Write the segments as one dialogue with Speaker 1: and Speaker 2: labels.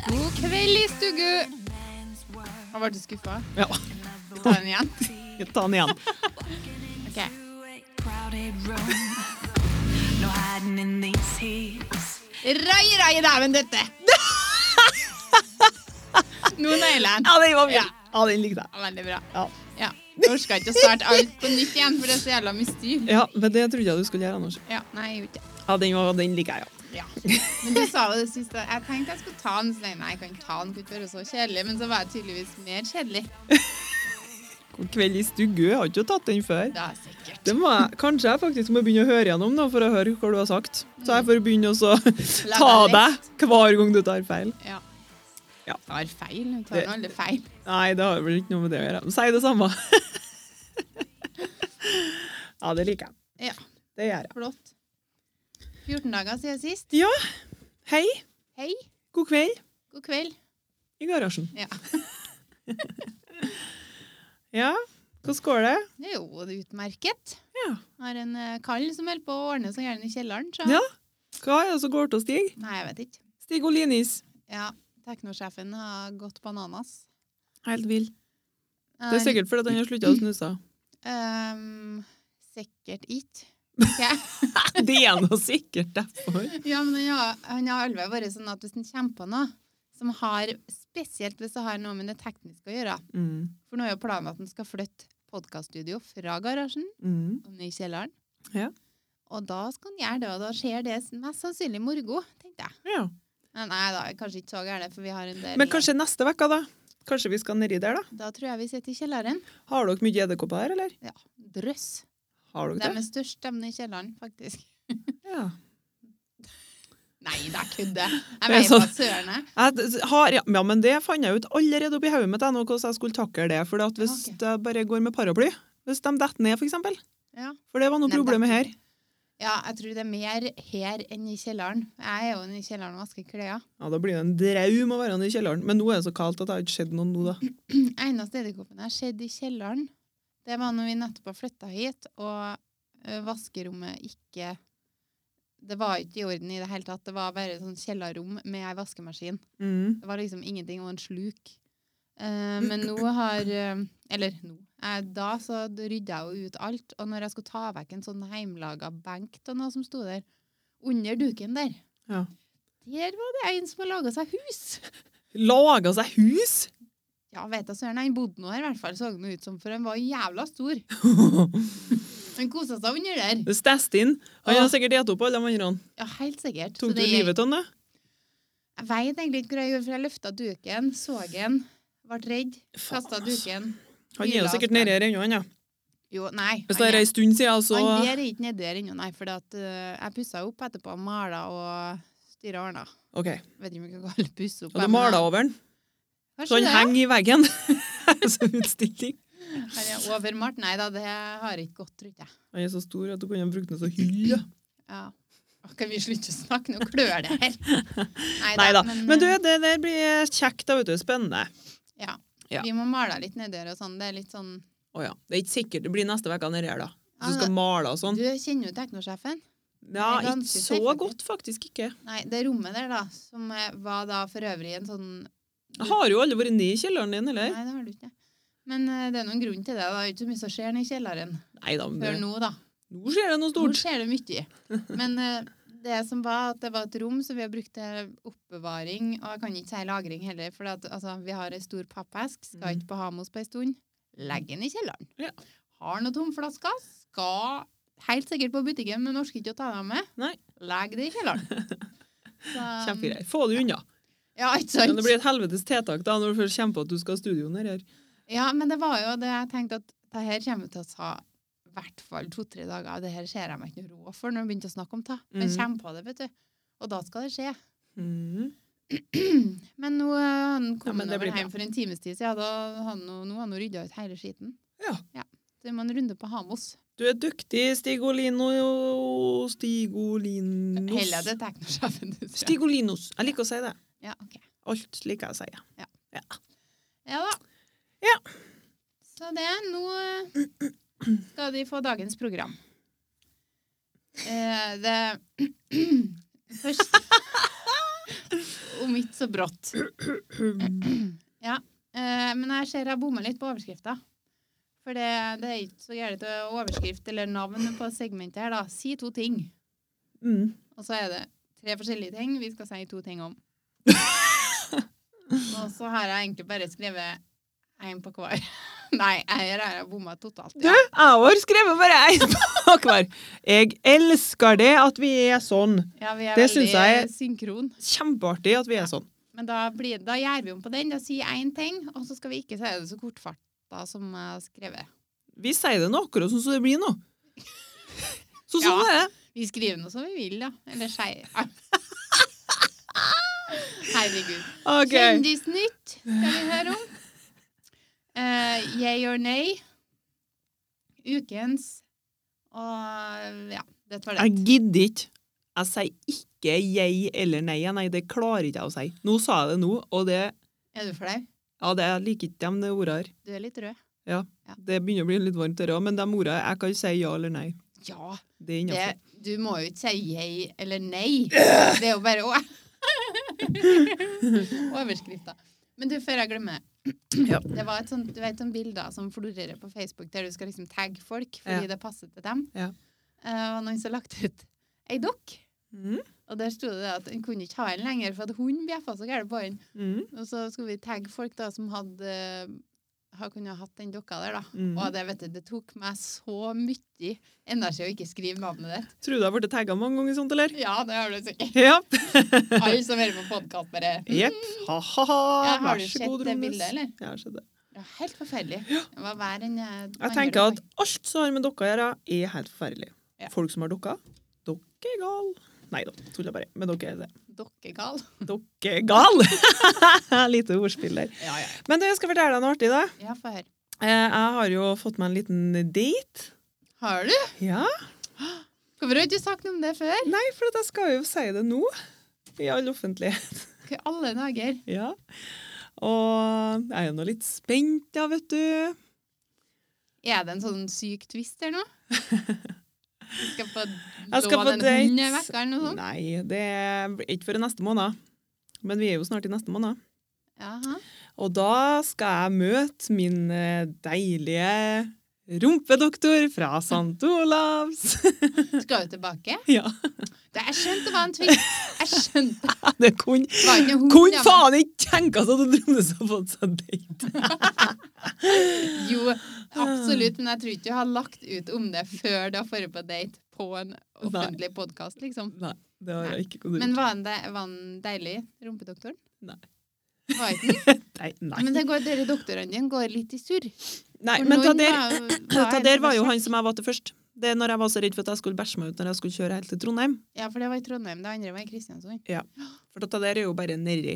Speaker 1: Kveld i stugu! Og ble du skuffa?
Speaker 2: Ja,
Speaker 1: Ta den igjen.
Speaker 2: ta den igjen.
Speaker 1: Ok.
Speaker 3: No hiding in these heels.
Speaker 1: Rai, rai, dæven døtte! Nå nailer jeg den.
Speaker 2: Ja, den var mye.
Speaker 1: Ja.
Speaker 2: Ja, den likte jeg.
Speaker 1: Ja, Veldig bra.
Speaker 2: Ja.
Speaker 1: Ja. Jeg orka ikke å starte alt på nytt igjen, for det er så jævla mye styr.
Speaker 2: ja, men det trodde jeg du skulle gjøre, Anders.
Speaker 1: Ja, nei, jeg gjorde ikke det.
Speaker 2: Ja, den, var, den liker jeg, ja.
Speaker 1: Ja. Men du sa det sist. at Jeg tenkte jeg skulle ta den, så nei, nei, jeg kan ikke ta den, kunne ikke være så kjedelig. Men så var jeg tydeligvis mer kjedelig.
Speaker 2: Kveld i stugu, jeg har ikke tatt den før.
Speaker 1: Da sikkert.
Speaker 2: Det må jeg, kanskje jeg faktisk må begynne å høre gjennom nå, for å høre hva du har sagt. Så jeg får begynne å så ta
Speaker 1: deg
Speaker 2: deg hver gang du tar feil.
Speaker 1: Ja.
Speaker 2: Ja.
Speaker 1: Tar feil. Jeg tar
Speaker 2: Det-
Speaker 1: nå alle feil.
Speaker 2: Nei, det har vel ikke noe med det å gjøre. Si det samme. ja, det liker jeg.
Speaker 1: Ja,
Speaker 2: Det gjør jeg.
Speaker 1: flott. 14 dager siden sist.
Speaker 2: Ja, hei.
Speaker 1: Hei,
Speaker 2: God kveld
Speaker 1: god kveld.
Speaker 2: i garasjen.
Speaker 1: Ja.
Speaker 2: ja, hvordan går det?
Speaker 1: Det er jo utmerket.
Speaker 2: Ja.
Speaker 1: Har en eh, kall som holder på å ordne seg gjerne i kjelleren. Så.
Speaker 2: Ja. Hva er det som går til Stig?
Speaker 1: Nei, jeg vet ikke.
Speaker 2: Stig Olinis.
Speaker 1: Ja, teknosjefen har gått bananas.
Speaker 2: Helt vill. Det er sikkert fordi at han har slutta å snuse.
Speaker 1: Ehm, sikkert ikke. Ok.
Speaker 2: Det er nå sikkert derfor.
Speaker 1: Ja, men han har, han har alve vært sånn at hvis han kommer på noe som har, spesielt hvis det har noe med det tekniske å gjøre,
Speaker 2: Mm.
Speaker 1: for nå er jo planen at han skal flytte podcaststudio fra garasjen
Speaker 2: Mm.
Speaker 1: og ned i kjelleren.
Speaker 2: Ja.
Speaker 1: Og da skal han gjøre det, og da skjer det mest sannsynlig i morgen, tenkte jeg.
Speaker 2: Ja.
Speaker 1: Men nei da, er kanskje ikke så gærent, for vi har en del
Speaker 2: Men kanskje neste uke, da? Kanskje vi skal nedi der, da?
Speaker 1: Da tror jeg vi sitter i kjelleren.
Speaker 2: Har dere mye edderkopper her, eller?
Speaker 1: Ja, drøss.
Speaker 2: Har
Speaker 1: De
Speaker 2: dere det?
Speaker 1: er størst, de i kjelleren, faktisk.
Speaker 2: Ja.
Speaker 1: Nei, det er kødde. Jeg
Speaker 2: Det er
Speaker 1: vet på
Speaker 2: sånn-
Speaker 1: at søren er.
Speaker 2: Jeg d- har, ja, ja, men det fant jeg ut allerede oppi hodet mitt jeg nå, hvordan jeg skulle takle det. For at hvis
Speaker 1: Ah, Ok.
Speaker 2: jeg bare går med paraply, hvis de detter ned, for eksempel.
Speaker 1: Ja.
Speaker 2: For det var noe
Speaker 1: Nei,
Speaker 2: problemet
Speaker 1: detter
Speaker 2: her.
Speaker 1: Ja, jeg tror det er mer her enn i kjelleren. Jeg er jo i kjelleren og vasker klær.
Speaker 2: Ja, Da blir det en draum å være nede i kjelleren. Men nå er det så kaldt at det har ikke skjedd noe nå, da.
Speaker 1: Eneste edderkoppen jeg har sett i kjelleren, det var når vi nettopp har flytta hit, og ø, vaskerommet ikke Det var ikke i orden i det hele tatt. Det var bare sånn kjellerrom med ei vaskemaskin.
Speaker 2: Mm.
Speaker 1: Det var liksom ingenting og en sluk. Eh, men nå har eh, Eller nå. Eh, da så rydda jeg jo ut alt. Og når jeg skulle ta vekk en sånn heimlaga benk til noe som sto der, under duken der
Speaker 2: Ja.
Speaker 1: Der var det en som har laga seg hus!
Speaker 2: Laga seg hus!
Speaker 1: Ja, vet da søren. Han bodde nå her, i hvert fall. Så han ut som, for han var jævla stor. Han kosa seg under der.
Speaker 2: det stæste inn. Han har
Speaker 1: Åh.
Speaker 2: sikkert spist opp alle de andre.
Speaker 1: Ja, helt sikkert. Ah. Så
Speaker 2: Tok du
Speaker 1: det-
Speaker 2: livet av han, da?
Speaker 1: Jeg veit egentlig ikke hva jeg gjorde, for jeg løfta duken, så den, ble redd,
Speaker 2: Faen,
Speaker 1: kasta
Speaker 2: ass.
Speaker 1: duken.
Speaker 2: Han er jo
Speaker 1: Hyla,
Speaker 2: sikkert
Speaker 1: ass.
Speaker 2: nedi her ennå, han, ja.
Speaker 1: Jo, nei.
Speaker 2: Hvis
Speaker 1: han
Speaker 2: det
Speaker 1: er-
Speaker 2: er ei stund siden, altså- så
Speaker 1: Han der er ikke nedi der ennå, nei. For jeg pussa opp etterpå. Mala og styra og ordna.
Speaker 2: OK.
Speaker 1: Vet ikke om jeg kan kalle det pusse opp. eh,
Speaker 2: Og du maler sånn over den, så han henger i veggen. Som utstilling.
Speaker 1: henger Overmalt? Nei da, det har ikke gått, tror jeg.
Speaker 2: Han er så stor at du kunne ha brukt den som hylle.
Speaker 1: Ja. Å, Kan vi slutte å snakke? Nå klør det her.
Speaker 2: Nei da. Men du,
Speaker 1: eh,
Speaker 2: det der blir kjekt, da, vet du. Spennende.
Speaker 1: ja.
Speaker 2: ja.
Speaker 1: Vi må male litt nedi der og sånn. Det er litt sånn
Speaker 2: Å ja. Det er ikke sikkert det blir neste uke nedi her, da.
Speaker 1: Ja,
Speaker 2: Du skal male og sånn.
Speaker 1: Du kjenner jo teknosjefen? Ah.
Speaker 2: Ja,
Speaker 1: det er ganske
Speaker 2: ikke så
Speaker 1: safe, faktisk.
Speaker 2: godt, faktisk ikke.
Speaker 1: Nei, det rommet der, da, som eh, var da for øvrig en sånn
Speaker 2: Jeg har jo aldri vært nede i kjelleren din,
Speaker 1: Nei,
Speaker 2: eller?
Speaker 1: det har du ikke. Men eh, det er noen grunn til det. da. Det er jo ikke så mye som skjer nede i kjelleren
Speaker 2: Nei da, men
Speaker 1: før
Speaker 2: det-
Speaker 1: nå, da.
Speaker 2: nå skjer det noe
Speaker 1: Nå
Speaker 2: stort.
Speaker 1: skjer det mye. Men eh, det som var at det var et rom som vi har brukt til oppbevaring, og jeg kan ikke si lagring heller, for at, altså, vi har en stor pappesk, skal ikke på Hamos på en stund. Legg den i kjelleren.
Speaker 2: Mm. Ja.
Speaker 1: Har noen tomflasker, skal helt sikkert på butikken, men orker ikke å ta dem med.
Speaker 2: Nei.
Speaker 1: Legg det i kjelleren. Så,
Speaker 2: Kjempegreier. Få det unna.
Speaker 1: Ja, ikke
Speaker 2: Men det
Speaker 1: sant?
Speaker 2: blir et helvetes tiltak da, når du først kommer på at du skal ha studio nedi her.
Speaker 1: Ja, men det var jo det jeg tenkte at det her kommer til å ta i hvert fall to-tre dager. Det her ser jeg meg ikke noe råd for når jeg begynte å snakke om det. Men
Speaker 2: Mhm.
Speaker 1: kommer på det, vet du. Og da skal det skje.
Speaker 2: Mm.
Speaker 1: Men nå eh, han
Speaker 2: Ja,
Speaker 1: kom han
Speaker 2: men det
Speaker 1: over
Speaker 2: blir
Speaker 1: hjem for en times tid siden. Da han, nå nå har han rydda ut hele skiten.
Speaker 2: Ja.
Speaker 1: Så vi må en runde på Hamos.
Speaker 2: Du er duktig, Stigolino Stigolinos.
Speaker 1: Heller det teknosjefen du sier.
Speaker 2: Stigolinos. Jeg liker å si det.
Speaker 1: Ja, ok.
Speaker 2: Alt liker jeg å si.
Speaker 1: Ja.
Speaker 2: ja.
Speaker 1: Ja da.
Speaker 2: Ja.
Speaker 1: Så det, nå eh, skal de få dagens program. Eh, det Først Om ikke så brått. Ja. Eh, men jeg ser jeg bommer litt på overskrifta. For det, det er ikke så gærent å overskrift eller navn på segmentet her, da. Si to ting.
Speaker 2: Mm.
Speaker 1: Og så er det tre forskjellige ting vi skal si to ting om. Og så har jeg egentlig bare skrevet én på hver. Nei, jeg her har jeg bomma totalt.
Speaker 2: Du, jeg har skrevet bare én på hver. Jeg elsker det at vi er sånn.
Speaker 1: Ja, vi er
Speaker 2: det
Speaker 1: veldig
Speaker 2: synes jeg-
Speaker 1: synkron.
Speaker 2: Kjempeartig at vi er sånn.
Speaker 1: Men da, blir, da gjør vi om på den. Da sier jeg én ting, og så skal vi ikke si det så kortfarta som jeg har skrevet.
Speaker 2: Vi sier det nå akkurat sånn som det blir nå. Så sånn
Speaker 1: Ja.
Speaker 2: er det.
Speaker 1: Vi skriver nå som vi vil, da. Eller sier Herregud.
Speaker 2: Ok.
Speaker 1: Kjendisnytt skal vi høre om. Eh, yay or nay. Ukens og ja, det var det.
Speaker 2: Jeg gidder ikke. Jeg sier ikke jeg eller nei. Nei, det klarer ikke jeg å si. Nå sa jeg det nå, og det
Speaker 1: Er du flau?
Speaker 2: Ja, det jeg liker ikke de ordene her.
Speaker 1: Du er litt rød.
Speaker 2: Det begynner å bli litt varmt her òg, men de ordene Jeg kan si ja eller nei.
Speaker 1: Ja,
Speaker 2: Det er
Speaker 1: det,
Speaker 2: innafor.
Speaker 1: du må jo ikke si yay eller nei. Det er jo bare å. Overskrifta. Men du, før jeg glemmer
Speaker 2: Ja.
Speaker 1: Det var et sånt, du vet, sånne bilder som florerer på Facebook, der du skal liksom tagge folk fordi det passer til dem.
Speaker 2: Ja.
Speaker 1: Eh, og noen som lagt ut ei dokk.
Speaker 2: Mm.
Speaker 1: Og der sto det at en kunne ikke ha en lenger, for at hunden bjeffa så gærent på den.
Speaker 2: Mm.
Speaker 1: Og så skulle vi tagge folk da som hadde eh, har kunnet hatt den dokka der, da.
Speaker 2: Mm.
Speaker 1: Og det, vet du, det tok meg så mye energi å ikke skrive navnet ditt.
Speaker 2: Tror du jeg ble tagga mange ganger sånt, eller?
Speaker 1: Ja, det har du sikkert.
Speaker 2: Ja.
Speaker 1: Alle som hører på podkast, bare
Speaker 2: Jepp. Ha-ha-ha.
Speaker 1: Ja, har
Speaker 2: Vær
Speaker 1: du
Speaker 2: så
Speaker 1: sett
Speaker 2: god,
Speaker 1: det
Speaker 2: Rondes.
Speaker 1: bildet, eller?
Speaker 2: Jeg har sett det.
Speaker 1: Det var helt forferdelig. Det var verre enn eh,
Speaker 2: Jeg
Speaker 1: andre
Speaker 2: tenker
Speaker 1: dokk.
Speaker 2: at alt som har med dere å gjøre, er helt forferdelig.
Speaker 1: Ja.
Speaker 2: Folk som har dere, dere er gal. Nei da, tuller bare. Men dere er det.
Speaker 1: Dokkegal.
Speaker 2: Dere er gal! Lite ordspill der.
Speaker 1: Ja, ja.
Speaker 2: Men du, jeg skal fortelle deg noe artig, da.
Speaker 1: ja få høre.
Speaker 2: Eh, Jeg har jo fått meg en liten date.
Speaker 1: Har du?
Speaker 2: Ja.
Speaker 1: Hvorfor har du ikke sagt noe om det før?
Speaker 2: Nei, for at jeg skal jo si det nå. I all offentlighet.
Speaker 1: Hva i alle dager?
Speaker 2: Ja. Og jeg er jo nå litt spent, ja, vet du.
Speaker 1: Er det en sånn syk twist her nå? Du skal få
Speaker 2: Jeg skal
Speaker 1: låne
Speaker 2: på
Speaker 1: en
Speaker 2: dates.
Speaker 1: hund en uke eller noe sånt?
Speaker 2: Nei, det er ikke før neste måned. Men vi er jo snart i neste måned.
Speaker 1: Jaha.
Speaker 2: Og da skal jeg møte min eh, deilige rumpedoktor fra St. Olavs.
Speaker 1: Skal du tilbake?
Speaker 2: ja,
Speaker 1: Det, jeg skjønte det var en twist. Jeg skjønte det
Speaker 2: det kunne
Speaker 1: var ikke hun.
Speaker 2: kun
Speaker 1: ja, men-
Speaker 2: faen ikke tenkes at hun Trondheim har fått seg date.
Speaker 1: Jo, absolutt, men jeg tror ikke du har lagt ut om det før du har vært på date på en offentlig podkast, liksom.
Speaker 2: Nei, det har jeg ikke kunnet
Speaker 1: Men var han, de, var han deilig, rumpedoktoren?
Speaker 2: Nei.
Speaker 1: Var ikke den?
Speaker 2: Nei,
Speaker 1: Men
Speaker 2: nei.
Speaker 1: det går, dere doktorene dine går litt i surr.
Speaker 2: nei
Speaker 1: For
Speaker 2: men ta
Speaker 1: noen
Speaker 2: der,
Speaker 1: var- var
Speaker 2: ta
Speaker 1: en
Speaker 2: der
Speaker 1: som
Speaker 2: var jo
Speaker 1: kjekk.
Speaker 2: han som jeg var til først. Det er når jeg var så redd for at jeg skulle bæsje meg ut når jeg skulle kjøre helt til Trondheim.
Speaker 1: Ja, for det var i Trondheim. Det andre var i Kristiansund.
Speaker 2: For dette der er jo bare nedi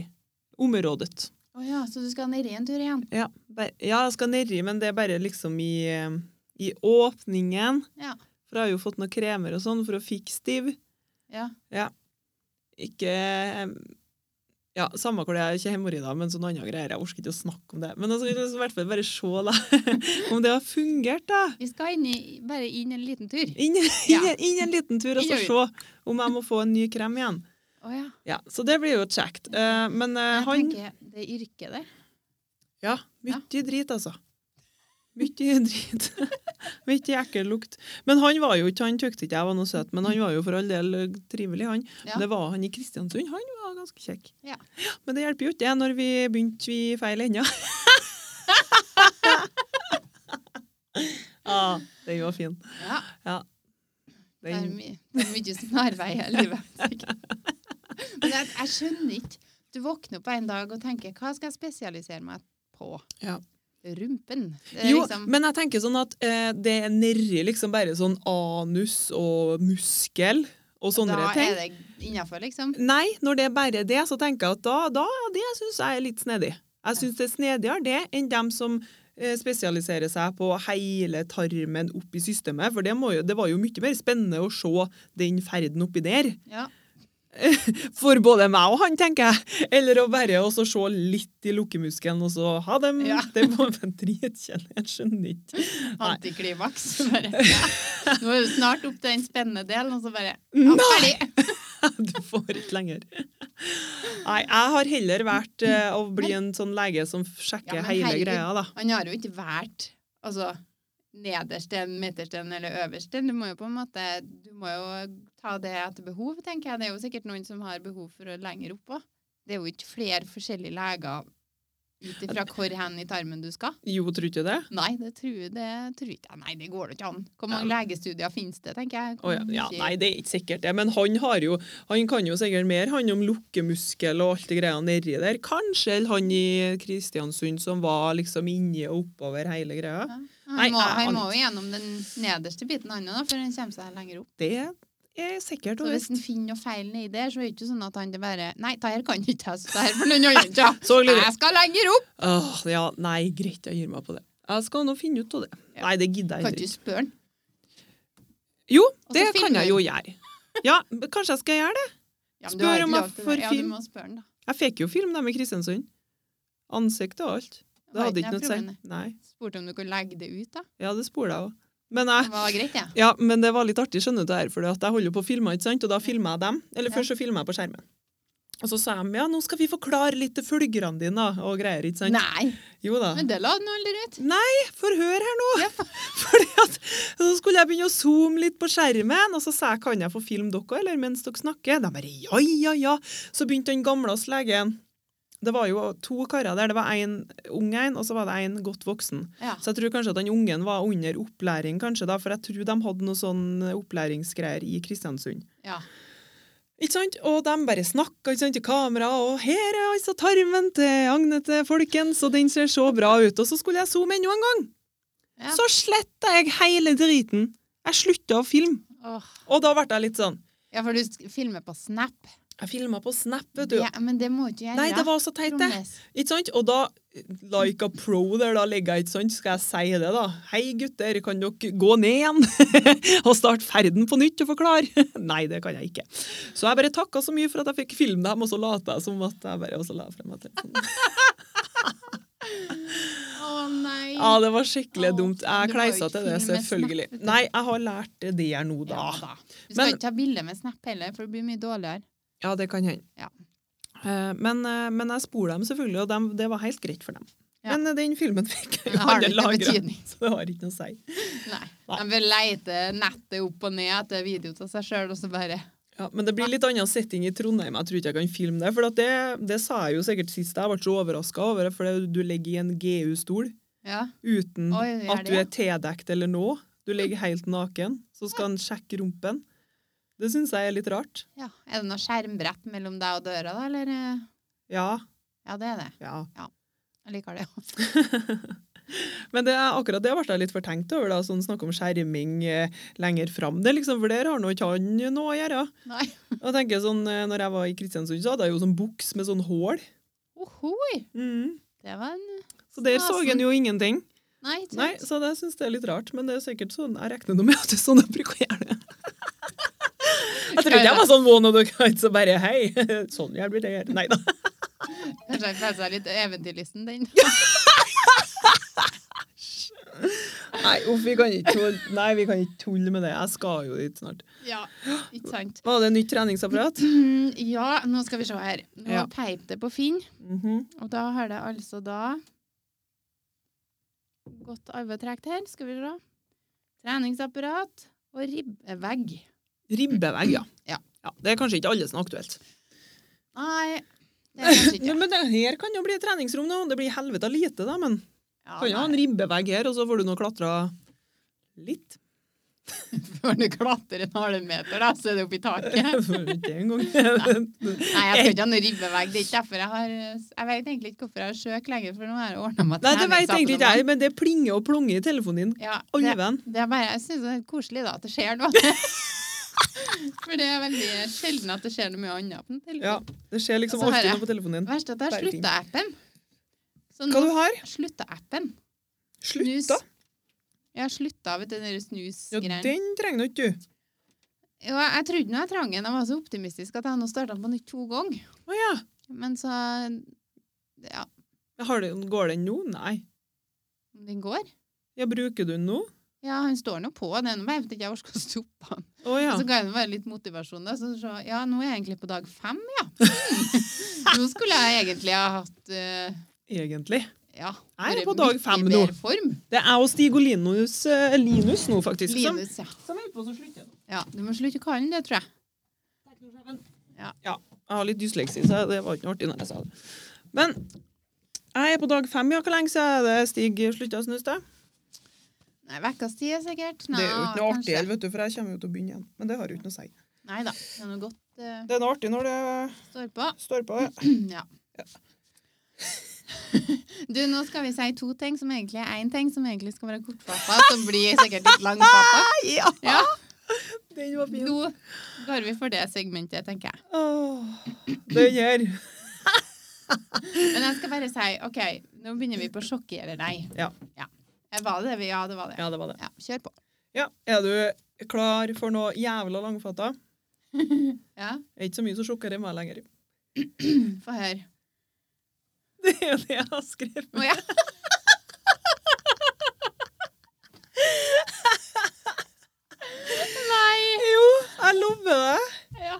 Speaker 2: området.
Speaker 1: Å ja, så du skal ned i en tur igjen?
Speaker 2: Ja, bare, ja jeg skal nedi, men det er bare liksom i, eh, i åpningen.
Speaker 1: Ja.
Speaker 2: For jeg har jo fått noen kremer og sånn for å fikse stiv.
Speaker 1: Ja.
Speaker 2: Ikke eh, ja, Samme hvor det er, ikke hemoroider, men sånne andre greier. Jeg orker ikke å snakke om det. Men altså, i hvert fall bare se da, om det har fungert, da.
Speaker 1: Vi skal inn i, bare inn en liten tur.
Speaker 2: Inn,
Speaker 1: Ja.
Speaker 2: inn, inn en liten tur og så
Speaker 1: Gjør
Speaker 2: se om jeg må få en ny krem igjen.
Speaker 1: Å ja.
Speaker 2: Ja, Så det blir jo kjekt. Eh, men eh,
Speaker 1: Jeg
Speaker 2: han
Speaker 1: tenker det er yrket der.
Speaker 2: Ja, mye drit, altså. Mye drit. mye ekkel lukt. Men han var jo ikke, han tykte ikke jeg var noe søt, men han var jo for all del eh, trivelig, han.
Speaker 1: Ja.
Speaker 2: Det var han i Kristiansund, han var ganske kjekk.
Speaker 1: Ja.
Speaker 2: Men det hjelper jo ikke det når vi begynte vi i feil enda. Ja, den var fin.
Speaker 1: Ja, det er,
Speaker 2: Den,
Speaker 1: my, det er mye snarveier i livet. sikkert. Men jeg, jeg skjønner ikke. Du våkner opp en dag og tenker hva skal jeg spesialisere meg på?
Speaker 2: Ja.
Speaker 1: Rumpen. Det er
Speaker 2: jo,
Speaker 1: liksom,
Speaker 2: men jeg tenker sånn at eh, det er nedi liksom bare sånn anus og muskel og sånne
Speaker 1: da
Speaker 2: ting.
Speaker 1: er det innafor, liksom.
Speaker 2: Nei, når det er bare det, så tenker jeg at da, da det syns jeg er litt snedig. Jeg syns det er snedigere det enn dem som eh, spesialiserer seg på hele tarmen opp i systemet, for det, må jo, det var jo mye mer spennende å se den ferden oppi der.
Speaker 1: Ja.
Speaker 2: For både meg og han, tenker jeg. Eller å bare også se litt i lukkemuskelen, og så ha dem.
Speaker 1: Ja.
Speaker 2: Det må være dritkjedelig. Jeg skjønner ikke. Nei.
Speaker 1: Antiklimaks. Bare. Nå er du snart opp til den spennende delen, og så bare ja, Ferdig!
Speaker 2: Du får ikke lenger. Nei, jeg har heller vært eh, å bli en sånn lege som sjekker
Speaker 1: Ja, men
Speaker 2: hele
Speaker 1: herregud.
Speaker 2: greia, da.
Speaker 1: Han har jo ikke vært altså, nederst en, midterst en eller øverst en. Du må jo på en måte du må jo ta det etter behov, tenker jeg. Det er jo sikkert noen som har behov for å lenger opp òg. Det er jo ikke flere forskjellige leger ut ifra hvor hen i tarmen du skal.
Speaker 2: Jo, tror du ikke det?
Speaker 1: Nei, det tror, det tror ikke jeg. Nei, det går da ikke an. Hvor mange legestudier finnes det, tenker jeg.
Speaker 2: Å
Speaker 1: Hvor
Speaker 2: ja, ja,
Speaker 1: mye-
Speaker 2: nei, det er ikke sikkert det. Men han, har jo, han kan jo sikkert mer han om lukkemuskel og alt det greia nedi der. Kanskje eller han i Kristiansund som var liksom inni og oppover hele greia.
Speaker 1: Ja.
Speaker 2: Nei,
Speaker 1: Han, må,
Speaker 2: jeg
Speaker 1: han må
Speaker 2: aner
Speaker 1: jo gjennom den nederste biten han òg, for han kommer seg lenger opp.
Speaker 2: Det er sikkert
Speaker 1: Så
Speaker 2: og
Speaker 1: hvis
Speaker 2: visst.
Speaker 1: han finner noe feil nedi der, så er det ikke sånn at han det bare Nei, det her kan ikke jeg, så det her får noen andre ta.
Speaker 2: Så gleder jeg.
Speaker 1: Jeg skal lenger opp!
Speaker 2: Åh, ja, nei, greit, jeg gir meg på det. Jeg skal nå finne ut av det.
Speaker 1: Ja.
Speaker 2: Nei, det gidder jeg
Speaker 1: Kan
Speaker 2: heller
Speaker 1: ikke
Speaker 2: ikke.
Speaker 1: spørre han.
Speaker 2: Jo,
Speaker 1: Og så
Speaker 2: det
Speaker 1: filmer
Speaker 2: kan jeg jo
Speaker 1: hun.
Speaker 2: gjøre. Ja, men kanskje jeg skal gjøre det.
Speaker 1: Ja, men du har
Speaker 2: Spør
Speaker 1: ikke
Speaker 2: om jeg
Speaker 1: lov til det.
Speaker 2: får
Speaker 1: Ja,
Speaker 2: film.
Speaker 1: du må spørre han, da.
Speaker 2: Jeg fikk jo film dem i Kristiansund. Ansikt og alt. Det
Speaker 1: Har
Speaker 2: hadde
Speaker 1: ikke
Speaker 2: ikke noe å
Speaker 1: jeg
Speaker 2: si.
Speaker 1: prøvd
Speaker 2: Nei,
Speaker 1: Spurte om du kunne legge det ut, da.
Speaker 2: ja, det spoler jeg òg. Men jeg
Speaker 1: Det var greit, ja.
Speaker 2: Ja, men det var litt artig, skjønner du det her, for at jeg holder på å filme, ikke sant? Og da filmer jeg dem, eller
Speaker 1: Ja.
Speaker 2: først så filmer jeg på skjermen. Og så sa de, ja, nå skal vi forklare litt til følgerne dine, da, og greier, ikke sant?
Speaker 1: Nei,
Speaker 2: Jo da.
Speaker 1: men det la han aldri ut.
Speaker 2: For hør her nå! Fordi at, så skulle jeg begynne å zoome litt på skjermen, og så sa jeg, kan jeg få film dere, eller mens dere snakker? De bare, ja, ja, ja. Så begynte den gamle oss legen. Det var jo to karer der, det var en ung en, og så var det en godt voksen.
Speaker 1: Ja.
Speaker 2: Så jeg tror kanskje at den ungen var under opplæring, kanskje da, for jeg tror de hadde noe sånn opplæringsgreier i Kristiansund.
Speaker 1: ja.
Speaker 2: Ikke sant? Og de bare snakka ikke sant, i kamera, og 'her er altså tarmen til Agnete, folkens', og den ser så bra ut. Og så skulle jeg zoome enda en gang.
Speaker 1: Ja.
Speaker 2: Så sletta jeg hele driten. Jeg slutta å filme.
Speaker 1: Åh.
Speaker 2: Og da ble jeg litt sånn
Speaker 1: ja, for du sk- filmer på Snap.
Speaker 2: Jeg filma på Snap, vet du.
Speaker 1: Ja, men det må du ikke gjøre.
Speaker 2: Nei, det var så teit, det.
Speaker 1: Trommes.
Speaker 2: Ikke sant? Og da, like a pro der, da ligger jeg, ikke sant, skal jeg si det da? Hei gutter, kan dere gå ned igjen og starte ferden på nytt og forklare? Nei, det kan jeg ikke. Så jeg bare takka så mye for at jeg fikk filme dem, og så lata jeg som at jeg bare og så la jeg frem meg telefonen.
Speaker 1: Å nei.
Speaker 2: Ja, det var skikkelig
Speaker 1: Åh,
Speaker 2: dumt.
Speaker 1: du
Speaker 2: Jeg
Speaker 1: var jo
Speaker 2: kleisa til
Speaker 1: ikke
Speaker 2: det,
Speaker 1: film med
Speaker 2: selvfølgelig.
Speaker 1: snap, vet du.
Speaker 2: Nei, jeg har lært det der nå,
Speaker 1: Ja,
Speaker 2: da.
Speaker 1: da. Du skal
Speaker 2: Men-
Speaker 1: ikke ta bilde med Snap heller, for det blir mye dårligere.
Speaker 2: Ja, det kan hende.
Speaker 1: Ja.
Speaker 2: Eh, Men, eh, men jeg spor dem selvfølgelig, og dem, det var helt greit for dem.
Speaker 1: Ja.
Speaker 2: Men eh, den filmen fikk jeg
Speaker 1: Men
Speaker 2: jo
Speaker 1: har det
Speaker 2: aldri
Speaker 1: ikke
Speaker 2: lagra,
Speaker 1: betydning?
Speaker 2: så det har ikke noe å si.
Speaker 1: Nei.
Speaker 2: Nei.
Speaker 1: De vil leite nettet opp og ned etter video av seg sjøl, og så bare
Speaker 2: Ja, Men det blir litt annen setting i Trondheim. Jeg tror ikke jeg kan filme det. For at det, det sa jeg jo sikkert sist. Jeg ble så overraska over det, for det- du ligger i en GU-stol
Speaker 1: Ja.
Speaker 2: uten
Speaker 1: Oi, gjør det,
Speaker 2: at du
Speaker 1: ja?
Speaker 2: er tildekt eller noe. Du ligger helt naken. Så skal han sjekke rumpen. Det syns jeg er litt rart.
Speaker 1: ja. Er det noe skjermbrett mellom deg og døra, da, eller? eh?
Speaker 2: Ja,
Speaker 1: Ja, det er det.
Speaker 2: ja.
Speaker 1: Jeg liker det.
Speaker 2: Men det, er- akkurat det ble jeg litt fortenkt over, da, sånn snakk om skjerming eh, lenger fram. Det, liksom, for der har nå ikke han noe å gjøre.
Speaker 1: Nei.
Speaker 2: Og jeg tenker sånn, eh, når jeg var i Kristiansund, så hadde jeg jo sånn buks med sånn hull.
Speaker 1: Ohoi!
Speaker 2: Mm.
Speaker 1: Det var en
Speaker 2: Så der så
Speaker 1: Snasen.
Speaker 2: han jo ingenting.
Speaker 1: Nei, ikke
Speaker 2: Nei,
Speaker 1: sant?
Speaker 2: så det syns jeg er litt rart, men det er sikkert sånn jeg regner noe med at det er sånn jeg bruker å gjøre det. Jeg tror ikke jeg var sånn vån og dere så bare hei, sånn jeg blir det her. Nei da.
Speaker 1: Kanskje jeg føler seg litt eventyrlysten, den.
Speaker 2: Nei, uff, vi kan ikke tulle, Nei, vi kan ikke tulle med det. Jeg skal jo dit snart.
Speaker 1: Ja, ikke sant.
Speaker 2: Var det nytt treningsapparat?
Speaker 1: Mm, Ja, nå skal vi se her. Nå
Speaker 2: Ja.
Speaker 1: peip det på Finn,
Speaker 2: Mhm.
Speaker 1: og da har det altså da Godt arvetrekt her, skal vi se. Treningsapparat og ribbevegg.
Speaker 2: Ribbevegg, ja.
Speaker 1: Ja.
Speaker 2: Det er kanskje ikke alle som er aktuelt.
Speaker 1: Nei, det er kanskje ikke
Speaker 2: Ja, men det her kan jo bli et treningsrom nå. Det blir helvete lite, da, men
Speaker 1: Ja,
Speaker 2: kan jo ha en
Speaker 1: nei.
Speaker 2: ribbevegg her, og så får du nå klatra litt.
Speaker 1: Når du klatrer en halvmeter, da, så er det oppi taket.
Speaker 2: Jeg får ikke det engang.
Speaker 1: Nei, jeg skal ikke ha noen ribbevegg. Det er ikke derfor jeg har Jeg vet egentlig ikke hvorfor jeg har søkt lenger, for nå har jeg ordna meg sånn.
Speaker 2: Nei, det vet jeg egentlig ikke jeg, men det plinger og plonger i telefonen din.
Speaker 1: Ja, det,
Speaker 2: Alven.
Speaker 1: det er bare, jeg syns det er koselig da, at det skjer noe. For det er veldig sjelden at det skjer noe mye annet. på den
Speaker 2: Ja,
Speaker 1: telefonen.
Speaker 2: det skjer liksom
Speaker 1: Og så har
Speaker 2: alltid
Speaker 1: jeg-
Speaker 2: noe på telefonen
Speaker 1: Det
Speaker 2: din.
Speaker 1: verste Altså, er at jeg har
Speaker 2: Bare ting.
Speaker 1: slutta appen. Så
Speaker 2: Hva
Speaker 1: nå
Speaker 2: du har?
Speaker 1: slutta appen. Snus.
Speaker 2: Slutta?
Speaker 1: Jeg har slutta vet du, den der
Speaker 2: Ja,
Speaker 1: snusgreien.
Speaker 2: den trenger du ikke, du.
Speaker 1: Jo, jeg jeg trodde nå jeg trang den. Jeg var så optimistisk at jeg nå starta på nytt to ganger.
Speaker 2: Å ja.
Speaker 1: Men så Ja,
Speaker 2: Har du, går den nå? Nei.
Speaker 1: om den går?
Speaker 2: Ja, bruker du den nå?
Speaker 1: Ja, han står nå på. Det er nå bare at jeg ikke orker å stoppe han.
Speaker 2: Å ja.
Speaker 1: Så ga jeg ham bare litt motivasjon. Da. Så sa jeg, ja, nå er jeg egentlig på dag fem, ja. Hmm. nå skulle jeg egentlig ha hatt eh,
Speaker 2: Egentlig.
Speaker 1: ja,
Speaker 2: Jeg er
Speaker 1: vært
Speaker 2: på dag
Speaker 1: mye
Speaker 2: fem
Speaker 1: bedre
Speaker 2: nå.
Speaker 1: Form.
Speaker 2: Det er jeg og Stig og Linus, eh, Linus nå, faktisk. som-
Speaker 1: Linus, ja.
Speaker 2: Som er på å slutte nå.
Speaker 1: ja. Du må slutte å kalle han det, tror jeg.
Speaker 2: Ja, jeg har litt dysleksi, så det var ikke noe artig når jeg sa det. Men jeg er på dag fem, ja. Hvor lenge siden er det Stig slutta å snuse? da?
Speaker 1: Nei, vekkas tid er sikkert.
Speaker 2: Det er jo ikke noe artig,
Speaker 1: kanskje.
Speaker 2: vet du, for jeg kommer jo til å begynne igjen. Men det har jo ikke noe å si.
Speaker 1: Nei da. Det er noe godt eh,
Speaker 2: Det er noe artig når det
Speaker 1: står på.
Speaker 2: står på. det.
Speaker 1: ja. Du, nå skal vi si to ting som egentlig er én ting, som egentlig skal være kortpappa, som blir sikkert litt langpappa.
Speaker 2: Ja!
Speaker 1: Ja,
Speaker 2: Den var fin.
Speaker 1: nå går vi for det segmentet, tenker jeg.
Speaker 2: Åh, Den her.
Speaker 1: Men jeg skal bare si OK, nå begynner vi på sjokkere deg.
Speaker 2: Ja.
Speaker 1: Eh, Var det det? vi- Ja, det var det.
Speaker 2: Ja, det var det.
Speaker 1: Ja, kjør på.
Speaker 2: Ja, Er du klar for noe jævla langfatta?
Speaker 1: Ja,
Speaker 2: Det er ikke så mye som sjokkerer meg lenger.
Speaker 1: Få høre.
Speaker 2: Det er jo det jeg har skrevet.
Speaker 1: Å ja. Nei!
Speaker 2: Jo, jeg lover deg.
Speaker 1: Ja.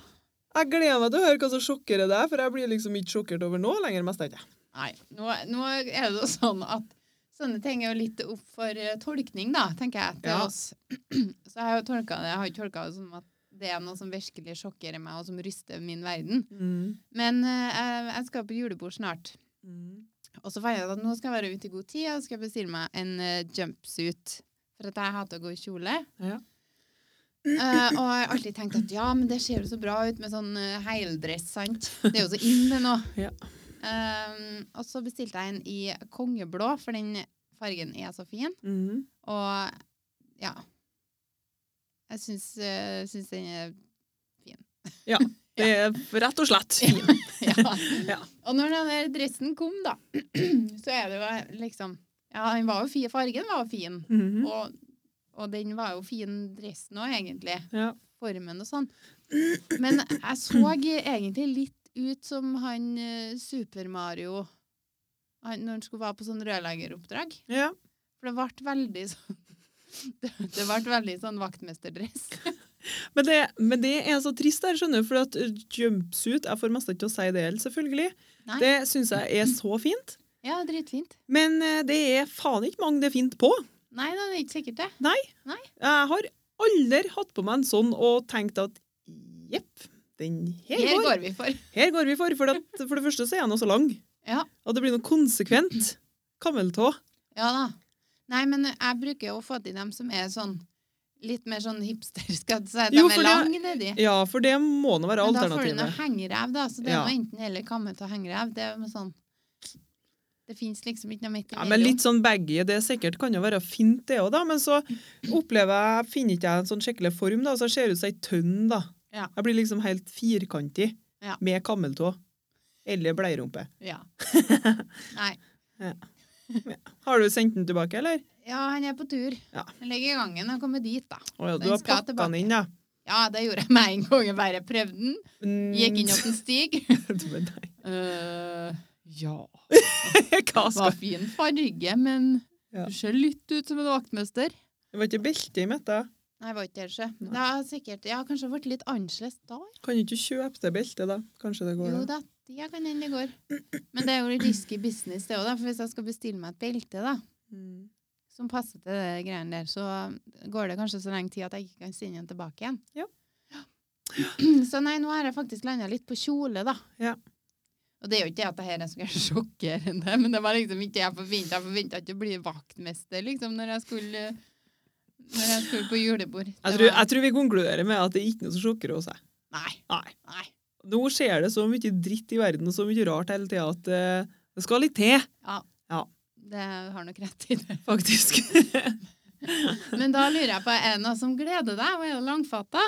Speaker 2: Jeg gleder meg til å høre hva som sjokkerer deg, for jeg blir liksom ikke sjokkert over nå lenger. mest ikke.
Speaker 1: Nei, nå, nå er det jo sånn at sånne ting er jo litt opp for eh, tolkning, da, tenker jeg, til
Speaker 2: Ja.
Speaker 1: oss. Så jeg har jo tolka det, jeg har jo tolka det som at det er noe som virkelig sjokkerer meg, og som ryster min verden.
Speaker 2: Mm,
Speaker 1: Men eh, jeg, jeg skal på julebord snart, og så fant jeg ut at nå skal jeg være ute i god tid, og så skal jeg bestille meg en eh, jumpsuit. For at jeg hater å gå i kjole.
Speaker 2: Ja.
Speaker 1: Eh, og jeg har alltid tenkt at ja, men det ser jo så bra ut med sånn eh, heildress, sant? Det er jo så inn det nå.
Speaker 2: Ja.
Speaker 1: Eh, og så bestilte jeg en i kongeblå, for den fargen er så fin.
Speaker 2: Mhm.
Speaker 1: Og ja Jeg syns, eh, syns den er
Speaker 2: Det er rett og slett fin.
Speaker 1: ja.
Speaker 2: Ja.
Speaker 1: Og når den der dressen kom, da, så er det jo liksom Ja, den var jo fin, fargen var jo fin.
Speaker 2: Mhm.
Speaker 1: Og, og den var jo fin dressen òg, egentlig.
Speaker 2: Ja.
Speaker 1: formen og sånn. Men jeg så egentlig litt ut som han eh, Super-Mario han, når han skulle være på sånn rørleggeroppdrag.
Speaker 2: ja.
Speaker 1: For det ble veldig sånn Det, det ble veldig sånn vaktmesterdress.
Speaker 2: Men, det, men det er så trist, der, skjønner du, for at eh, jumpsuit Jeg får mest ikke til å si det heller, selvfølgelig.
Speaker 1: Nei.
Speaker 2: Det syns jeg er så fint.
Speaker 1: Ja, dritfint.
Speaker 2: Men eh, det er faen ikke mange det er fint på.
Speaker 1: Nei da, det er ikke sikkert, det.
Speaker 2: Jeg har aldri hatt på meg en sånn og tenkt at jepp, den her,
Speaker 1: Her
Speaker 2: går.
Speaker 1: går vi for.
Speaker 2: Her går vi for. For, at, for det første så er den også lang.
Speaker 1: Ja.
Speaker 2: Og det blir noe konsekvent. Kammeltå.
Speaker 1: Ja da. Nei, men jeg bruker jo å få til dem som er sånn litt mer sånn hipster, skal jeg si. De
Speaker 2: Jo, for
Speaker 1: er
Speaker 2: det-
Speaker 1: lange nedi.
Speaker 2: Ja, for det må nå være
Speaker 1: Men da får du noe
Speaker 2: alternativet.
Speaker 1: hengerev, da. Så det er
Speaker 2: Ja.
Speaker 1: noe enten eller kammet og hengerev. Det er jo sånn Det fins liksom ikke noe midt
Speaker 2: Ja, men litt sånn baggy, det er sikkert kan jo være fint det òg, da. Men så opplever jeg, finner ikke jeg en sånn skikkelig form, da. Så jeg ser ut som ei tønn, da.
Speaker 1: Ja.
Speaker 2: Jeg blir liksom helt firkantig.
Speaker 1: Ja.
Speaker 2: Med kammeltå. Eller bleierumpe.
Speaker 1: Ja. Nei.
Speaker 2: Har du sendt den tilbake, eller?
Speaker 1: Ja, han er på tur.
Speaker 2: Ja.
Speaker 1: Han ligger i gangen og kommer dit, da.
Speaker 2: Å ja,
Speaker 1: Den
Speaker 2: du har
Speaker 1: skal
Speaker 2: pakka den inn, da.
Speaker 1: Ja, det gjorde jeg med en gang. Jeg bare prøvde den.
Speaker 2: Mm.
Speaker 1: Gikk inn opp en stig.
Speaker 2: Men Mm, nei.
Speaker 1: Eh, ja
Speaker 2: Hva
Speaker 1: Var
Speaker 2: skal
Speaker 1: fin farge, men
Speaker 2: Ja.
Speaker 1: du ser litt ut som en vaktmester.
Speaker 2: Det var ikke belte i mitt, da.
Speaker 1: Nei, var ikke det, sjø. Men Det har sikkert Ja, kanskje det ble litt annerledes da.
Speaker 2: Kan ikke kjøpe det beltet, da? Kanskje det går
Speaker 1: Jo
Speaker 2: da.
Speaker 1: da, det kan hende det går. Men det er jo risky business, det òg, for hvis jeg skal bestille meg et belte da,
Speaker 2: Mm.
Speaker 1: som passer til det greiene der, så går det kanskje så lenge tid at jeg ikke kan sende den tilbake igjen.
Speaker 2: Ja.
Speaker 1: Så nei, nå har jeg faktisk landa litt på kjole, da.
Speaker 2: Ja.
Speaker 1: Og det er jo ikke det at det her er så ganske sjokkerende, men det var liksom ikke det jeg forventa. Jeg forventa ikke å bli vaktmester, liksom, når jeg skulle når jeg skulle på julebord. Det
Speaker 2: Jeg tror,
Speaker 1: var-
Speaker 2: jeg tror vi konkluderer med at det er ikke noe som sjokkerer oss. jeg.
Speaker 1: Nei.
Speaker 2: Nei.
Speaker 1: nei.
Speaker 2: Nå skjer det så mye dritt i verden og så mye rart hele tida at eh, det skal litt til,
Speaker 1: Ja.
Speaker 2: Ja.
Speaker 1: Det har nok rett i det.
Speaker 2: faktisk.
Speaker 1: Men da lurer jeg på, er det noe som gleder deg? Og er det langfatta?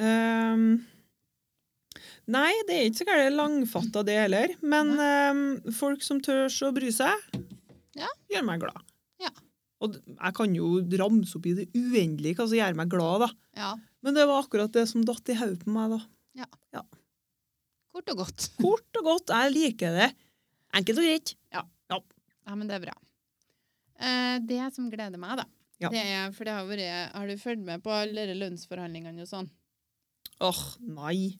Speaker 2: Ehm, nei, det er ikke så gærent langfatta, det heller. Men ehm, folk som tør å bry seg,
Speaker 1: Ja.
Speaker 2: gjør meg glad.
Speaker 1: Ja.
Speaker 2: Og d- jeg kan jo ramse opp i det uendelige hva som gjør meg glad, da.
Speaker 1: Ja.
Speaker 2: Men det var akkurat det som datt i hodet på meg, da.
Speaker 1: Kort og godt.
Speaker 2: Kort og godt, jeg liker det. Enkelt og greit.
Speaker 1: Ja, men det er bra. Eh, det som gleder meg, da,
Speaker 2: Ja.
Speaker 1: Det er, for det har vært Har du fulgt med på alle de lønnsforhandlingene og sånn?
Speaker 2: Åh, nei.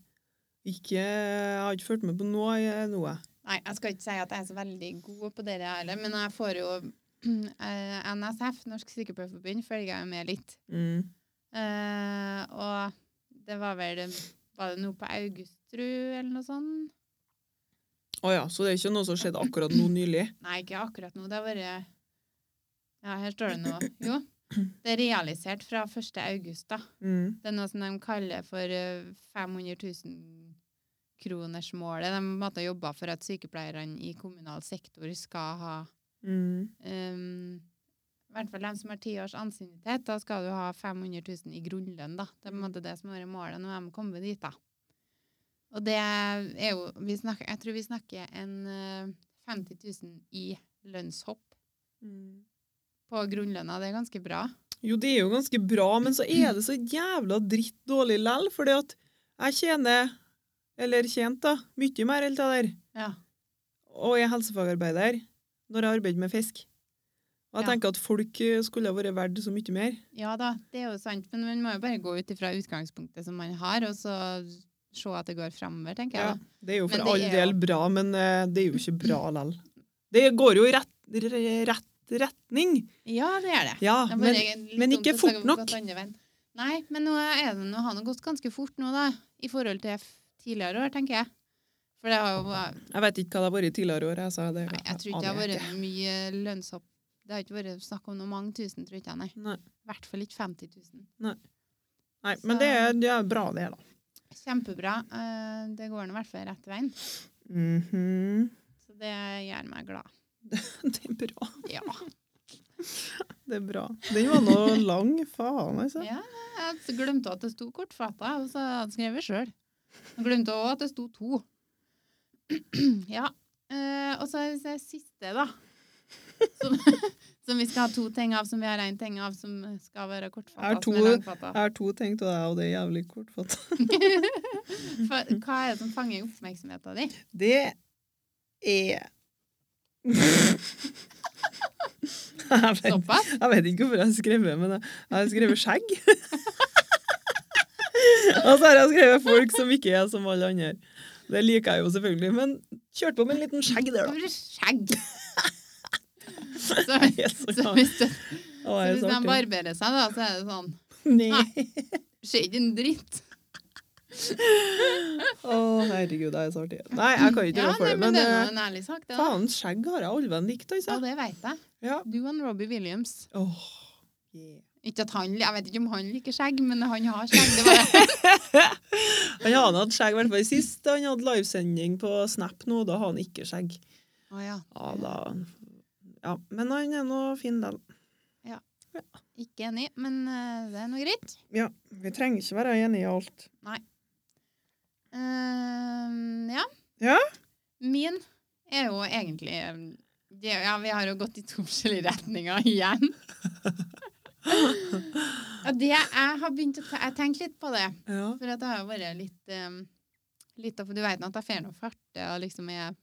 Speaker 2: Ikke Jeg har ikke fulgt med på noe. jeg- noe.
Speaker 1: Nei, jeg skal ikke si at jeg er så veldig god på det heller, men jeg får jo eh, NSF, Norsk Sykepleierforbund, følger jeg jo med litt.
Speaker 2: Mm.
Speaker 1: Eh, og det var vel Var det noe på Augustrud eller noe sånt?
Speaker 2: Å ja, så det er ikke noe som skjedde akkurat nå nylig?
Speaker 1: Nei, ikke akkurat nå. Det har vært Ja, her står det noe. Jo. Det er realisert fra 1. august, da.
Speaker 2: Mm.
Speaker 1: Det er noe som de kaller for eh, 500 000 kronersmålet. De måtte jobbe for at sykepleierne i kommunal sektor skal ha
Speaker 2: Mm.
Speaker 1: ehm, I hvert fall de som har ti års ansiennitet, da skal du ha 500 000 i grunnlønn, da. Det er på en måte det som har vært målet når de kommer dit, da. Og det er jo vi snakker, Jeg tror vi snakker en eh, 50 000 i lønnshopp
Speaker 2: Mm.
Speaker 1: på grunnlønna. Det er ganske bra.
Speaker 2: Jo, det er jo ganske bra, men så er det så jævla dritt dårlig lell, fordi at jeg tjener, eller tjent da, mye mer helt av det der.
Speaker 1: Ja.
Speaker 2: og jeg er helsefagarbeider når jeg arbeider med fisk. Og jeg
Speaker 1: Ja.
Speaker 2: tenker at folk eh, skulle ha vært verdt så mye mer.
Speaker 1: ja da, det er jo sant. Men man må jo bare gå ut ifra utgangspunktet som man har, og så se at det går framover, tenker jeg. da.
Speaker 2: Det er jo
Speaker 1: Men
Speaker 2: for
Speaker 1: det
Speaker 2: all
Speaker 1: er
Speaker 2: del
Speaker 1: jo-
Speaker 2: bra, men eh, det er jo ikke bra lell. Det går jo i rett, re- rett retning.
Speaker 1: Ja, det er det.
Speaker 2: Ja,
Speaker 1: Det er
Speaker 2: men
Speaker 1: bare litt
Speaker 2: men
Speaker 1: dumt
Speaker 2: ikke
Speaker 1: å
Speaker 2: fort
Speaker 1: snakke
Speaker 2: nok.
Speaker 1: godt andre veien. Nei, men nå er det nå har det gått ganske fort nå, da. I forhold til f- tidligere år, tenker jeg. For det har jo vært-
Speaker 2: jeg vet ikke hva det har vært i tidligere år. Jeg, sa det,
Speaker 1: Nei, jeg tror ikke det har vært mye lønnshopp. Det har ikke vært snakk om noe mange tusen, tror ikke jeg, nei.
Speaker 2: Nei.
Speaker 1: I hvert fall ikke 50 000.
Speaker 2: Nei, men det er, det er bra, det, da.
Speaker 1: Kjempebra. Eh, Det går nå i hvert fall rett veien.
Speaker 2: Mhm.
Speaker 1: Så det gjør meg glad.
Speaker 2: Det er bra.
Speaker 1: Ja.
Speaker 2: Det er bra. Den var nå lang, faen, altså.
Speaker 1: ja jeg glemte at det sto kortfatta, og så hadde jeg skrevet sjøl. Glemte òg at det sto to. ja. eh, og så er det siste, da. Som, som vi skal ha to ting av, som vi har én ting av, som skal være
Speaker 2: Er
Speaker 1: kortfatta.
Speaker 2: to-
Speaker 1: som er langfatta.
Speaker 2: Jeg har to ting til deg, og det er jævlig kortfattet.
Speaker 1: For hva er det som fanger oppmerksomheten din?
Speaker 2: Det er jeg, vet,
Speaker 1: Såpass?
Speaker 2: jeg vet ikke hvorfor jeg har skrevet men jeg jeg har skrevet skjegg. Og så har jeg skrevet folk som ikke er som alle andre. Det liker jeg jo selvfølgelig, men kjørte på med en liten skjegg
Speaker 1: Det
Speaker 2: der, da.
Speaker 1: blir skjegg. Så,
Speaker 2: Jeg er så
Speaker 1: så
Speaker 2: glad. sånn
Speaker 1: hvis, det,
Speaker 2: Å,
Speaker 1: så
Speaker 2: jeg er
Speaker 1: hvis
Speaker 2: så
Speaker 1: de
Speaker 2: artig.
Speaker 1: barberer seg, da, så er det sånn
Speaker 2: Nei.
Speaker 1: Skjer ikke en dritt.
Speaker 2: Å, herregud, jeg er så artig. Nei, jeg kan ikke
Speaker 1: Ja,
Speaker 2: gjøre for
Speaker 1: nei,
Speaker 2: det,
Speaker 1: men
Speaker 2: men
Speaker 1: det er
Speaker 2: eh,
Speaker 1: nå en ærlig sak, det. da.
Speaker 2: faen, skjegg har jeg alven likt,
Speaker 1: Ja,
Speaker 2: altså.
Speaker 1: det veit jeg.
Speaker 2: Ja.
Speaker 1: Du og Robbie Williams.
Speaker 2: Åh, yeah.
Speaker 1: Ikke at han, Jeg vet ikke om han liker skjegg, men han har skjegg. Det var,
Speaker 2: Han hadde hatt skjegg, i hvert fall sist han hadde livesending på Snap nå. Da har han ikke skjegg.
Speaker 1: Å ja.
Speaker 2: Ja, da, ja. Men han er nå fin, den.
Speaker 1: Ikke enig, men eh, det er nå greit.
Speaker 2: Ja, vi trenger ikke være enige i alt.
Speaker 1: Ehm, ja.
Speaker 2: Ja?
Speaker 1: Min er jo egentlig eh, det, Ja, vi har jo gått i to forskjellige retninger igjen. Og det jeg har begynt å ta Jeg tenkte litt på det.
Speaker 2: Ja.
Speaker 1: For at det har jo vært litt, ehm, litt av, Du vet nå at jeg får noe farte og liksom er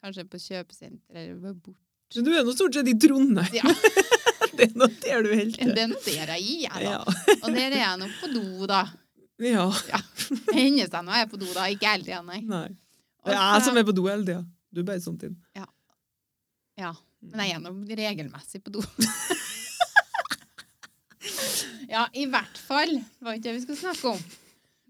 Speaker 1: kanskje på kjøpesenter eller bort
Speaker 2: Så du er nå stort sett i Trondheim.
Speaker 1: Ja.
Speaker 2: det er nå der du helt til.
Speaker 1: Den ser jeg i, jeg, da.
Speaker 2: Ja.
Speaker 1: Og der er jeg nå på do, da.
Speaker 2: ja.
Speaker 1: Det hender seg når jeg er på do, da. Ikke hele tida, nei.
Speaker 2: Nei.
Speaker 1: Og
Speaker 2: Det er jeg
Speaker 1: så-
Speaker 2: som er på do hele tida. Du er bare sånn til.
Speaker 1: Ja. Men jeg er nå regelmessig på do. ja, i hvert fall. Det var ikke det vi skulle snakke om.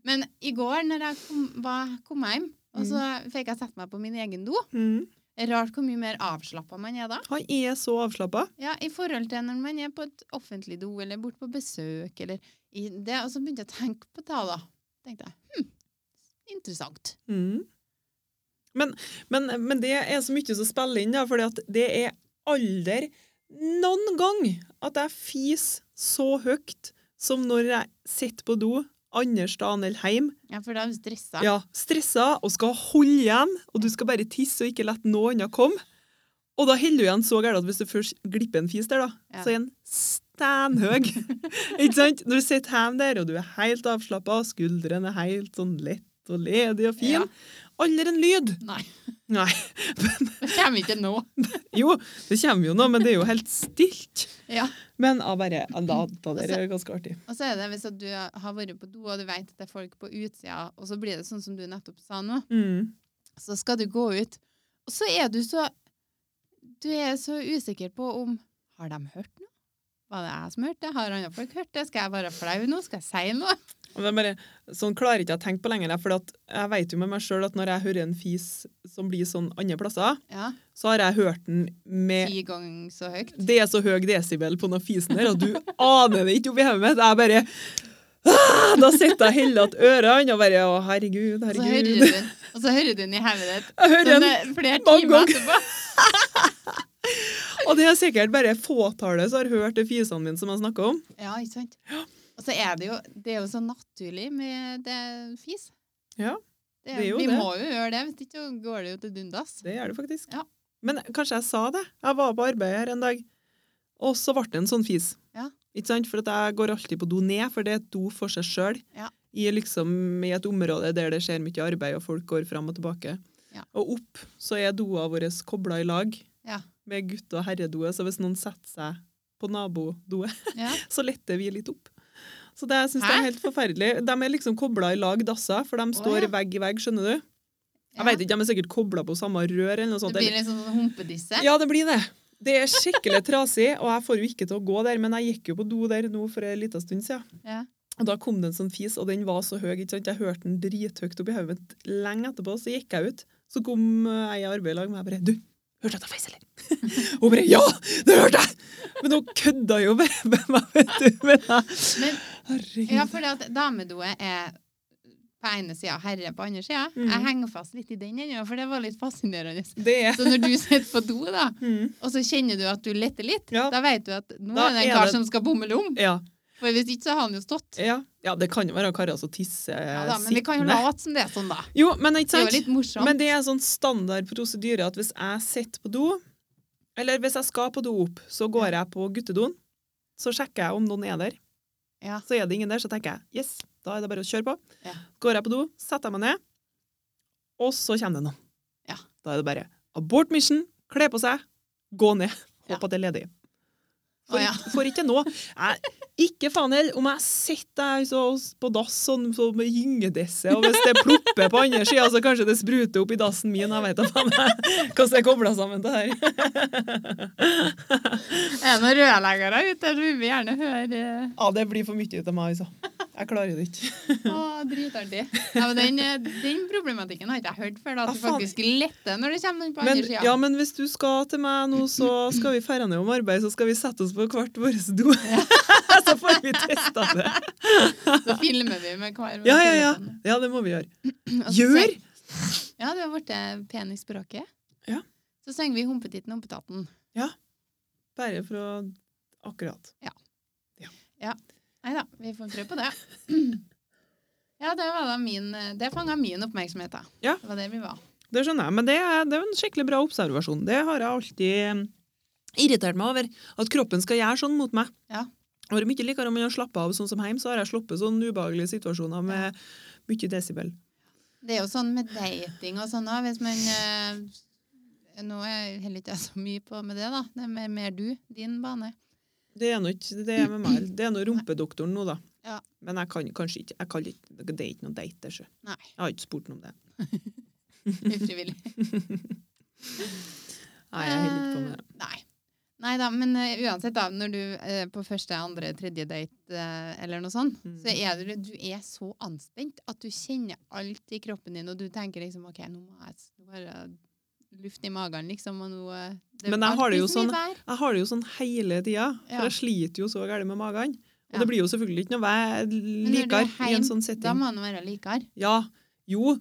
Speaker 1: Men i går, når jeg kom, var, kom hjem, og så fikk jeg sette meg på min egen do
Speaker 2: Mm.
Speaker 1: Rart hvor mye mer avslappa man er da.
Speaker 2: Han er så avslappa.
Speaker 1: Ja, I forhold til når man er på et offentlig do eller borte på besøk eller i det. Og så begynte jeg å tenke på det, da. Tenkte jeg. Hm, interessant.
Speaker 2: Mm. Men, men, men det er så mye som spiller inn, da, for det er aldri noen gang at jeg fiser så høyt som når jeg sitter på do andre steder eller hjemme.
Speaker 1: Ja, for da er du stressa.
Speaker 2: Ja, stressa og skal holde igjen, og du skal bare tisse og ikke la noe annet komme. Og da holder du igjen så gærent at hvis du først glipper en fis der, da,
Speaker 1: Ja.
Speaker 2: så er den steinhøg. ikke sant? Når du sitter hjemme der, og du er helt avslappa, skuldrene er helt sånn lett og ledig og fin,
Speaker 1: Ja.
Speaker 2: aldri en lyd.
Speaker 1: Nei,
Speaker 2: Nei.
Speaker 1: det kommer ikke nå.
Speaker 2: Jo, det kommer jo nå, men det er jo helt stilt.
Speaker 1: Ja.
Speaker 2: Men jeg bare jeg la ta det. Det er ganske artig.
Speaker 1: Og så er det hvis at du har vært på do, og du vet at det er folk på utsida, og så blir det sånn som du nettopp sa nå,
Speaker 2: Mm.
Speaker 1: så skal du gå ut, og så er du så Du er så usikker på om Har de hørt noe? Var det jeg som hørte det? Har andre folk hørt det? Skal jeg være flau nå? Skal jeg si noe?
Speaker 2: Og det er bare, sånn klarer ikke jeg å tenke på lenger. For at jeg vet jo med meg sjøl at når jeg hører en fis som blir sånn andre plasser,
Speaker 1: Ja.
Speaker 2: så har jeg hørt den med
Speaker 1: Ti ganger så høyt.
Speaker 2: Det er så høy desibel på den fisen der, og du aner det ikke oppi hodet mitt. Jeg bare ah, Da sitter jeg og heller at ørene og bare Å, herregud,
Speaker 1: Og så hører du
Speaker 2: herregud.
Speaker 1: den, og så hører du den i hodet ditt.
Speaker 2: Jeg hører
Speaker 1: Sånn,
Speaker 2: den,
Speaker 1: eh, Flere
Speaker 2: mange
Speaker 1: timer
Speaker 2: ganger.
Speaker 1: etterpå.
Speaker 2: og det er sikkert bare fåtallet som har hørt de fisene mine som jeg snakker om.
Speaker 1: Ja, ikke sant? Og så er det jo Det er jo så naturlig med det fis.
Speaker 2: Ja,
Speaker 1: Det,
Speaker 2: det er jo
Speaker 1: vi
Speaker 2: det.
Speaker 1: må jo gjøre det, hvis ikke så går det jo til dundas.
Speaker 2: Det gjør det faktisk.
Speaker 1: Ja.
Speaker 2: Men kanskje jeg sa det. Jeg var på arbeid her en dag, og så ble det en sånn fis.
Speaker 1: Ja.
Speaker 2: Ikke sant? For at jeg går alltid på do ned, for det er et do for seg sjøl.
Speaker 1: Ja.
Speaker 2: I, liksom, I et område der det skjer mye arbeid, og folk går fram og tilbake.
Speaker 1: Ja.
Speaker 2: Og opp så er doene våre kobla i lag
Speaker 1: Ja.
Speaker 2: med gutte- og herredoet, så hvis noen setter seg på nabodoet,
Speaker 1: Ja.
Speaker 2: så letter vi litt opp. Så det syns jeg
Speaker 1: Hæ?
Speaker 2: er helt forferdelig. De er liksom kobla i lag, dasser, for de står
Speaker 1: ja.
Speaker 2: vegg i vegg, skjønner du?
Speaker 1: Ja.
Speaker 2: Jeg vet ikke, De er sikkert kobla på samme rør. eller noe sånt.
Speaker 1: Det blir litt sånn humpedisse.
Speaker 2: Ja, det blir det. Det er skikkelig trasig, og jeg får jo ikke til å gå der, men jeg gikk jo på do der nå for en liten stund siden.
Speaker 1: Ja.
Speaker 2: Og da kom det en sånn fis, og den var så høy, ikke sant? Jeg hørte den drithøyt oppi hodet mitt. Lenge etterpå så gikk jeg ut. Så kom eh, jeg i arbeid i lag med meg og bare Du, hørte du at jeg feis, eller? Hun bare Ja, det hørte jeg! Men hun kødda jo bare med meg, vet du. Men jeg
Speaker 1: Men-
Speaker 2: Herregud.
Speaker 1: Ja, for det at damedoet er på ene sida herre, på andre sida.
Speaker 2: Mhm.
Speaker 1: Jeg henger fast litt i den ennå, for det var litt fascinerende.
Speaker 2: Det er
Speaker 1: Så når du sitter på do, da,
Speaker 2: mm,
Speaker 1: og så kjenner du at du letter litt,
Speaker 2: Ja.
Speaker 1: da vet du at nå
Speaker 2: Da
Speaker 1: er det en
Speaker 2: er
Speaker 1: kar
Speaker 2: det-
Speaker 1: som skal bomme om.
Speaker 2: ja,
Speaker 1: For hvis ikke, så har han jo stått.
Speaker 2: ja. Ja, det kan jo være karer som tisser
Speaker 1: Ja, da, men vi kan jo
Speaker 2: sittende.
Speaker 1: late som det er sånn, da.
Speaker 2: Jo, men
Speaker 1: Det
Speaker 2: ikke
Speaker 1: er
Speaker 2: sant?
Speaker 1: jo litt morsomt.
Speaker 2: Men det er en sånn standard prosedyre at hvis jeg sitter på do, eller hvis jeg skal på do opp, så går jeg på guttedoen, så sjekker jeg om noen er der.
Speaker 1: Ja.
Speaker 2: Så er det ingen der, så tenker jeg yes, da er det bare å kjøre på.
Speaker 1: Ja.
Speaker 2: Går jeg på do, setter jeg meg ned, og så kommer det noen.
Speaker 1: Ja.
Speaker 2: Da er det bare abort mission, kle på seg, gå ned.
Speaker 1: Ja.
Speaker 2: Håper at det er ledig.
Speaker 1: Å,
Speaker 2: For,
Speaker 1: ja.
Speaker 2: ikke, for ikke nå. Jeg, ikke faen heller om jeg sitter der så- på dass sånn så med gyngedisse, og hvis det plopper på andre sida, så kanskje det spruter opp i dassen min. Jeg vet da faen jeg- hvordan det er kobla sammen, det her.
Speaker 1: Er det noen rørleggere ute der som vil gjerne høre eh,
Speaker 2: Ja, det blir for mye ut av meg, altså. Jeg klarer det ikke.
Speaker 1: Å, dritartig. Ja, men den, eh, den problematikken har ikke jeg hørt før. da, At
Speaker 2: Ja,
Speaker 1: du
Speaker 2: Ah, faen.
Speaker 1: faktisk letter når det kommer noen på
Speaker 2: Men,
Speaker 1: andre sida.
Speaker 2: ja, men hvis du skal til meg nå, så skal vi ferde ned om arbeid, så skal vi sette oss på hvert vår do. Så får vi testa det.
Speaker 1: Så filmer vi med hver vår
Speaker 2: Ja, ja, ja.
Speaker 1: telefon.
Speaker 2: Ja, det må vi gjøre.
Speaker 1: Og så
Speaker 2: Gjør!
Speaker 1: syng- Ja, du har blitt pen i språket.
Speaker 2: Ja.
Speaker 1: Så synger vi Humpetitten og Humpetatten.
Speaker 2: Bare for å Akkurat.
Speaker 1: Nei da, vi får prøve på det. Ja, det var da min eh, Det fanga min oppmerksomhet, da.
Speaker 2: Ja.
Speaker 1: Det var der vi var.
Speaker 2: Det skjønner jeg, men det er, det er en skikkelig bra observasjon. Det har jeg alltid eh, irritert meg over. At kroppen skal gjøre sånn mot meg.
Speaker 1: Ja.
Speaker 2: Og det er mye likere om man har slappet av sånn som hjemme, så har jeg sluppet sånne ubehagelige situasjoner med mye desibel.
Speaker 1: Det er jo sånn med dating og sånn da, hvis man eh, Nå er heller ikke jeg så mye på med det, da. Det er mer, mer du, din bane.
Speaker 2: Det er nå ikke det er med meg. Det er nå rumpedoktoren nå, da.
Speaker 1: Ja.
Speaker 2: Men jeg kan kanskje ikke jeg kan ikke, Det er ikke noe date, det, sjø.
Speaker 1: Nei,
Speaker 2: Jeg har ikke spurt noe om det.
Speaker 1: ufrivillig.
Speaker 2: Nei, jeg holder ikke på med det.
Speaker 1: Eh, Nei. Nei da, men eh, uansett, da, når du eh, på første, andre, tredje date eh, eller noe sånt,
Speaker 2: Mm.
Speaker 1: så er du, du er så anspent at du kjenner alt i kroppen din, og du tenker liksom OK, nå må jeg s- nå har jeg luft i magen, liksom, og nå eh, det er
Speaker 2: Men jeg har det jo
Speaker 1: alltid så mye
Speaker 2: sånn-
Speaker 1: vær.
Speaker 2: Jeg har det jo sånn hele tida, for
Speaker 1: Ja.
Speaker 2: jeg sliter jo så gærent med magen. Og
Speaker 1: Ja.
Speaker 2: det blir jo selvfølgelig ikke noe vær
Speaker 1: Men når du
Speaker 2: likere
Speaker 1: er
Speaker 2: i en
Speaker 1: heim,
Speaker 2: sånn
Speaker 1: Da
Speaker 2: setting.
Speaker 1: må han være likere.
Speaker 2: Ja, jo,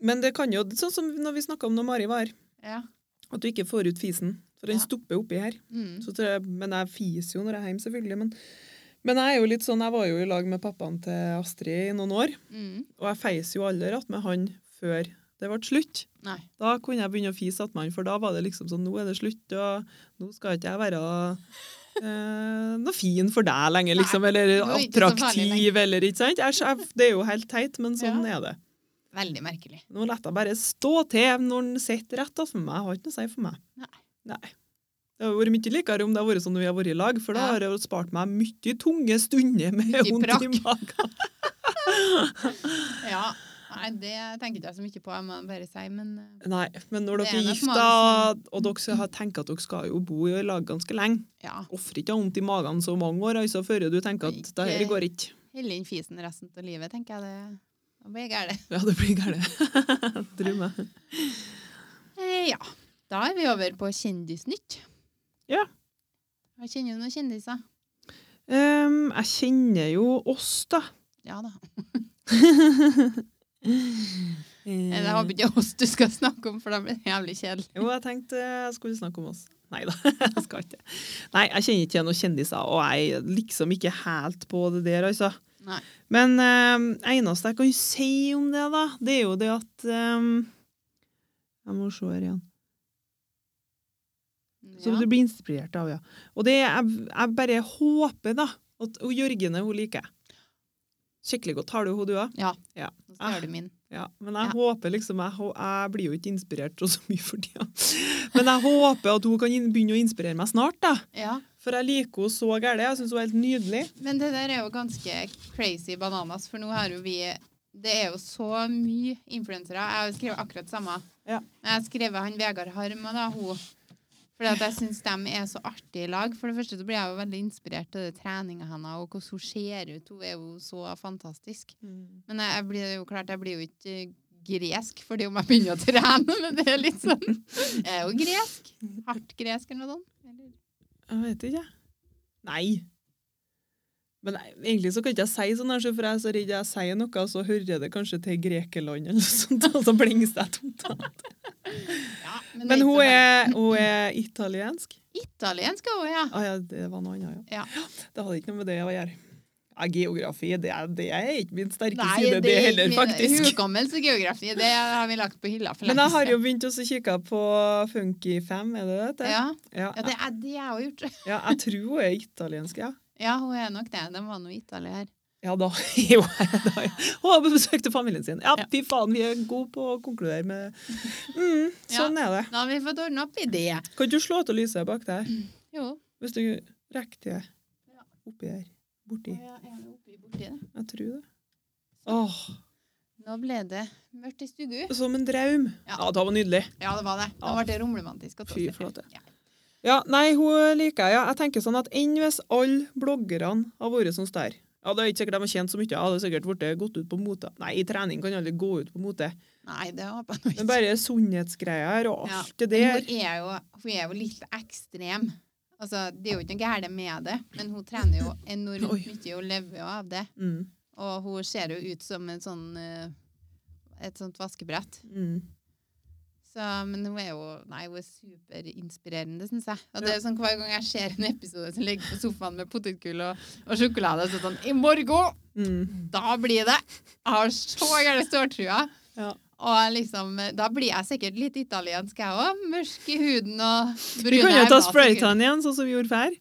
Speaker 2: men det kan jo Sånn som når vi snakka om når Mari var her,
Speaker 1: Ja.
Speaker 2: at du ikke får ut fisen. For den
Speaker 1: Ja.
Speaker 2: stopper oppi her.
Speaker 1: Mm.
Speaker 2: Så tror jeg, men jeg fiser jo når jeg er hjemme, selvfølgelig. Men, men jeg er jo litt sånn, jeg var jo i lag med pappaen til Astrid i noen år,
Speaker 1: Mm.
Speaker 2: og jeg feis jo aldri att med han før det ble slutt.
Speaker 1: Nei.
Speaker 2: Da kunne jeg begynne å fise att med han, for da var det liksom sånn Nå er det slutt, og nå skal ikke jeg være eh, noe fin for deg lenger, liksom. Eller
Speaker 1: du er ikke så farlig
Speaker 2: attraktiv, eller ikke sant? Jeg, jeg, det er jo helt teit, men sånn er det.
Speaker 1: Veldig merkelig.
Speaker 2: Nå lar jeg bare stå til når den sitter rett for meg. Jeg har ikke noe å si for meg.
Speaker 1: Nei.
Speaker 2: Nei. Det hadde vært mye likere om det hadde vært sånn når vi har vært i lag, for da
Speaker 1: Ja.
Speaker 2: har det jo spart meg mye tunge stunder med
Speaker 1: Mye
Speaker 2: vondt i
Speaker 1: brakk.
Speaker 2: magen.
Speaker 1: Ja. Nei, det tenker ikke jeg så mye på, jeg må bare si, men eh,
Speaker 2: Nei, men når
Speaker 1: Det
Speaker 2: dere
Speaker 1: er nok
Speaker 2: er
Speaker 1: mange
Speaker 2: gifta, og dere har tenkt at dere skal jo bo i lag ganske lenge,
Speaker 1: ja.
Speaker 2: ofrer ikke ha vondt i magen så mange år, altså, før du tenker at
Speaker 1: Ikke-
Speaker 2: det her går ikke.
Speaker 1: Helle inn fisen resten av livet, tenker jeg det. Da blir jeg gæren.
Speaker 2: Ja, det blir gærent. Drømme.
Speaker 1: Eh, ja. Da er vi over på Kjendisnytt.
Speaker 2: Ja.
Speaker 1: Jeg kjenner jo noen kjendiser.
Speaker 2: Um, jeg kjenner jo oss, da.
Speaker 1: Ja da. Eh, Det
Speaker 2: Eh,
Speaker 1: håper ikke oss du skal snakke om, for da blir det jævlig kjedelig.
Speaker 2: jo, jeg tenkte jeg skulle snakke om oss. Nei da, jeg skal ikke. Nei, jeg kjenner ikke noen kjendiser, og jeg er liksom ikke helt på det der, altså.
Speaker 1: Nei.
Speaker 2: Men um, eneste jeg kan si om det, da, det er jo det at um, Jeg må se her igjen. Som
Speaker 1: Ja.
Speaker 2: du blir inspirert av, ja. Og det jeg, jeg bare håper, da, at hun Jørgine hun liker jeg. Skikkelig godt. Har du henne, du òg?
Speaker 1: ja.
Speaker 2: Ja.
Speaker 1: Nå skal jeg gjøre det min.
Speaker 2: Ja, men jeg
Speaker 1: Ja.
Speaker 2: håper liksom jeg, hå- jeg blir jo ikke inspirert så mye for tida. Men jeg håper at hun kan inn- begynne å inspirere meg snart, da.
Speaker 1: Ja.
Speaker 2: For jeg liker henne så gærent. Jeg syns hun er helt nydelig.
Speaker 1: Men det der er jo ganske crazy bananas, for nå har jo vi Det er jo så mye influensere. Jeg har jo skrevet akkurat samme.
Speaker 2: Ja.
Speaker 1: Jeg har skrevet han Vegard Harm og da hun. Fordi at jeg syns de er så artige i lag. For det første så blir jeg jo veldig inspirert av det treninga hennes og hvordan hun ser ut. Hun er jo så fantastisk. Men jeg, jeg blir jo klart, jeg blir jo ikke eh, gresk fordi om jeg begynner å trene, men det er litt sånn Jeg er jo gresk. Hardt gresk eller noe sånt. Eller?
Speaker 2: Jeg vet ikke, jeg. Nei. Men jeg- egentlig så kan ikke jeg si sånn, her, så for jeg er så redd jeg sier noe, og så hører jeg det kanskje til Grekeland eller noe sånt, og så blingser jeg tomt av.
Speaker 1: Ja, det
Speaker 2: Men
Speaker 1: ikke
Speaker 2: hun
Speaker 1: så veldig-
Speaker 2: er, hun er italiensk?
Speaker 1: Italiensk er hun, ja.
Speaker 2: Ah, ja, det var noe annet,
Speaker 1: Ja.
Speaker 2: ja. Det hadde ikke noe med det å gjøre. Ja, geografi, det er, det er ikke min sterke
Speaker 1: Nei,
Speaker 2: side, det heller,
Speaker 1: min
Speaker 2: faktisk.
Speaker 1: Hukommelse og geografi, det har vi lagt på hylla for
Speaker 2: Men
Speaker 1: lenge
Speaker 2: jeg har jo begynt også å kikke på Funky 5, er det det?
Speaker 1: siden.
Speaker 2: heter?
Speaker 1: Ja,
Speaker 2: Ja,
Speaker 1: ja
Speaker 2: jeg-
Speaker 1: det er det jeg har gjort.
Speaker 2: ja, jeg tror hun er italiensk, ja.
Speaker 1: Ja, hun er nok det. De var nå i Italia her.
Speaker 2: Ja, da. Jo, da. Hun har besøkt familien sin. Ja,
Speaker 1: Ja.
Speaker 2: fy faen, vi er gode på å konkludere med mm, Sånn er det.
Speaker 1: Da har vi fått ordna opp i det.
Speaker 2: Kan du slå til lyset bak der,
Speaker 1: Mm. Jo.
Speaker 2: hvis du rekker det? Oppi der. Borti. Jeg tror det. Åh,
Speaker 1: Nå ble det mørkt i stugu.
Speaker 2: som en draum.
Speaker 1: Ja.
Speaker 2: Ja, det var nydelig.
Speaker 1: Ja, det var det. Nå
Speaker 2: Ja.
Speaker 1: ble det romromantisk. og
Speaker 2: Fy
Speaker 1: tåsete.
Speaker 2: flate.
Speaker 1: Ja.
Speaker 2: Ja, nei, hun liker jeg. Ja. Jeg tenker sånn at enn hvis alle bloggerne har vært sånn der. Ja, det er ikke sikkert de har tjent så mye. Ja, det er sikkert vært gått ut på mote. Nei, trening kan aldri gå ut på mote.
Speaker 1: Nei, det håper jeg nå
Speaker 2: Men
Speaker 1: ikke.
Speaker 2: bare sunnhetsgreier og
Speaker 1: Ja.
Speaker 2: alt det
Speaker 1: Men
Speaker 2: der.
Speaker 1: Hun er, jo, hun er jo litt ekstrem. Altså, det er jo ikke noe galt med det, men hun trener jo enormt
Speaker 2: Oi.
Speaker 1: mye og lever jo av det.
Speaker 2: Mm.
Speaker 1: Og hun ser jo ut som en sånn, eh, et sånt vaskebrett.
Speaker 2: Mm.
Speaker 1: Så, men hun er jo nei, hun er superinspirerende, syns jeg. Og det er jo sånn hver gang jeg ser en episode som ligger på sofaen med potetgull og, og sjokolade, så er det sånn I morgen!
Speaker 2: Mm.
Speaker 1: Da blir det! Jeg har så gjerne ståltrua.
Speaker 2: Ja.
Speaker 1: Og liksom, eh, da blir jeg sikkert litt italiensk, jeg òg. Mørk i huden og
Speaker 2: Vi
Speaker 1: brune
Speaker 2: kan jo ta
Speaker 1: øyne, sikkert.
Speaker 2: spraytan igjen, sånn som vi gjorde før.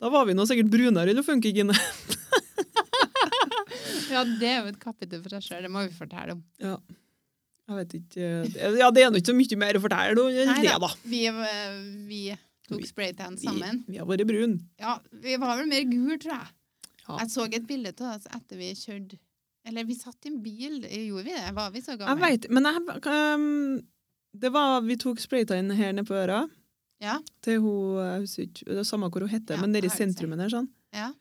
Speaker 2: Da var vi nå sikkert brunere eller funkygine.
Speaker 1: Ja, det er jo et kapittel for seg sjøl. Det må vi fortelle om.
Speaker 2: Jeg vet ikke eh, Ja, det er nå ikke så mye mer å fortelle da, enn
Speaker 1: Nei
Speaker 2: det,
Speaker 1: da.
Speaker 2: da.
Speaker 1: Vi, eh, vi tok spraytan sammen.
Speaker 2: Vi, vi har vært brune.
Speaker 1: Ja, vi var vel mer gul, tror jeg.
Speaker 2: Ja.
Speaker 1: Jeg så et bilde av oss etter vi kjørte Eller vi satt i en bil, gjorde vi det? Var vi så
Speaker 2: Jeg
Speaker 1: gamle?
Speaker 2: veit Men jeg, ehm, det var Vi tok spraytan her nede på øra.
Speaker 1: Ja.
Speaker 2: Til hun Jeg husker ikke det er Samme hvor hun heter,
Speaker 1: Ja,
Speaker 2: men nede
Speaker 1: jeg har
Speaker 2: i
Speaker 1: ikke sett.
Speaker 2: sentrumen her, sånn.
Speaker 1: Ja.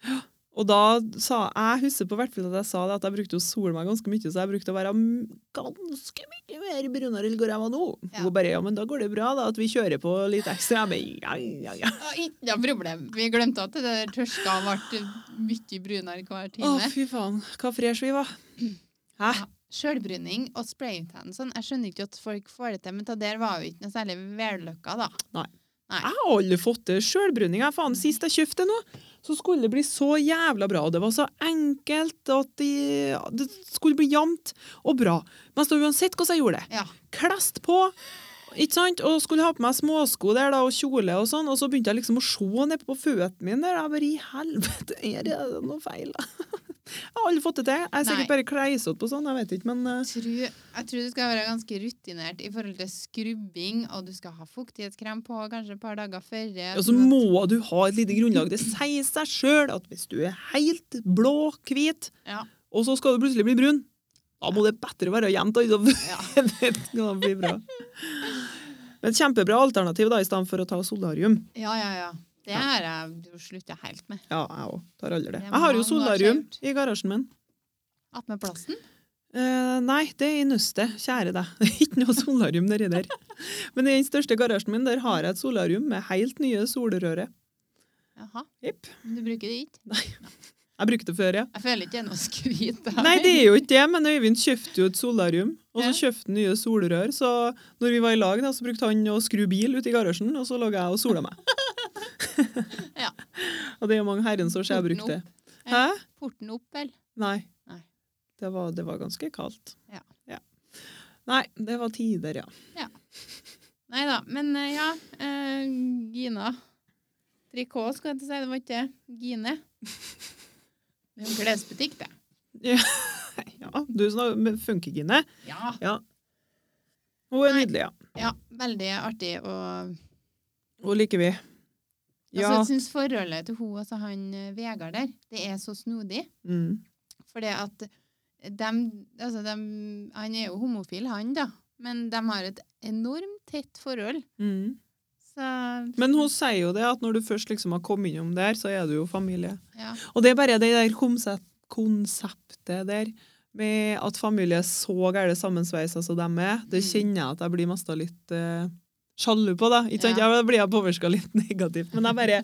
Speaker 2: Og da sa Jeg husker på hvert fall at jeg sa det, at jeg brukte å sole meg ganske mye, så jeg brukte å være m- ganske mye mer brunere enn hvor jeg var nå.
Speaker 1: Ja.
Speaker 2: Hun bare Ja, men da går det bra, da, at vi kjører på litt ekstra. Jeg bare, ja, ja, ja.
Speaker 1: Og Ikke noe problem. Vi glemte at det der tørska ble mye brunere hver
Speaker 2: Å,
Speaker 1: time.
Speaker 2: fy faen. Hva fresh vi var. Hæ?
Speaker 1: Ja. Sjølbruning og spraytan sånn. Jeg skjønner ikke at folk får det til, men det der var jo ikke noe særlig vellykka, da.
Speaker 2: Jeg har aldri fått til sjølbruning. jeg. Faen, sist jeg kjøpte noe, så skulle det bli så jævla bra. Og det var så enkelt, og at de, det skulle bli jevnt og bra. Men så uansett hvordan jeg gjorde det.
Speaker 1: Ja.
Speaker 2: Klest på, ikke sant? Og skulle ha på meg småsko der da, og kjole og sånn. Og så begynte jeg liksom å se ned på føttene mine. der. Jeg bare i helvete, er det noe feil? da? Jeg har aldri fått det til. Jeg er sikkert
Speaker 1: Nei.
Speaker 2: bare kleisete på sånn, jeg vet ikke, men eh,
Speaker 1: Tru, jeg tror du skal være ganske rutinert i forhold til skrubbing, og du skal ha fuktighetskrem på kanskje et par dager før.
Speaker 2: og så må du ha et lite grunnlag. Det sier seg sjøl at hvis du er helt blå, hvit,
Speaker 1: Ja.
Speaker 2: og så skal du plutselig bli brun, da må det bedre være jevnt. altså.
Speaker 1: Ja.
Speaker 2: Det skal bli bra. Men kjempebra alternativ da, i stedet for å ta solarium.
Speaker 1: Ja, ja, ja. Det har jeg jo slutta helt med.
Speaker 2: Ja, jeg òg. Tar aldri det.
Speaker 1: Det er
Speaker 2: Jeg har jo
Speaker 1: mange år
Speaker 2: solarium
Speaker 1: siden.
Speaker 2: i garasjen min.
Speaker 1: Att med plasten.
Speaker 2: Eh, nei, det er i nøstet. Kjære deg. Det er ikke noe solarium nedi der. Men i den største garasjen min der har jeg et solarium med helt nye solrører.
Speaker 1: Jaha.
Speaker 2: Jepp.
Speaker 1: Men du bruker det ikke?
Speaker 2: Jeg brukte det før, ja.
Speaker 1: Jeg føler ikke det er noe skryt. da.
Speaker 2: Nei, det er jo ikke det, men Øyvind kjøpte jo et solarium, og så kjøpte han nye solrør. Så når vi var i lag, da, så brukte han å skru bil ute i garasjen, og så lå jeg og sola meg.
Speaker 1: Ja.
Speaker 2: Og det er jo mange herrens år siden jeg brukte det.
Speaker 1: Porten opp.
Speaker 2: Hæ?
Speaker 1: Porten opp, vel?
Speaker 2: Nei.
Speaker 1: Nei.
Speaker 2: Det var, det var ganske kaldt.
Speaker 1: Ja.
Speaker 2: Nei, det var tider, ja.
Speaker 1: Nei da. Men eh, ja, eh, Gina Trikot, skal jeg til å si. Det var ikke det. Gine. Det er jo en klesbutikk, det.
Speaker 2: ja du snakker med funkegine.
Speaker 1: Ja.
Speaker 2: Hun er
Speaker 1: Nei.
Speaker 2: nydelig, ja.
Speaker 1: ja. Veldig artig å
Speaker 2: Hun liker vi.
Speaker 1: Altså,
Speaker 2: Ja.
Speaker 1: jeg syns forholdet til hun, altså han eh, Vegard der, det er så snodig.
Speaker 2: Mm.
Speaker 1: Fordi at dem, altså dem, han er jo homofil, han da. Men de har et enormt tett forhold.
Speaker 2: Mm.
Speaker 1: Så
Speaker 2: Men hun sier jo det, at når du først liksom har kommet innom der, så er du jo familie.
Speaker 1: ja.
Speaker 2: Og det er bare det der konsep- konseptet der med at familie er så gærent sammensveisa som de er, det
Speaker 1: Mm.
Speaker 2: kjenner jeg at jeg blir mest av litt eh, sjalu på. da. Ikke sant?
Speaker 1: Ja.
Speaker 2: Jeg blir jeg påvirka litt negativt. Men jeg bare,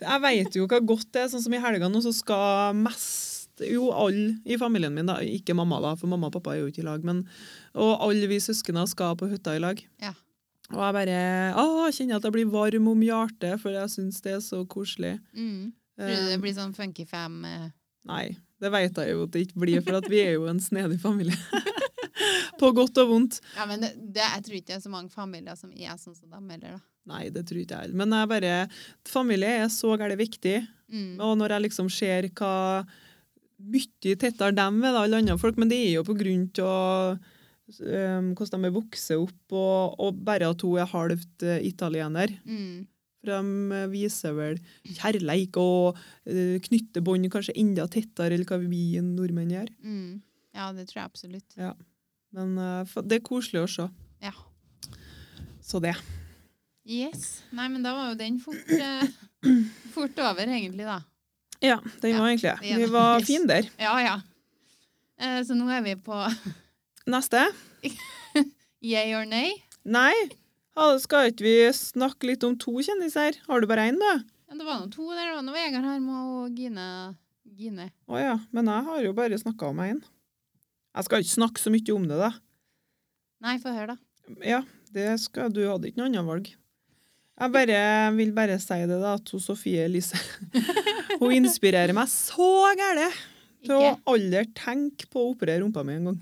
Speaker 2: jeg veit jo hva godt det er. Sånn som i helga nå, så skal mest jo alle i familien min, da, ikke mamma, da, for mamma og pappa er jo ikke i lag, men og alle vi søsknene skal på hytta i lag.
Speaker 1: Ja.
Speaker 2: Og jeg bare ah, kjenner at jeg blir varm om hjertet, for jeg syns det er så koselig.
Speaker 1: Mm. Tror du
Speaker 2: Eh,
Speaker 1: det blir sånn funky fam? eh?
Speaker 2: Nei, det vet jeg jo at det ikke blir, for at vi er jo en snedig familie. På godt og vondt.
Speaker 1: Ja, men det, det, jeg tror ikke det er så mange familier som er sånn som dem heller, da.
Speaker 2: Nei, det tror ikke jeg heller. Men jeg bare, familie er så gærent viktig.
Speaker 1: Mm.
Speaker 2: Og når jeg liksom ser hva mye tettere dem er da, alle andre folk, men det er jo på grunn av øhm, hvordan de er vokst opp, og, og bare at hun er halvt eh, italiener.
Speaker 1: Mm.
Speaker 2: For de eh, viser vel kjærleik og eh, knytter bånd kanskje enda tettere enn hva vi nordmenn gjør.
Speaker 1: Mm. Ja, det tror jeg absolutt.
Speaker 2: Men eh, fa- det er koselig å se.
Speaker 1: Ja.
Speaker 2: Så det.
Speaker 1: Yes. Nei, men da var jo den fort, eh, fort over, egentlig, da.
Speaker 2: Ja, den
Speaker 1: Ja,
Speaker 2: var egentlig det.
Speaker 1: det er
Speaker 2: Vi
Speaker 1: det.
Speaker 2: var
Speaker 1: Yes.
Speaker 2: fin der.
Speaker 1: Ja, ja. Eh, så nå er vi på
Speaker 2: Neste.
Speaker 1: yay or nay.
Speaker 2: Nei, ha- skal ikke vi snakke litt om to kjendiser? Har du bare én, da?
Speaker 1: Ja, det var nå to der. Det var nå Vegard Hermo og Gine. Gine.
Speaker 2: Å ja, men jeg har jo bare snakka om én. Jeg skal ikke snakke så mye om det, da.
Speaker 1: Nei, få høre, da.
Speaker 2: Ja, det skal du. Hadde ikke noe annet valg. Jeg bare, vil bare si det, da, at hun Sofie Elise Hun inspirerer meg så gæle til å
Speaker 1: Ikke?
Speaker 2: aldri tenke på å operere rumpa mi en gang.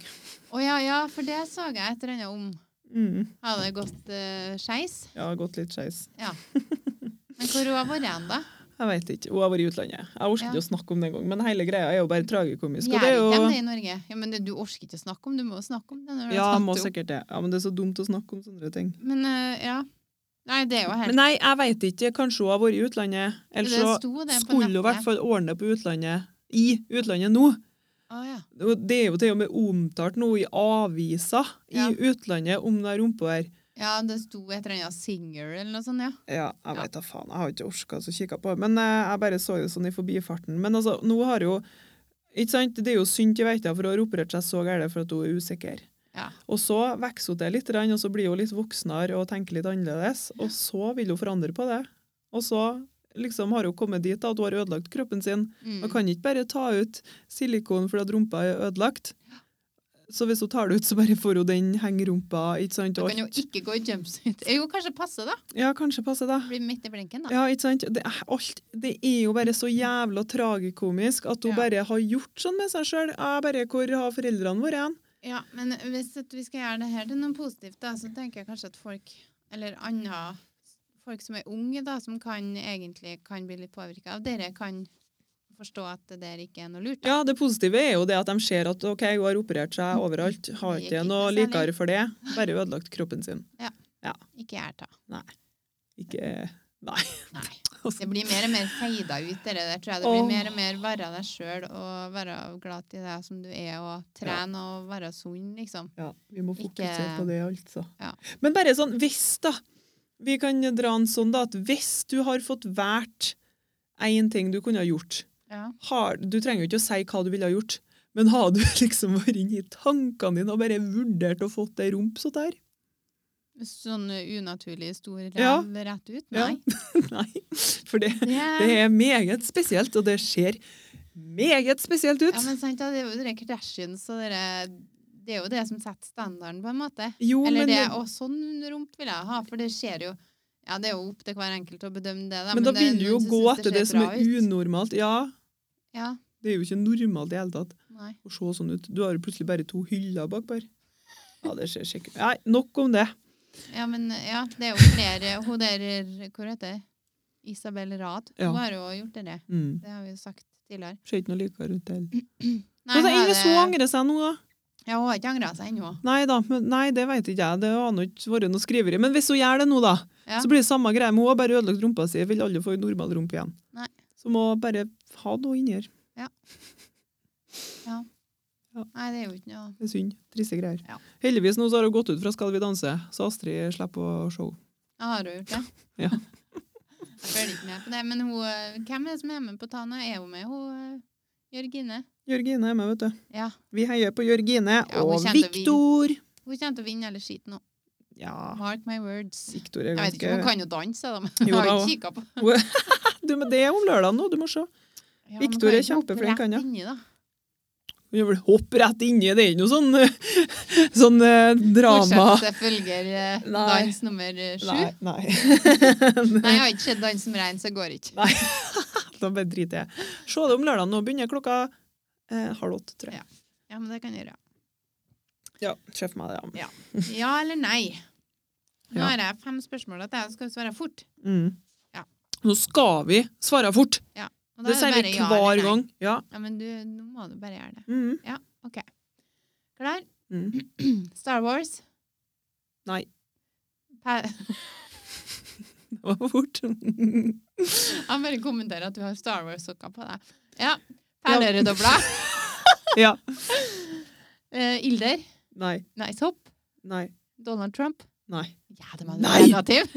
Speaker 1: Å ja, ja, for det så jeg et eller annet om.
Speaker 2: Mm,
Speaker 1: Hadde det gått uh, skeis?
Speaker 2: ja, gått litt skeis.
Speaker 1: Ja. Men hvor har hun vært hen, da?
Speaker 2: Jeg vet ikke. Hun har vært i utlandet. Jeg orker
Speaker 1: Ja.
Speaker 2: ikke å snakke om det engang. Men hele greia er jo bare tragikomisk. Og
Speaker 1: Gjør
Speaker 2: det er
Speaker 1: ikke de
Speaker 2: jo
Speaker 1: det i Norge? Ja, men det, Du orker ikke å snakke om det, du må jo snakke om det. Når du har
Speaker 2: Ja,
Speaker 1: tatt
Speaker 2: må
Speaker 1: det opp.
Speaker 2: sikkert det. Ja, men det er så dumt å snakke om sånne ting.
Speaker 1: Men eh, ja. Nei, det er jo helt
Speaker 2: Men nei, jeg veit ikke. Kanskje hun har vært i utlandet. Eller
Speaker 1: Det
Speaker 2: så
Speaker 1: sto det på
Speaker 2: skulle hun i hvert
Speaker 1: nettet.
Speaker 2: fall ordne på utlandet. I utlandet nå.
Speaker 1: Å ja.
Speaker 2: Og Det er jo til og med omtalt nå i aviser i
Speaker 1: Ja.
Speaker 2: utlandet om den rumpa her.
Speaker 1: ja, det sto et eller annet singer eller noe sånt, ja.
Speaker 2: Ja,
Speaker 1: Ja.
Speaker 2: jeg veit da faen. Jeg har ikke orka å kikke på det. Men eh, jeg bare så det sånn i forbifarten. Men altså, nå har jo Ikke sant? Det er jo synd til veita for hun har operert seg så gærent for at hun er usikker.
Speaker 1: Ja.
Speaker 2: Og så vokser hun til litt, grann, og så blir hun litt voksnere og tenker litt annerledes. Og så vil hun forandre på det. Og så liksom har hun kommet dit da, at hun har ødelagt kroppen sin.
Speaker 1: Mm.
Speaker 2: Hun kan ikke bare ta ut silikon fordi at rumpa er ødelagt. Så hvis hun tar det ut, så bare får hun den hengerumpa. ikke sant?
Speaker 1: Du
Speaker 2: Og
Speaker 1: kan jo
Speaker 2: alt.
Speaker 1: ikke gå i jumpsuit. Jo, kanskje passe, da.
Speaker 2: Ja, kanskje passer det.
Speaker 1: Bli midt i blinken, da.
Speaker 2: Ja, ikke sant? Det, er alt, det er jo bare så jævla tragikomisk at hun
Speaker 1: Ja.
Speaker 2: bare har gjort sånn med seg sjøl. Bare hvor har foreldrene våre hen?
Speaker 1: Ja, men hvis at vi skal gjøre det her til noe positivt, da, så tenker jeg kanskje at folk, eller andre folk som er unge, da, som kan, egentlig kan bli litt påvirka av dette, kan forstå at det der ikke er noe lurt. da.
Speaker 2: Ja, det positive er jo det at de ser at ok, hun har operert seg overalt. Har
Speaker 1: Det
Speaker 2: ikke
Speaker 1: gikk
Speaker 2: noe
Speaker 1: ikke særlig.
Speaker 2: likere for det. Bare ødelagt kroppen sin.
Speaker 1: Ikke jeg ta.
Speaker 2: Ikke Nei.
Speaker 1: Nei. Det blir mer og mer feida ut, det der, tror jeg. Det
Speaker 2: Åh.
Speaker 1: blir mer og mer være deg sjøl og være glad i deg som du er, og trene og være sunn, liksom.
Speaker 2: Ja, vi må
Speaker 1: Ikke-
Speaker 2: fokusere på det, altså.
Speaker 1: Ja.
Speaker 2: Men bare sånn hvis, da. Vi kan dra en sånn, da, at hvis du har fått valgt én ting du kunne ha gjort
Speaker 1: Ja.
Speaker 2: har, Du trenger jo ikke å si hva du ville ha gjort, men har du liksom vært inne i tankene dine og bare vurdert og fått ei rump så der?
Speaker 1: Sånn unaturlig stor ræv
Speaker 2: Ja.
Speaker 1: rett ut?
Speaker 2: Ja.
Speaker 1: Nei.
Speaker 2: Nei. For det,
Speaker 1: Det,
Speaker 2: det er meget spesielt, og det ser meget spesielt ut.
Speaker 1: ja, men sant, da, det er jo den Kardashians og det der- Det er jo det som setter standarden, på en måte.
Speaker 2: jo,
Speaker 1: Eller
Speaker 2: men,
Speaker 1: det Å, sånn rump vil jeg ha, for det skjer jo Ja, det er jo opp til hver enkelt å bedømme det, da.
Speaker 2: men da
Speaker 1: det-
Speaker 2: vil du jo
Speaker 1: noen som
Speaker 2: gå
Speaker 1: synes
Speaker 2: etter det
Speaker 1: ser
Speaker 2: som
Speaker 1: bra
Speaker 2: er
Speaker 1: ut.
Speaker 2: unormalt. Ja,
Speaker 1: Ja.
Speaker 2: det er jo ikke normalt i det hele tatt.
Speaker 1: Nei.
Speaker 2: å se sånn ut. Du har jo plutselig bare to hyller bak der. Ja, det ser sikkert Nei, nok om det.
Speaker 1: Ja, men ja, det er jo flere Hun der Hvor heter det? Isabel Rad.
Speaker 2: Ja.
Speaker 1: Hun har jo gjort det, der.
Speaker 2: Mm.
Speaker 1: det har vi jo sagt tidligere.
Speaker 2: Ser ikke noe likere ut heller.
Speaker 1: Nei,
Speaker 2: Altså,
Speaker 1: hun har
Speaker 2: Ingen så
Speaker 1: det-
Speaker 2: angrer seg nå, da.
Speaker 1: Ja, hun har ikke angra seg ennå.
Speaker 2: Nei da, men nei, det vet ikke jeg. Det har nå ikke vært noe skriveri. Men hvis hun gjør det nå, da,
Speaker 1: Ja.
Speaker 2: så blir det samme greie. Men hun har bare ødelagt rumpa si. Vil aldri få en normal rumpe igjen.
Speaker 1: Nei.
Speaker 2: Så må hun bare ha noe inni her.
Speaker 1: Nei, det er jo ikke noe
Speaker 2: Det er synd. Triste greier.
Speaker 1: Ja.
Speaker 2: Heldigvis nå så har hun gått ut fra Skal vi danse, så Astrid slipper å se henne.
Speaker 1: Jeg har jo gjort det.
Speaker 2: Ja.
Speaker 1: Jeg følger ikke med på det. Men hun, eh, hvem er det som er med på Tana? Er hun med? Hun eh, Jørgine?
Speaker 2: Jørgine er med, vet du.
Speaker 1: Ja.
Speaker 2: Vi heier på Jørgine
Speaker 1: Ja, hun
Speaker 2: og
Speaker 1: kjente vi.
Speaker 2: Viktor.
Speaker 1: Hun kommer til å vinne hele skiten nå.
Speaker 2: Ja,
Speaker 1: Mark my words.
Speaker 2: Viktor er
Speaker 1: Jeg vet ikke,
Speaker 2: ganske
Speaker 1: Hun kan jo danse, da, men
Speaker 2: Jo
Speaker 1: jeg har
Speaker 2: da,
Speaker 1: ikke kikket
Speaker 2: hun-
Speaker 1: på
Speaker 2: Du, men det er om lørdagen nå, du må se.
Speaker 1: ja, men
Speaker 2: Victor
Speaker 1: kan
Speaker 2: er
Speaker 1: ikke hoppe
Speaker 2: kjempeflink,
Speaker 1: rett
Speaker 2: han, ja.
Speaker 1: inni, da.
Speaker 2: Du vil hoppe rett inni, det er ikke noe sånn, eh, sånn eh, drama.
Speaker 1: Fortsett følger eh,
Speaker 2: Nei.
Speaker 1: dans nummer eh, sju.
Speaker 2: Nei, nei.
Speaker 1: Nei, jeg har ikke sett dans som rein, så jeg går ikke.
Speaker 2: Nei. da bare driter jeg. Se det om lørdagen nå, begynner klokka eh, halv åtte, tror jeg.
Speaker 1: Ja, men det kan jeg gjøre.
Speaker 2: Ja, sjef meg det, ja.
Speaker 1: Ja eller nei? Nå
Speaker 2: Ja.
Speaker 1: har jeg fem spørsmål at jeg skal svare fort.
Speaker 2: Mm.
Speaker 1: Ja.
Speaker 2: Nå skal vi svare fort!
Speaker 1: Og da
Speaker 2: Det
Speaker 1: er
Speaker 2: sier
Speaker 1: bare
Speaker 2: vi
Speaker 1: ja eller
Speaker 2: hver
Speaker 1: nei.
Speaker 2: gang. Ja.
Speaker 1: Ja, men du, nå må du bare gjøre det.
Speaker 2: Mm.
Speaker 1: OK. Klar?
Speaker 2: Mm.
Speaker 1: Star Wars?
Speaker 2: Nei.
Speaker 1: Pa
Speaker 2: Det var fort.
Speaker 1: Han bare kommenterer at du har Star Wars-sokker på deg. Ja. Perleredobla.
Speaker 2: ja.
Speaker 1: Uh, ilder.
Speaker 2: Nei.
Speaker 1: Nice hopp.
Speaker 2: Nei.
Speaker 1: Donald Trump.
Speaker 2: Nei.
Speaker 1: Ja, det var
Speaker 2: Nei!
Speaker 1: negativ.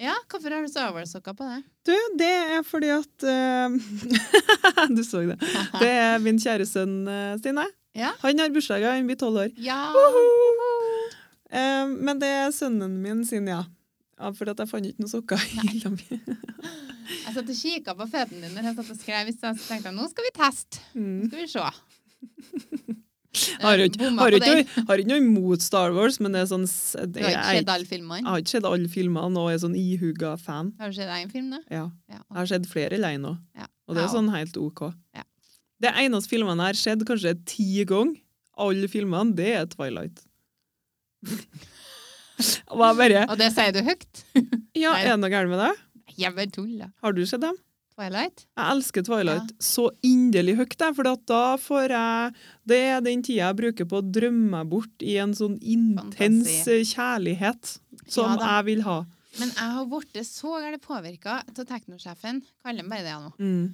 Speaker 1: ja, hvorfor har du Star Wars-sokker på deg?
Speaker 2: Du, det er fordi at eh, Du så det. Det er min kjære sønn eh, Stine.
Speaker 1: Ja.
Speaker 2: Han har bursdag, han blir tolv år.
Speaker 1: Ja.
Speaker 2: Eh, men det er sønnen min sin, ja. ja fordi at jeg fant ikke noen sokker i hylla mi.
Speaker 1: Jeg satt og kikka på føttene dine når jeg satt og skrev i stad, så tenkte jeg nå skal vi teste. Nå
Speaker 2: Mm.
Speaker 1: skal vi se.
Speaker 2: Har jo
Speaker 1: Eh,
Speaker 2: ikke,
Speaker 1: bomma
Speaker 2: har
Speaker 1: på
Speaker 2: jo ikke,
Speaker 1: den.
Speaker 2: noe- har ikke noe imot Star Wars, men det er sånn s-
Speaker 1: Du
Speaker 2: det,
Speaker 1: har ikke
Speaker 2: jeg,
Speaker 1: sett
Speaker 2: jeg,
Speaker 1: alle filmene?
Speaker 2: har ikke sett alle filmene og er sånn ihuga fan.
Speaker 1: Har du sett én film, da?
Speaker 2: Ja.
Speaker 1: Ja.
Speaker 2: Jeg har sett flere lei nå,
Speaker 1: Ja.
Speaker 2: og det er
Speaker 1: Jeg
Speaker 2: sånn helt OK.
Speaker 1: Ja.
Speaker 2: Det eneste filmene jeg har sett kanskje ti ganger, alle filmene, det er Twilight. og jeg bare
Speaker 1: Og det sier du høyt?
Speaker 2: Ja,
Speaker 1: Nei.
Speaker 2: er det noe gærent med det?
Speaker 1: Jeg bare tuller.
Speaker 2: Har du sett dem?
Speaker 1: Twilight?
Speaker 2: Jeg elsker Twilight så inderlig høyt, jeg, for at da får jeg Det er den tida jeg bruker på å drømme meg bort i en sånn intens eh, kjærlighet som
Speaker 1: Ja da.
Speaker 2: jeg vil ha.
Speaker 1: Men jeg har blitt så gærent påvirka av teknosjefen. Kaller han bare det nå.
Speaker 2: Mm.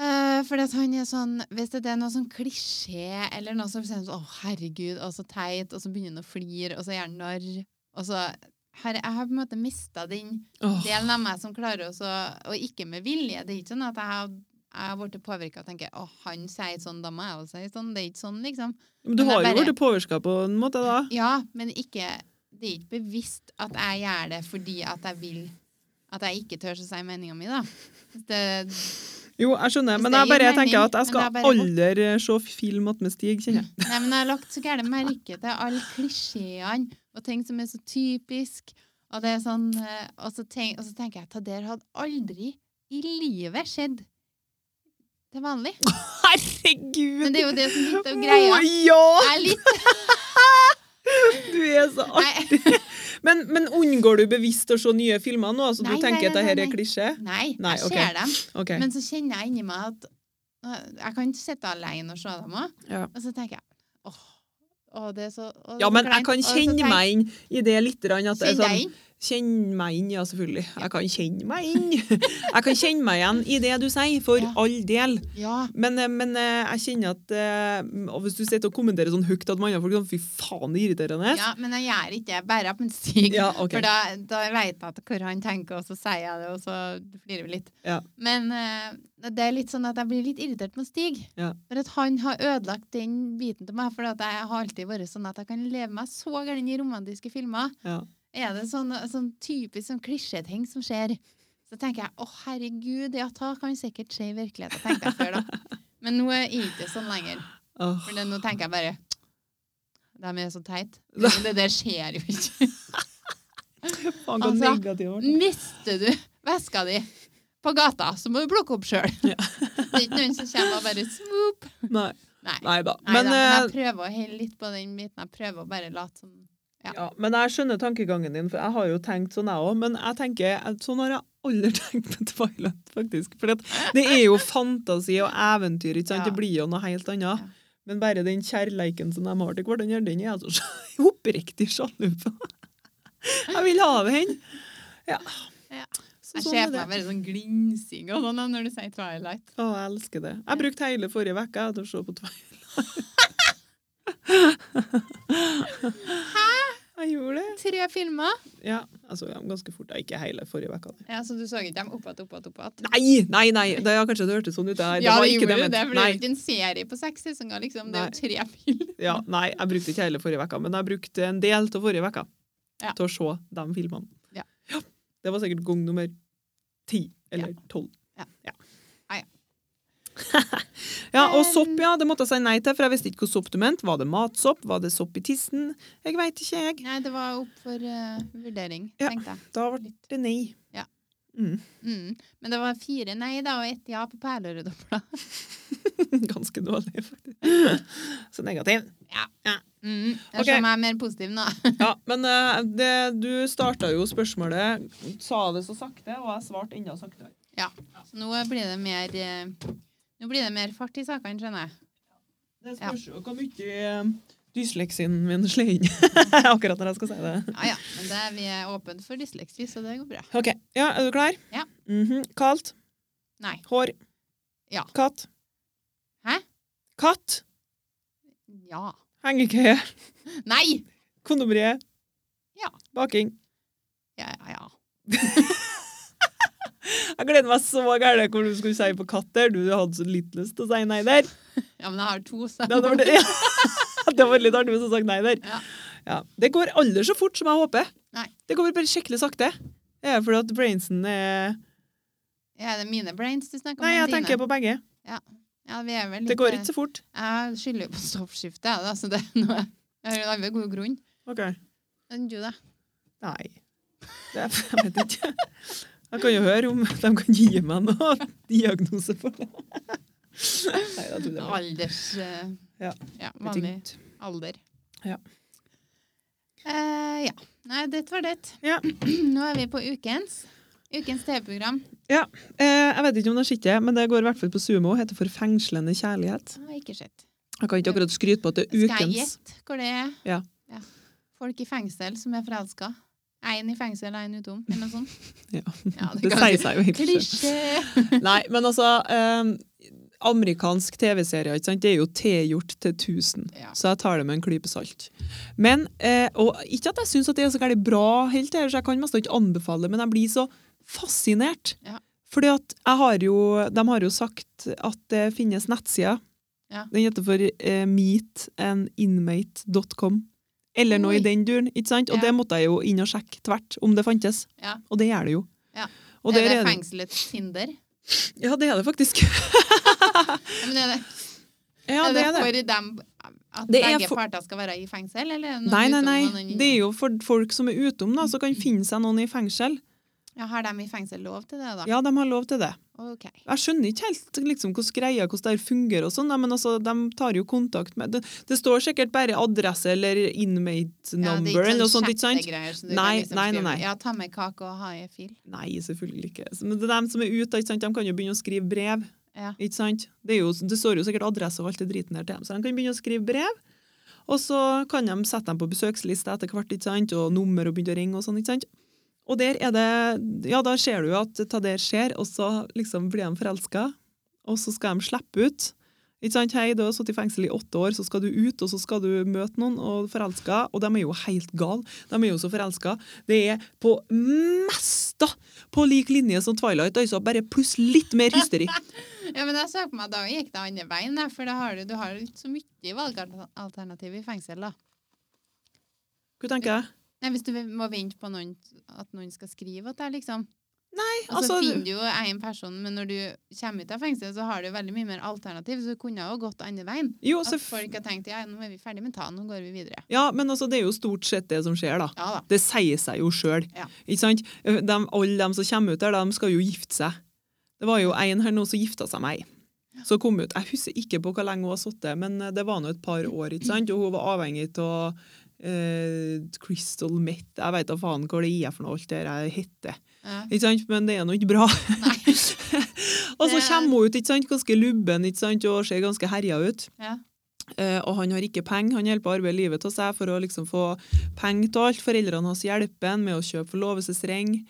Speaker 1: Uh, for at han er sånn Hvis det er noe sånn klisjé eller noe som sier sånn, Å, herregud, og så teit, og så begynner han å flire, og så gjør han narr. Og så har Jeg har på en måte mista den
Speaker 2: Åh,
Speaker 1: delen av meg som klarer også, Og ikke med vilje. Det er ikke sånn at jeg har jeg har blitt påvirka og tenker å, han sier sånn, da må jeg også si sånn. Det er ikke sånn, liksom.
Speaker 2: men du
Speaker 1: men jeg
Speaker 2: har jo
Speaker 1: bare-
Speaker 2: blitt påvirka på en måte, da.
Speaker 1: Ja, men ikke, det er ikke bevisst at jeg gjør det fordi at jeg vil At jeg ikke tør å si meninga mi, da. Hvis Det,
Speaker 2: Jo, jeg skjønner,
Speaker 1: Hvis
Speaker 2: men
Speaker 1: det
Speaker 2: jeg
Speaker 1: gir
Speaker 2: bare
Speaker 1: mening,
Speaker 2: tenker at
Speaker 1: men
Speaker 2: jeg skal
Speaker 1: det er bare
Speaker 2: aldri se film att med Stig, kjenner jeg.
Speaker 1: nei, men jeg har lagt så gærent merke til alle klisjeene og ting som er så typisk. Og, det er sånn, eh, og, så, tenk, og så tenker jeg at det der hadde aldri i livet skjedd til vanlig.
Speaker 2: Herregud!
Speaker 1: Men det er jo det som er litt av greia.
Speaker 2: Å, ja!
Speaker 1: Jeg er litt
Speaker 2: Du er så artig.
Speaker 1: Nei,
Speaker 2: Men, men unngår du bevisst å se nye filmer nå? Altså,
Speaker 1: Nei,
Speaker 2: du tenker
Speaker 1: nei,
Speaker 2: at det
Speaker 1: nei,
Speaker 2: her er
Speaker 1: nei.
Speaker 2: klisjé?
Speaker 1: nei jeg
Speaker 2: Nei, ok.
Speaker 1: ser dem.
Speaker 2: Ok.
Speaker 1: Men så kjenner jeg inni meg at øh, jeg kan ikke sitte alene og se dem òg.
Speaker 2: Ja.
Speaker 1: Og så tenker jeg åh, åh det er så åh, det er
Speaker 2: ja,
Speaker 1: så
Speaker 2: men jeg
Speaker 1: kleint.
Speaker 2: kan
Speaker 1: Og så
Speaker 2: kjenne
Speaker 1: tenker-
Speaker 2: meg inn i det litt. grann At det er
Speaker 1: Kjenn deg
Speaker 2: sånn,
Speaker 1: inn.
Speaker 2: kjenne meg inn, ja, selvfølgelig. Jeg kan kjenne meg inn. Jeg kan kjenne meg igjen i det du sier, for
Speaker 1: Ja.
Speaker 2: all del.
Speaker 1: Ja.
Speaker 2: Men, eh, men eh, jeg kjenner at eh, og Hvis du sitter og kommenterer sånn høyt at man andre folk sånn, Fy faen, det er irriterende.
Speaker 1: ja, men jeg gjør ikke det. Bare på en stig.
Speaker 2: Ja, ok.
Speaker 1: For da, da vet jeg at hvor han tenker, og så sier jeg det, og så flirer vi litt.
Speaker 2: Ja.
Speaker 1: Men eh, det er litt sånn at jeg blir litt irritert med Stig.
Speaker 2: Ja.
Speaker 1: For at han har ødelagt den biten til meg. For at jeg har alltid vært sånn at jeg kan leve meg så gæren i romantiske filmer.
Speaker 2: Ja.
Speaker 1: Er
Speaker 2: Mhm.
Speaker 1: det sånn, sånn typisk sånn klisjeting som skjer? Så tenker jeg å herregud, ja, det kan sikkert skje i virkeligheten, tenkte jeg før da. Men nå er jeg ikke sånn lenger.
Speaker 2: Åh.
Speaker 1: For det, nå tenker jeg bare De er så teit. Men det der skjer jo ikke.
Speaker 2: Faen, hva
Speaker 1: altså,
Speaker 2: negativ jeg ble.
Speaker 1: Mister du veska di på gata, så må du plukke opp sjøl. Det er ikke noen som kommer og bare swoop.
Speaker 2: Nei.
Speaker 1: Nei.
Speaker 2: Nei da.
Speaker 1: Nei
Speaker 2: Men,
Speaker 1: da, men jeg
Speaker 2: eh,
Speaker 1: prøver å holde litt på den biten. Jeg prøver å bare late som ja.
Speaker 2: ja, men jeg skjønner tankegangen din, for jeg har jo tenkt sånn, jeg òg. Men jeg tenker, at sånn har jeg aldri tenkt med Twilight, faktisk. For at det er jo fantasi og eventyr, ikke sant?
Speaker 1: Ja.
Speaker 2: Det blir jo noe helt annet.
Speaker 1: Ja.
Speaker 2: Men bare den kjærleiken som de har til hverandre, den er jeg altså så oppriktig sjalu på. Jeg vil ha det hen. Ja.
Speaker 1: Ja.
Speaker 2: Så
Speaker 1: Jeg
Speaker 2: sånn
Speaker 1: ser
Speaker 2: er
Speaker 1: for
Speaker 2: det.
Speaker 1: meg bare sånn glinsing og sånn når du sier Twilight.
Speaker 2: Å, jeg elsker det. Jeg brukte hele forrige uke til å se på Twilight. Hæ? Jeg gjorde det.
Speaker 1: Tre filmer.
Speaker 2: Ja, jeg
Speaker 1: altså,
Speaker 2: så dem ganske fort. da. Ikke hele forrige uka.
Speaker 1: Ja, Så du så ikke dem opp igjen, opp igjen, opp igjen?
Speaker 2: Nei, nei, nei! Det har kanskje det hørtes sånn ut. Det, det
Speaker 1: Ja,
Speaker 2: var
Speaker 1: det
Speaker 2: ikke
Speaker 1: gjorde jo det,
Speaker 2: det, jeg
Speaker 1: for det
Speaker 2: mente.
Speaker 1: er jo ikke en serie på seks sesonger, liksom. Det er jo tre filmer.
Speaker 2: Nei, ja, nei, jeg brukte ikke hele forrige uka, men jeg brukte en del av forrige uke
Speaker 1: Ja.
Speaker 2: til å se de filmene.
Speaker 1: Ja.
Speaker 2: Det var sikkert gang nummer ti eller
Speaker 1: Ja.
Speaker 2: tolv.
Speaker 1: Ja.
Speaker 2: Ja.
Speaker 1: Ah, ja.
Speaker 2: Ja, og sopp, ja. Det måtte jeg si nei til, for jeg visste ikke hva sopp du mente. Var det matsopp? Var det sopp i tissen? Jeg veit ikke, jeg.
Speaker 1: Nei, det var opp for eh, vurdering,
Speaker 2: Ja.
Speaker 1: tenkte jeg.
Speaker 2: Da ble det nei.
Speaker 1: Ja.
Speaker 2: Mm.
Speaker 1: Mm. Men det var fire nei da, og ett ja på Perlerødopla.
Speaker 2: Ganske dårlig, faktisk. Så negativ.
Speaker 1: Mm. Jeg
Speaker 2: Ok.
Speaker 1: ser meg mer positiv nå.
Speaker 2: Ja, men eh, det, du starta jo spørsmålet, sa det så sakte, og jeg svarte enda saktere.
Speaker 1: Ja. Så nå blir det mer eh, Nå blir det mer fart i sakene, skjønner jeg.
Speaker 2: Det
Speaker 1: Ja.
Speaker 2: spørs jo hvor mye eh, dysleksien min slår inn akkurat når jeg skal si det.
Speaker 1: Ja, ja. Men det, vi er åpne for dysleksi, så det går bra.
Speaker 2: OK. Ja, er du klar?
Speaker 1: Ja.
Speaker 2: Mhm. Kaldt.
Speaker 1: Nei.
Speaker 2: Hår.
Speaker 1: Ja.
Speaker 2: Katt.
Speaker 1: Hæ?
Speaker 2: Katt.
Speaker 1: Ja.
Speaker 2: Hengekøye.
Speaker 1: Nei!
Speaker 2: Kondomeriet.
Speaker 1: Ja.
Speaker 2: Baking.
Speaker 1: Ja, ja, ja.
Speaker 2: Jeg gleder meg så gærent hvor du skulle si på katt der. Du hadde så litt lyst til å si nei der.
Speaker 1: Ja, men jeg har to, så
Speaker 2: Det hadde vært, ja. det var litt artig hvis du hadde sagt nei der.
Speaker 1: Ja.
Speaker 2: Ja. Det går aldri så fort som jeg håper.
Speaker 1: Nei.
Speaker 2: Det går bare skikkelig sakte. Det er fordi at brainsen er
Speaker 1: Er det mine brains du snakker om?
Speaker 2: Nei, jeg
Speaker 1: eller
Speaker 2: tenker
Speaker 1: dine?
Speaker 2: på begge.
Speaker 1: ja, vi er vel litt, eh,
Speaker 2: Det går ikke så fort.
Speaker 1: Jeg skylder jo på stoppskiftet, jeg, da, så det er noe Jeg har jo en annen god grunn
Speaker 2: Ok.
Speaker 1: enn du, da.
Speaker 2: Nei. Det er, jeg vet ikke. Jeg kan jo høre om de kan gi meg noe diagnose for det. Nei, jeg tuller bare.
Speaker 1: Alders eh,
Speaker 2: Ja.
Speaker 1: ja, vanlig alder.
Speaker 2: Ja.
Speaker 1: Eh, ja. Nei, det var det.
Speaker 2: Ja.
Speaker 1: Nå er vi på ukens. Ukens TV-program.
Speaker 2: Eh, jeg vet ikke om det er skittet, men det går i hvert fall på sumo. Heter For fengslende kjærlighet.
Speaker 1: Jeg har ikke sett.
Speaker 2: Jeg kan ikke akkurat skryte på at det er
Speaker 1: Skal jeg
Speaker 2: ukens.
Speaker 1: gjette hvor det er?
Speaker 2: Ja.
Speaker 1: Folk i fengsel som er forelska. Én i fengsel, én utom, eller noe sånt.
Speaker 2: Ja.
Speaker 1: Ja,
Speaker 2: Det
Speaker 1: kan
Speaker 2: sier
Speaker 1: du-
Speaker 2: seg jo egentlig selv.
Speaker 1: Klisjé!
Speaker 2: Nei, men altså ehm, Amerikansk TV-serie ikke sant? Det er jo tilgjort til 1000,
Speaker 1: Ja.
Speaker 2: så jeg tar det med en klype salt. Men, eh, og Ikke at jeg syns det er så gærent bra, helt til, så jeg kan mest ikke anbefale det, men jeg blir så fascinert.
Speaker 1: Ja.
Speaker 2: Fordi at jeg har jo, De har jo sagt at det finnes nettsider.
Speaker 1: Ja.
Speaker 2: Den heter for eh, meetandinmate.com. Eller noe
Speaker 1: Oi.
Speaker 2: i den duren. ikke sant? Og
Speaker 1: Ja.
Speaker 2: det måtte jeg jo inn og sjekke tvert om det fantes.
Speaker 1: Ja.
Speaker 2: Og det gjør det jo.
Speaker 1: Ja.
Speaker 2: Og
Speaker 1: er det
Speaker 2: der er det-
Speaker 1: fengselets Tinder?
Speaker 2: Ja, det er det faktisk.
Speaker 1: Ja, men er det, er
Speaker 2: Ja, det
Speaker 1: det,
Speaker 2: er det.
Speaker 1: for dem at
Speaker 2: Det er
Speaker 1: begge
Speaker 2: for-
Speaker 1: parter skal være i fengsel? Eller er det noen
Speaker 2: Nei, nei,
Speaker 1: utom og
Speaker 2: nei.
Speaker 1: noen inn? Mm.
Speaker 2: Det er jo for folk som er utom, da, så kan finne seg noen i fengsel.
Speaker 1: Ja, har de i fengsel lov til det, da?
Speaker 2: Ja, de har lov til det.
Speaker 1: Ok.
Speaker 2: Jeg skjønner ikke helt liksom, hvordan greia hvordan det her fungerer, og sånn, da, men altså, de tar jo kontakt med det, det står sikkert bare adresse eller inmate
Speaker 1: Ja, det er
Speaker 2: number
Speaker 1: ikke
Speaker 2: eller noe sånt,
Speaker 1: sånn
Speaker 2: ikke sant?
Speaker 1: chatte-greier som du kan
Speaker 2: Nei,
Speaker 1: liksom
Speaker 2: nei, nei,
Speaker 1: skrive.
Speaker 2: nei.
Speaker 1: Ja, ta med kake og ha i fil.
Speaker 2: Nei, selvfølgelig ikke. Men det er dem som er ute, ikke sant? de kan jo begynne å skrive brev.
Speaker 1: Ja.
Speaker 2: Ikke sant? Det, er jo, det står jo sikkert adresse og alt det driten her til dem, så de kan begynne å skrive brev. Og så kan de sette dem på besøksliste etter hvert, ikke sant? og nummer og begynne å ringe og sånn. ikke sant? Og der er det, ja, da ser du jo at det der skjer, og så liksom blir de forelska, og så skal de slippe ut. Ikke sant? Hei, du har sittet i fengsel i åtte år, så skal du ut, og så skal du møte noen og forelska, og de er jo helt gale. De er jo så forelska. Det er på mest da, på lik linje som Twilight, altså bare pluss litt mer hysteri.
Speaker 1: ja, men jeg så på meg da gikk det andre veien, da, for da har du, du har jo ikke så mye valgalternativ i fengsel, da.
Speaker 2: Hva tenker jeg?
Speaker 1: Nei, Hvis du må vente på noen, at noen skal skrive at det er liksom Og så
Speaker 2: Altså,
Speaker 1: finner du jo én person, men når du kommer ut av fengsel, så har du veldig mye mer alternativ, så du kunne jo gått andre veien.
Speaker 2: jo,
Speaker 1: At
Speaker 2: så,
Speaker 1: folk har tenkt ja, nå er vi ferdig med ta, nå går vi videre.
Speaker 2: ja, men altså, det er jo stort sett det som skjer, da.
Speaker 1: Ja da.
Speaker 2: Det sier seg jo sjøl.
Speaker 1: Ja.
Speaker 2: Eh, Alle de som kommer ut der, de skal jo gifte seg. Det var jo en her nå som gifta seg med ei. Så kom ut. Jeg husker ikke på hvor lenge hun har sittet, men eh, det var nå et par år. ikke sant? Og hun var avhengig av eh, Crystal Met. Jeg veit da faen hva det er for noe alt det her heter.
Speaker 1: Ja.
Speaker 2: Ikke sant? Men det er nå ikke bra.
Speaker 1: Nei.
Speaker 2: og så
Speaker 1: Det-
Speaker 2: kommer hun ut ikke sant? ganske lubben ikke sant? og ser ganske herja ut.
Speaker 1: Ja.
Speaker 2: Eh, og han har ikke penger. Han holder på å arbeide livet av seg for å liksom få penger til alt. Foreldrene hans hjelper han med å kjøpe forlovelsesring.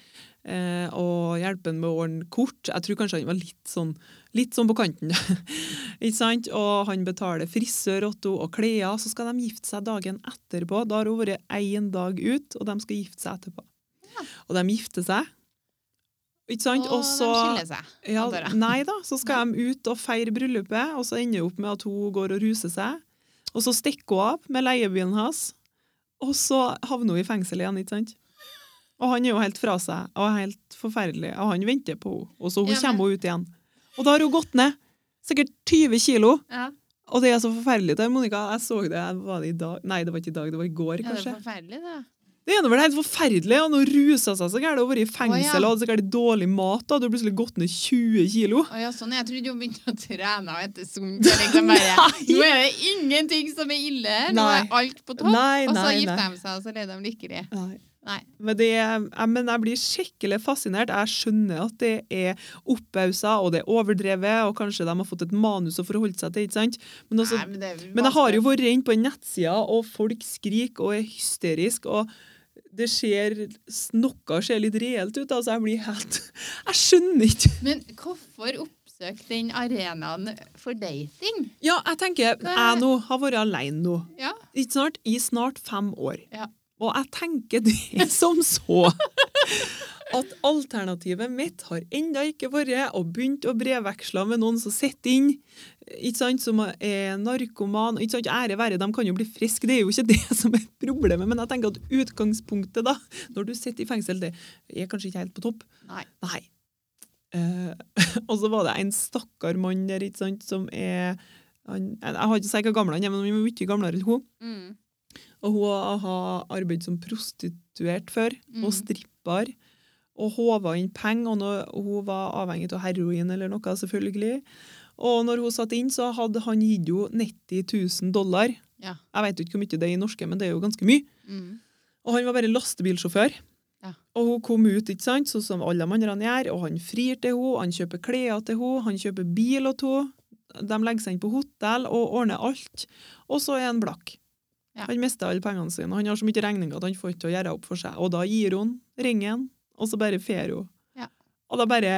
Speaker 2: Eh, og hjelper han med å ordne kort. Jeg tror kanskje han var litt sånn, litt sånn på kanten. ikke sant? Og han betaler frisør Otto og klær. Så skal de gifte seg dagen etterpå. Da har hun vært én dag ut, og de skal gifte seg etterpå. Og de gifter seg. Ikke sant?
Speaker 1: Og
Speaker 2: Og så
Speaker 1: de skiller seg.
Speaker 2: ja,
Speaker 1: antar jeg.
Speaker 2: nei da, så skal de ut og feire bryllupet, og så ender det opp med at hun går og ruser seg. Og så stikker hun av med leiebilen hans, og så havner hun i fengsel igjen, ikke sant? Og han er jo helt fra seg, og er helt forferdelig, og han venter på henne. Og så hun
Speaker 1: Ja, men-
Speaker 2: kommer hun ut igjen. Og da har hun gått ned, sikkert 20 kilo,
Speaker 1: Ja.
Speaker 2: og det er så forferdelig. Det, Monica, jeg så det, var det i dag? Nei, det var ikke i dag, det var i går,
Speaker 1: ja, det er
Speaker 2: kanskje.
Speaker 1: forferdelig, det.
Speaker 2: Det ene var det helt forferdelig, og nå ruset seg så gærent, og vært i
Speaker 1: Å,
Speaker 2: fengsel,
Speaker 1: ja.
Speaker 2: og hadde sikkert dårlig mat, da, du plutselig gått ned 20 kilo.
Speaker 1: Å ja, sånn. Jeg trodde hun begynte å trene og etter sunt. og Liksom bare, nå er det ingenting som er ille her. Nå er
Speaker 2: Nei.
Speaker 1: alt på topp.
Speaker 2: Nei,
Speaker 1: og så
Speaker 2: nei,
Speaker 1: gifter
Speaker 2: nei.
Speaker 1: de seg, og så er de lykkelige.
Speaker 2: Nei.
Speaker 1: Nei.
Speaker 2: Men, det, jeg, men jeg blir skikkelig fascinert. Jeg skjønner at det er oppausa og det er overdrevet, og kanskje de har fått et manus å forholde seg til. ikke sant? Men, også,
Speaker 1: Nei, men, det er
Speaker 2: men jeg har jo vært inne på den nettsida, og folk skriker og er hysteriske. og det ser, Noe ser litt reelt ut. altså Jeg blir helt Jeg skjønner ikke!
Speaker 1: Men hvorfor oppsøke den arenaen for dating?
Speaker 2: Ja, jeg tenker eh, Jeg nå har vært alene nå
Speaker 1: Ja.
Speaker 2: ikke snart, i snart fem år.
Speaker 1: Ja.
Speaker 2: Og jeg tenker det som så at alternativet mitt har enda ikke vært å begynne å brevveksle med noen som sitter inn, ikke sant, som er narkoman. ikke sant, Ære være, de kan jo bli friske, det er jo ikke det som er problemet. Men jeg tenker at utgangspunktet, da, når du sitter i fengsel, det er kanskje ikke helt på topp.
Speaker 1: Nei.
Speaker 2: Nei. Eh, og så var det en stakkar mann der, ikke sant, som er han, Jeg har ikke sagt hvor gammel han er, men han er mye gamlere enn hun.
Speaker 1: Mm.
Speaker 2: Og hun har arbeidet som prostituert før,
Speaker 1: Mhm.
Speaker 2: og stripper, og håva inn penger, og når hun var avhengig av heroin eller noe, selvfølgelig. Og når hun satt inn, så hadde han gitt henne 90 000 dollar.
Speaker 1: Ja.
Speaker 2: Jeg vet jo ikke hvor mye det er i norske, men det er jo ganske mye.
Speaker 1: Mm.
Speaker 2: Og han var bare lastebilsjåfør.
Speaker 1: Ja.
Speaker 2: Og hun kom ut, ikke sant, sånn som alle de andre gjør, og han frir til henne, han kjøper klær til henne, han kjøper bil til henne. De legger seg inn på hotell og ordner alt. Og så er han blakk.
Speaker 1: Ja.
Speaker 2: Han mister alle pengene sine, og han har så mye regninger at han får ikke til å gjøre opp for seg. Og da gir hun ringen, og så bare fer hun.
Speaker 1: Ja.
Speaker 2: Og da bare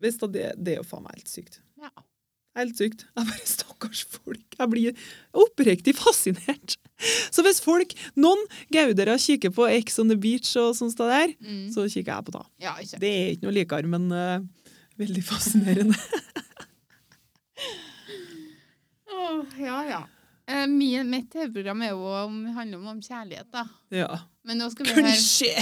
Speaker 2: hvis da det, det er jo faen meg helt sykt.
Speaker 1: Ja.
Speaker 2: Helt sykt. Jeg bare, Stakkars folk. Jeg blir oppriktig fascinert. Så hvis folk, noen gaudere kikker på Ex on the beach og sånt sted der,
Speaker 1: Mm.
Speaker 2: så kikker jeg på det.
Speaker 1: ja, ikke
Speaker 2: Det er ikke noe likere, men eh, veldig fascinerende.
Speaker 1: Åh, ja, ja. Eh, min, mitt TV-program er jo om, handler om, om kjærlighet, da.
Speaker 2: ja.
Speaker 1: Men nå skal vi høre,
Speaker 2: Klisjé!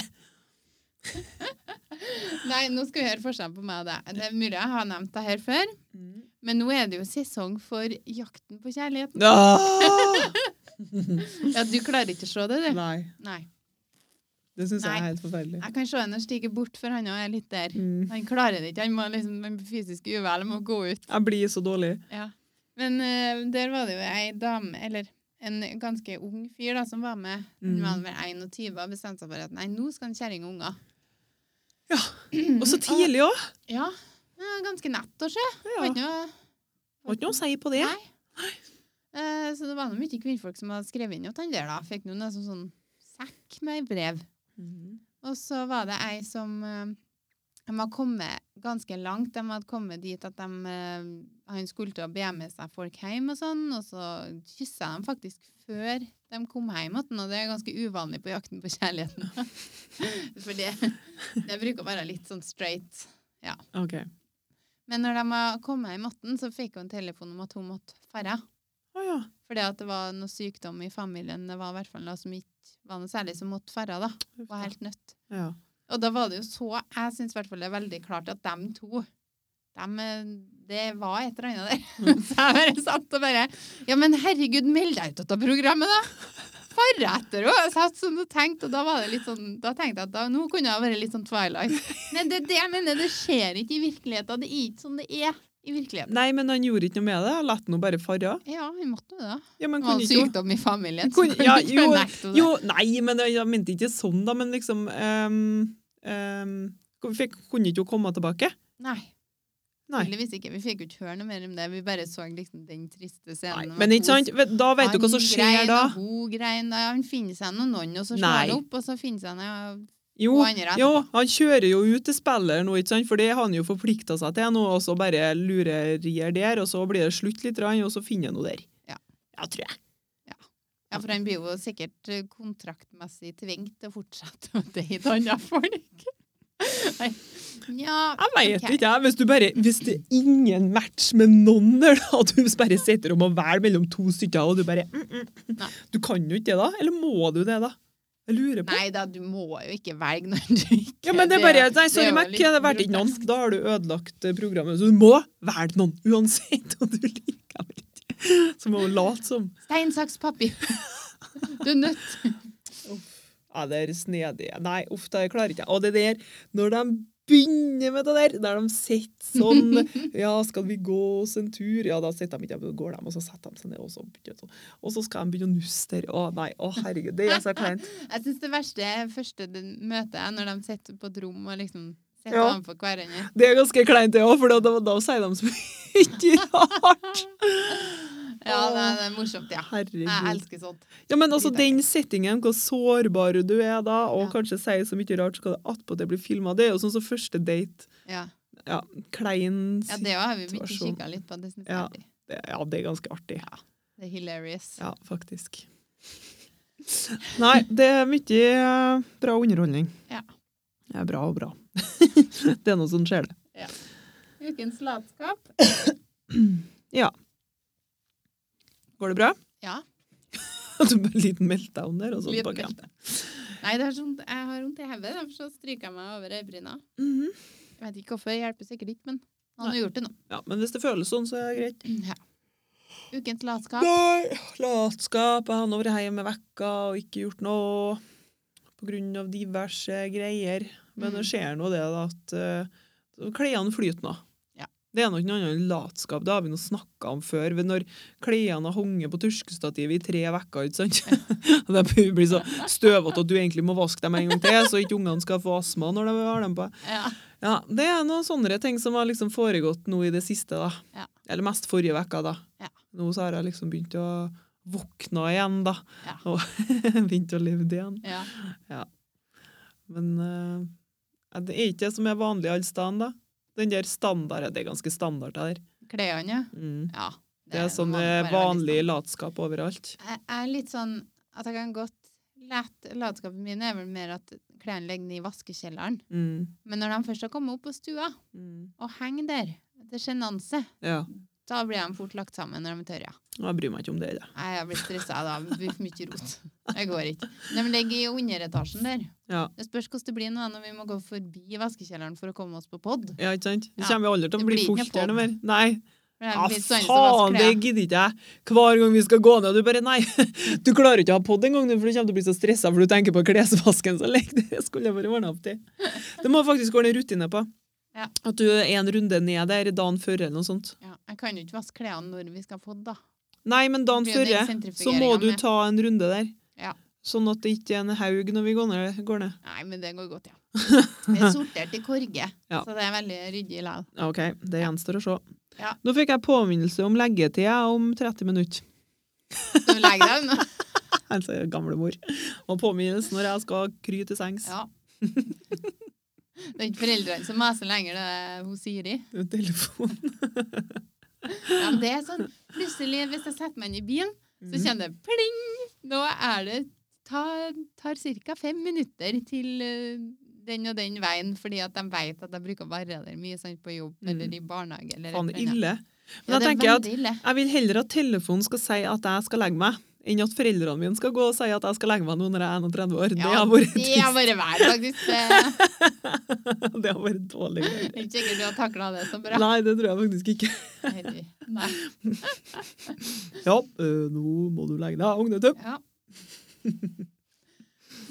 Speaker 1: nei, nå skal vi høre forskjellen på meg og deg. Det er mulig jeg har nevnt det her før, men nå er det jo sesong for Jakten på kjærligheten.
Speaker 2: Ah!
Speaker 1: Ja, Du klarer ikke å se det, du?
Speaker 2: Nei.
Speaker 1: Nei.
Speaker 2: Det syns jeg
Speaker 1: Nei.
Speaker 2: er helt forferdelig.
Speaker 1: Jeg kan se henne stige bort, for han også er litt der.
Speaker 2: Mm.
Speaker 1: Han klarer det ikke. Han må liksom, han blir fysisk uvel, må gå ut.
Speaker 2: Jeg blir så dårlig.
Speaker 1: Ja. Men eh, der var det jo ei dame, eller en ganske ung fyr da, som var med. Han
Speaker 2: Mm.
Speaker 1: var vel 21 og bestemte seg for at nei, nå skal han kjerring og unger. Mm.
Speaker 2: Og så tidlig òg!
Speaker 1: Ja, ja, ganske nett å se.
Speaker 2: Ja.
Speaker 1: Vet noe,
Speaker 2: Må ikke noe å si på det.
Speaker 1: Nei. eh, så det var noe mye kvinnfolk som hadde skrevet inn at han der da, fikk noen sånn, sånn sekk med brev.
Speaker 2: Mhm.
Speaker 1: Og så var det ei som eh, De hadde kommet ganske langt. De hadde kommet dit at de, eh, han skulle til å be med seg folk hjem og sånn. Og så kyssa de faktisk før de kom hjem igjen, og det er ganske uvanlig på jakten på kjærligheten. For det, det bruker å være litt sånn straight.
Speaker 2: OK.
Speaker 1: Men når de hadde kommet hjem igjen, så fikk hun telefon om at hun måtte dra.
Speaker 2: Å ja.
Speaker 1: Fordi at det var noe sykdom i familien, det var i hvert fall noe som ikke var noe særlig, som måtte dra, da.
Speaker 2: Uff
Speaker 1: Var
Speaker 2: da.
Speaker 1: helt nødt.
Speaker 2: ja.
Speaker 1: Og da var det jo så Jeg syns i hvert fall det er veldig klart at dem to dem, eh, Det var et eller annet der. Så jeg bare satt og bare Ja, men herregud, meld deg ut av programmet, da! Fare etter henne! Jeg satt sånn og tenkte, og da var det litt sånn Da tenkte jeg at da, nå kunne jeg vært litt sånn Twilight. Men det er det jeg mener, det skjer ikke i virkeligheten. Det er ikke sånn det er i virkeligheten.
Speaker 2: Nei, men han gjorde ikke noe med det. Han lot nå bare fare.
Speaker 1: Ja, vi måtte jo det.
Speaker 2: Ja, men
Speaker 1: Det var en
Speaker 2: kunne ikke
Speaker 1: sykdom i familien. så
Speaker 2: Kunne-
Speaker 1: kunne
Speaker 2: ja,
Speaker 1: ikke
Speaker 2: jo,
Speaker 1: nekte det.
Speaker 2: Jo, nei, men jeg, jeg mente ikke sånn, da. Men liksom ehm, ehm, hun fikk, Kunne ikke hun komme tilbake?
Speaker 1: Nei.
Speaker 2: Nei.
Speaker 1: Heldigvis ikke. Vi fikk jo ikke høre noe mer om det. Vi bare så liksom den triste
Speaker 2: Nei.
Speaker 1: scenen. med
Speaker 2: Men
Speaker 1: at
Speaker 2: ikke sant? Vet- Da vet du hva som skjer
Speaker 1: grein,
Speaker 2: da.
Speaker 1: og Hun grein, og han finner seg noen noen, og så slår
Speaker 2: Nei.
Speaker 1: han opp, og så finner seg noen
Speaker 2: Jo,
Speaker 1: og andre
Speaker 2: jo, han kjører jo ut til spilleren nå, ikke sant? For det har han jo forplikta seg til nå, og så bare lurerier der, og så blir det slutt litt, og så finner han henne der.
Speaker 1: Ja.
Speaker 2: Ja, tror jeg.
Speaker 1: Ja, for han blir jo sikkert eh, kontraktmessig tvingt til å fortsette å date andre folk. Nei. Ja,
Speaker 2: Jeg vet
Speaker 1: ok.
Speaker 2: ikke, jeg. Hvis, du bare, hvis det er ingen match med noen der, da, at du bare sitter og må velge mellom to stykker, og du bare mm, mm,
Speaker 1: Nei.
Speaker 2: Du kan jo ikke det, da? Eller må du det, da? Jeg lurer på.
Speaker 1: Nei da, du må jo ikke velge når du ikke
Speaker 2: Ja, men det er bare, nei, sorry,
Speaker 1: jo
Speaker 2: Mac,
Speaker 1: litt
Speaker 2: det ble ikke noen.
Speaker 1: grotesk.
Speaker 2: Da har du ødelagt eh, programmet. Så du må velge noen, uansett om du liker det eller ikke. Så må hun late som.
Speaker 1: Stein, saks, papir. Du er nødt.
Speaker 2: Ja, det er snedig. Nei, uff, det klarer ikke jeg. Og det der, når de begynner med det der, der de sitter sånn Ja, skal vi gå oss en tur? Ja, da sitter de ikke, da går de, og så setter de seg ned, og så, begynner de sånn. og så skal de begynne å nusse der. Å nei, å herregud, det er så kleint.
Speaker 1: Jeg syns det verste er første den- møtet er når de sitter på et rom og liksom sitter
Speaker 2: Ja.
Speaker 1: overfor hverandre.
Speaker 2: Det er ganske kleint, det òg, for da, da, da sier de så mye rart.
Speaker 1: Ja,
Speaker 2: Åh.
Speaker 1: det er, det er morsomt, ja. Jeg
Speaker 2: Herregud.
Speaker 1: elsker sånt.
Speaker 2: Ja, men altså den settingen, hvor sårbar du er da, og
Speaker 1: Ja.
Speaker 2: kanskje sier så mye rart, skal det attpåtil bli filma. Det er jo sånn som første date.
Speaker 1: Ja,
Speaker 2: Ja, klein
Speaker 1: ja det har vi begynt å
Speaker 2: Situasjon.
Speaker 1: kikke litt på. Det synes jeg
Speaker 2: Ja.
Speaker 1: er artig.
Speaker 2: Det, ja, det er ganske artig.
Speaker 1: Ja. Det er hilarious.
Speaker 2: Ja, faktisk. Nei, det er mye eh, bra underholdning.
Speaker 1: Ja.
Speaker 2: Det er bra og bra. det er noe som skjer, det.
Speaker 1: Ukens latskap.
Speaker 2: Går det bra?
Speaker 1: Ja.
Speaker 2: Du bare en liten meltdown der, og så
Speaker 1: Liten
Speaker 2: tilbake igjen.
Speaker 1: Nei, det er sånn, jeg har vondt i hodet, derfor så stryker jeg meg over øyebryna.
Speaker 2: Mhm.
Speaker 1: Jeg vet ikke hvorfor, det hjelper sikkert ikke, men han har gjort det nå.
Speaker 2: Ja, men hvis det føles sånn, så er det greit.
Speaker 1: Ja. Ukens latskap.
Speaker 2: Nei, latskap. Jeg har nå vært hjemme vekka og ikke gjort noe på grunn av diverse greier. Men
Speaker 1: Mm.
Speaker 2: det skjer nå det da, at eh, klærne flyter nå.
Speaker 1: Ja.
Speaker 2: Det er nok noe annet enn latskap. Det har vi nå snakka om før. ved Når klærne har hunget på tørkestativet i tre uker, ikke sant. Og de blir så støvete at du egentlig må vaske dem en gang til, så ikke ungene skal få astma når de har dem på.
Speaker 1: Ja.
Speaker 2: Ja, Det er noen sånne ting som har liksom foregått nå i det siste. da.
Speaker 1: Ja.
Speaker 2: Eller mest forrige uke, da.
Speaker 1: Ja.
Speaker 2: Nå så har jeg liksom begynt å våkne igjen, da.
Speaker 1: Ja.
Speaker 2: Og begynt å leve det igjen.
Speaker 1: Ja.
Speaker 2: Men eh, ja, det er ikke det som er vanlig alle steder, da. Den der standarden, det er ganske standard det der.
Speaker 1: Klærne, ja.
Speaker 2: Mm.
Speaker 1: ja.
Speaker 2: Det er sånn eh, vanlig latskap overalt.
Speaker 1: Jeg jeg er litt sånn at jeg kan godt lett Latskapen min er vel mer at klærne ligger nede i vaskekjelleren.
Speaker 2: Mm.
Speaker 1: Men når de først har kommet opp på stua
Speaker 2: Mm.
Speaker 1: og henger der, det er sjenanse,
Speaker 2: Ja.
Speaker 1: da blir de fort lagt sammen når de er tørre. ja.
Speaker 2: Jeg bryr meg ikke om det, da.
Speaker 1: Nei, Jeg blir stressa da. Det blir for mye rot. Det går ikke. De ligger i underetasjen der.
Speaker 2: Ja.
Speaker 1: Det spørs hvordan det blir nå når vi må gå forbi vaskekjelleren for å komme oss på pod.
Speaker 2: Ja, ikke sant? Det
Speaker 1: Ja.
Speaker 2: kommer jo aldri til å
Speaker 1: Det
Speaker 2: bli
Speaker 1: blir ikke noe
Speaker 2: fullt der noe
Speaker 1: podd.
Speaker 2: mer. Nei.
Speaker 1: For jeg
Speaker 2: Ja,
Speaker 1: blir sånn som
Speaker 2: Ah, faen, det
Speaker 1: vasker, ja.
Speaker 2: gidder ikke jeg. Hver gang vi skal gå ned, og du bare nei. Du klarer ikke å ha podd engang, for du kommer til å bli så stressa for du tenker på klesvasken så lenge. Det skulle jeg bare ordna opp til. Det må faktisk ordne en rutine på.
Speaker 1: Ja.
Speaker 2: At du er en runde ned der dagen før eller noe sånt.
Speaker 1: Ja, jeg kan jo ikke vaske klærne når vi skal få det, da.
Speaker 2: Nei, men dagen
Speaker 1: Det blir jo den
Speaker 2: før så
Speaker 1: sentrifugeringen
Speaker 2: må du
Speaker 1: med.
Speaker 2: ta en runde der.
Speaker 1: Ja.
Speaker 2: Sånn at det ikke er en haug når vi går ned. Går ned.
Speaker 1: Nei, men det går godt, ja. Det er sortert i korge,
Speaker 2: Ja.
Speaker 1: så det er veldig ryddig likevel.
Speaker 2: Ja, OK, det gjenstår å se.
Speaker 1: Ja.
Speaker 2: Nå fikk jeg påminnelse om leggetid om 30 minutter.
Speaker 1: Du legger deg unna.
Speaker 2: Altså, gamlemor. Og påminnelse når jeg skal kry til sengs.
Speaker 1: Ja. Det er ikke foreldrene som maser lenger, det er hun Siri.
Speaker 2: Telefon.
Speaker 1: Ja, men det er sånn, plutselig, hvis jeg setter meg inn i bilen, så kjenner jeg pling! Nå er det tar, tar ca. fem minutter til eh, den og den veien, fordi at de vet at jeg bruker å være der mye sant, på jobb
Speaker 2: Mm.
Speaker 1: eller i barnehage. Eller
Speaker 2: Faen,
Speaker 1: et eller annet.
Speaker 2: ille. Men
Speaker 1: Ja,
Speaker 2: da
Speaker 1: det er
Speaker 2: tenker jeg at
Speaker 1: veldig ille.
Speaker 2: jeg vil heller at telefonen skal si at jeg skal legge meg, enn at foreldrene mine skal gå og si at jeg skal legge meg nå når jeg er 31 år. det
Speaker 1: Ja,
Speaker 2: har vært
Speaker 1: det har
Speaker 2: trist.
Speaker 1: vært vær, faktisk. Det
Speaker 2: Det har vært dårlig.
Speaker 1: det er ikke sikkert du har takla det så bra.
Speaker 2: Nei, det tror jeg faktisk ikke.
Speaker 1: Herregud. Nei.
Speaker 2: Ja, øh, nå må du legge deg, ungdom.
Speaker 1: Ja.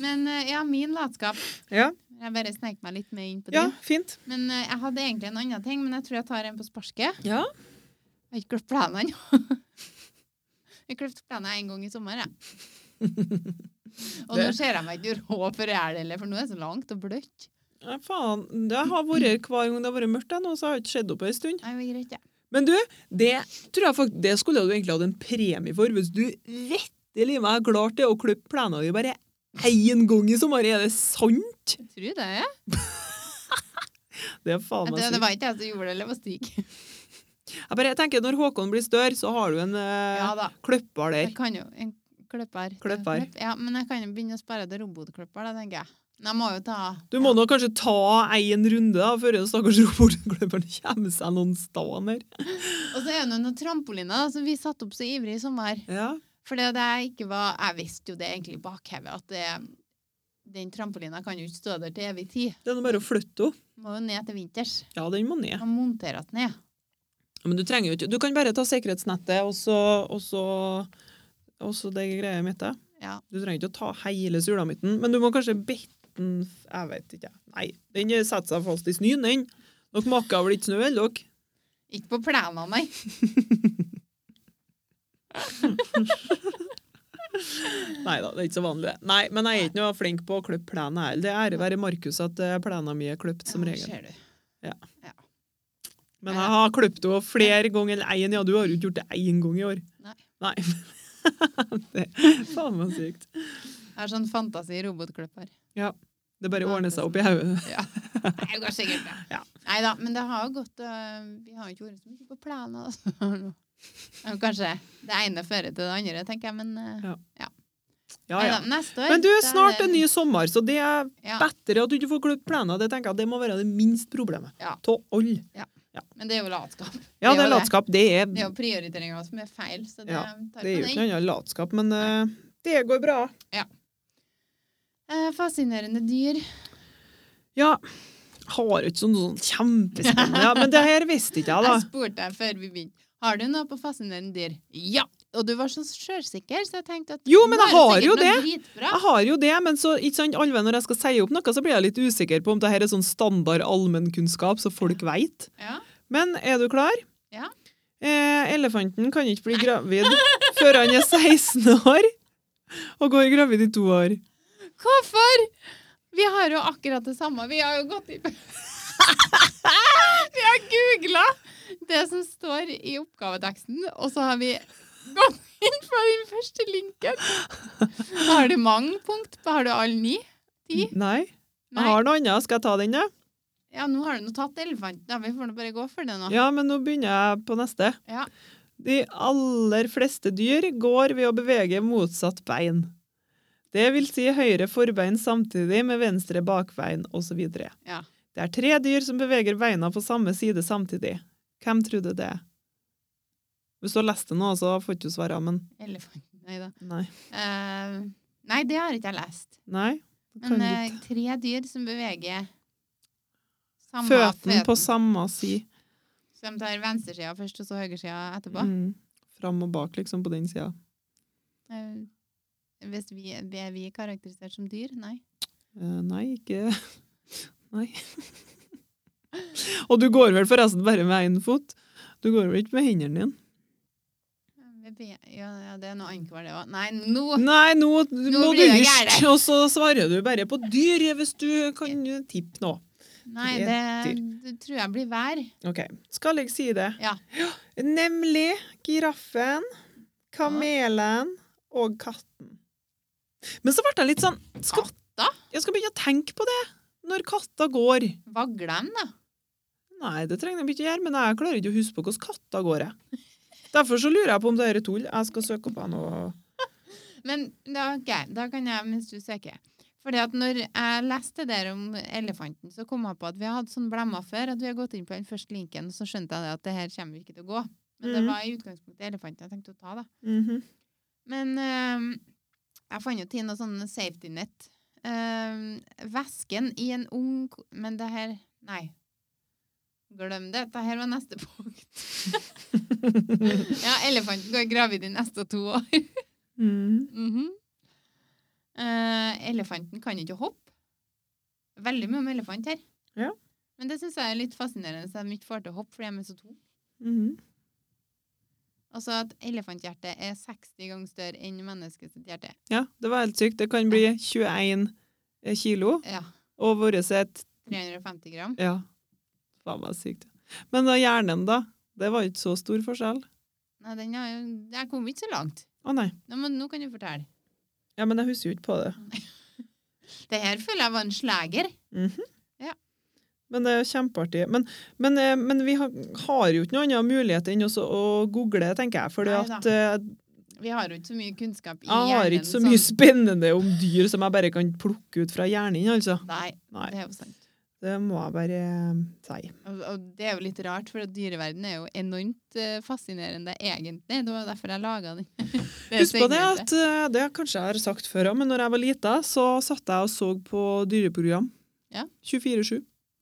Speaker 1: Men eh, ja, min latskap.
Speaker 2: Ja.
Speaker 1: Jeg bare snek meg litt med inn på
Speaker 2: ja,
Speaker 1: det.
Speaker 2: fint.
Speaker 1: Men eh, jeg hadde egentlig en annen ting, men jeg tror jeg tar en på sparket.
Speaker 2: Ja.
Speaker 1: Jeg har ikke kløpt plenen ennå. Jeg kløpte plenen en gang i sommer, jeg. Og nå
Speaker 2: Det-
Speaker 1: ser jeg meg ikke rå for ræl heller, for nå er det så langt og bløtt.
Speaker 2: faen, det har vært her hver gang det har vært mørkt, jeg nå, så har jeg ikke sett opp ei stund.
Speaker 1: Nei, men greit, ja.
Speaker 2: Men du, det tror jeg faktisk, det skulle du egentlig hatt en premie for, hvis du rettelig meg har klart det å klippe plena di bare én gang i sommer. Er det sant?
Speaker 1: Jeg tror det. ja.
Speaker 2: Det er faen meg
Speaker 1: Det, det
Speaker 2: sykt.
Speaker 1: var ikke jeg som gjorde det, det var Stig.
Speaker 2: Jeg bare tenker, når Håkon blir større, så har du en eh,
Speaker 1: Ja da.
Speaker 2: kløpper der.
Speaker 1: Jeg kan jo en kløpper.
Speaker 2: Kløpper.
Speaker 1: Klipp- Ja, men jeg kan jo begynne å spare til robotkløpper, da, tenker jeg. Men jeg må jo ta
Speaker 2: Du må nå kanskje ta en runde da, før den stakkars robotkløpperen kommer seg noen sted her.
Speaker 1: Og så er det noen trampoliner da, som vi satte opp så ivrig i sommer.
Speaker 2: Ja.
Speaker 1: For det at jeg ikke var Jeg visste jo det egentlig i bakhevet, at det, den trampolina kan jo ikke stå der til evig tid.
Speaker 2: Det er nå bare å flytte henne.
Speaker 1: Må jo ned til vinters.
Speaker 2: Ja, den må ned.
Speaker 1: Kan montere den ned.
Speaker 2: Men du trenger jo ikke Du kan bare ta sikkerhetsnettet og så, og så, og så det greia mitt. da.
Speaker 1: Ja.
Speaker 2: Du trenger ikke å ta hele sulamitten, men du må kanskje bitte den f- Jeg vet ikke. Nei, den setter seg fast i snøen, den. Dere makker vel ikke snø, eller dere?
Speaker 1: Ikke på plenen, nei.
Speaker 2: Nei da, det er ikke så vanlig. det. Nei, men jeg er ikke noe flink på å klippe plenen her. Det er ære være Markus at eh, plenen min er klipt som
Speaker 1: Ja,
Speaker 2: regel.
Speaker 1: ser du.
Speaker 2: Men jeg har klipt henne flere ganger eller én, ja, du har jo ikke gjort det én gang i år.
Speaker 1: Nei.
Speaker 2: Nei. det er faen meg sykt.
Speaker 1: Jeg har sånn fantasi-robotkløpper.
Speaker 2: Det bare ordner seg opp i hodet.
Speaker 1: Ja. Nei, det går sikkert bra.
Speaker 2: Ja.
Speaker 1: Nei da, men det har jo gått øh, Vi har jo ikke vært så mye på plenen. Altså. Men Kanskje det ene fører til det andre, tenker jeg, men øh,
Speaker 2: Ja, Ja, ja.
Speaker 1: neida, neste år
Speaker 2: Men du,
Speaker 1: da er
Speaker 2: snart
Speaker 1: det-
Speaker 2: en ny sommer, så det er
Speaker 1: Ja.
Speaker 2: bedre at du ikke får klippet plenen. Det tenker jeg det må være det minst problemet.
Speaker 1: Ja.
Speaker 2: Ta alle.
Speaker 1: Men det er jo latskap.
Speaker 2: Ja, det
Speaker 1: jo
Speaker 2: er latskap. Det er,
Speaker 1: Det er jo prioriteringa som er feil, så det
Speaker 2: Mm. Ja,
Speaker 1: tar
Speaker 2: det er jo
Speaker 1: på
Speaker 2: ikke
Speaker 1: den.
Speaker 2: noe annet enn latskap, men eh, det går bra.
Speaker 1: Eh, fascinerende dyr.
Speaker 2: Ja, har ikke sånn, sånn kjempespennende, ja, men det her visste ikke jeg da.
Speaker 1: Jeg spurte deg før vi begynte. Har du noe på fascinerende dyr? Ja! Og du var så sjølsikker, så jeg tenkte at
Speaker 2: Jo, men
Speaker 1: nå
Speaker 2: jeg
Speaker 1: er
Speaker 2: har
Speaker 1: sikkert
Speaker 2: jo Ah.
Speaker 1: noe Dritbra.
Speaker 2: Jeg har jo det, men så, ikke sant, alve, når jeg skal si opp noe, så blir jeg litt usikker på om det her er sånn standard allmennkunnskap så folk veit.
Speaker 1: Ja.
Speaker 2: Men er du klar?
Speaker 1: Ja.
Speaker 2: Eh, elefanten kan ikke bli gravid før han er 16 år og går gravid i to år.
Speaker 1: Hvorfor? Vi har jo akkurat det samme. Vi har jo gått i Vi har googla det som står i oppgaveteksten, og så har vi gått inn på den første linken. Har du mange punkt? på? Har du alle ni? Ti?
Speaker 2: Nei. Jeg har noe annet. Skal jeg ta den, da?
Speaker 1: Ja, nå har du nå tatt elefanten. da. Vi får nå bare gå for det nå.
Speaker 2: Ja, men nå begynner jeg på neste.
Speaker 1: Ja.
Speaker 2: De aller fleste dyr går ved å bevege motsatt bein. Det vil si høyre forbein samtidig med venstre bakbein osv.
Speaker 1: Ja.
Speaker 2: Det er tre dyr som beveger beina på samme side samtidig. Hvem trodde det? Hvis du har lest det nå, så får ikke du svare, men
Speaker 1: Elefanten, nei da.
Speaker 2: nei.
Speaker 1: Eh, nei, det har ikke jeg lest.
Speaker 2: Nei. det
Speaker 1: Men
Speaker 2: Kan
Speaker 1: eh,
Speaker 2: ikke.
Speaker 1: tre dyr som beveger samme
Speaker 2: Føten
Speaker 1: føten.
Speaker 2: på samme side.
Speaker 1: Så de tar venstresida først, og så høyresida etterpå.
Speaker 2: Mm. Fram og bak, liksom, på den sida.
Speaker 1: Eh, Hvis vi, er vi karakterisert som dyr? Nei.
Speaker 2: Eh, nei, ikke Nei. og du går vel forresten bare med én fot? Du går vel ikke med hendene dine?
Speaker 1: Eh, Vi be- Ja, ja, det er noe ankvar, det òg. Nei, nå
Speaker 2: Nei, nå, må du
Speaker 1: blir jeg
Speaker 2: hysj,
Speaker 1: gæren.
Speaker 2: og så svarer du bare på dyr hvis du kan tippe nå.
Speaker 1: Nei,
Speaker 2: Mm. Det
Speaker 1: det,
Speaker 2: er
Speaker 1: det tror jeg blir vær.
Speaker 2: Ok, skal jeg si det?
Speaker 1: Ja.
Speaker 2: Nemlig giraffen, kamelen og katten. Men så ble jeg litt sånn skal,
Speaker 1: Katter?
Speaker 2: Jeg skal begynne å tenke på det når katter går.
Speaker 1: Vagler de, da?
Speaker 2: Nei, det trenger de ikke gjøre, men jeg klarer ikke å huske på hvordan katter går. Jeg. Derfor så lurer jeg på om det her er tull. Jeg skal søke opp han og
Speaker 1: Men da, ok, da kan jeg, mens du søker Fordi at når jeg leste det der om elefanten, så kom jeg på at vi har hatt sånne blemmer før, at vi har gått inn på den første linken, og så skjønte jeg det at det her kommer vi ikke til å gå. Men det
Speaker 2: Mhm.
Speaker 1: var i utgangspunktet elefanten jeg tenkte å ta, da.
Speaker 2: Mhm.
Speaker 1: Men eh, jeg fant jo til noe sånn safety net. Eh, væsken i en ung ko- Men det her Nei. Glem det. Dette her var neste punkt. ja, elefanten går gravid de neste to år.
Speaker 2: Mhm.
Speaker 1: Mhm. Eh, elefanten kan ikke hoppe. Veldig mye om elefant her.
Speaker 2: Ja.
Speaker 1: Men det syns jeg er litt fascinerende, så de ikke får til å hoppe fordi de er så tunge.
Speaker 2: Mhm.
Speaker 1: Altså at elefanthjertet er 60 ganger større enn menneskets hjerte.
Speaker 2: Ja, det var helt sykt. Det kan bli 21 kilo,
Speaker 1: Ja.
Speaker 2: og vårt et
Speaker 1: 350 gram.
Speaker 2: Ja. Faen meg sykt. Men da hjernen, da? Det var jo ikke så stor forskjell.
Speaker 1: Nei, den har jo Jeg kom ikke så langt.
Speaker 2: Å nei.
Speaker 1: Nå, men, nå kan du fortelle.
Speaker 2: Ja, men jeg husker jo ikke på det.
Speaker 1: Det her føler jeg var en sleger.
Speaker 2: Men det er jo kjempeartig. Men, men, eh, men vi har, har jo ikke noen annen mulighet enn også å google, tenker jeg. For
Speaker 1: Neida.
Speaker 2: at eh,
Speaker 1: Vi har jo ikke så mye kunnskap i
Speaker 2: jeg har ikke så
Speaker 1: hjernen
Speaker 2: mye
Speaker 1: som-
Speaker 2: spennende om dyr som jeg bare kan plukke ut fra hjernen, altså.
Speaker 1: Nei,
Speaker 2: Nei,
Speaker 1: det er jo sant.
Speaker 2: det må jeg bare eh, si.
Speaker 1: Og, og det er jo litt rart, for at dyreverdenen er jo enormt eh, fascinerende, egentlig. Det var jo derfor jeg laga den. Det
Speaker 2: Husk på det
Speaker 1: segmentet.
Speaker 2: at eh, det kanskje jeg har sagt før òg, men når jeg var lita, så satt jeg og så på dyreprogram.
Speaker 1: Ja.
Speaker 2: 24-7.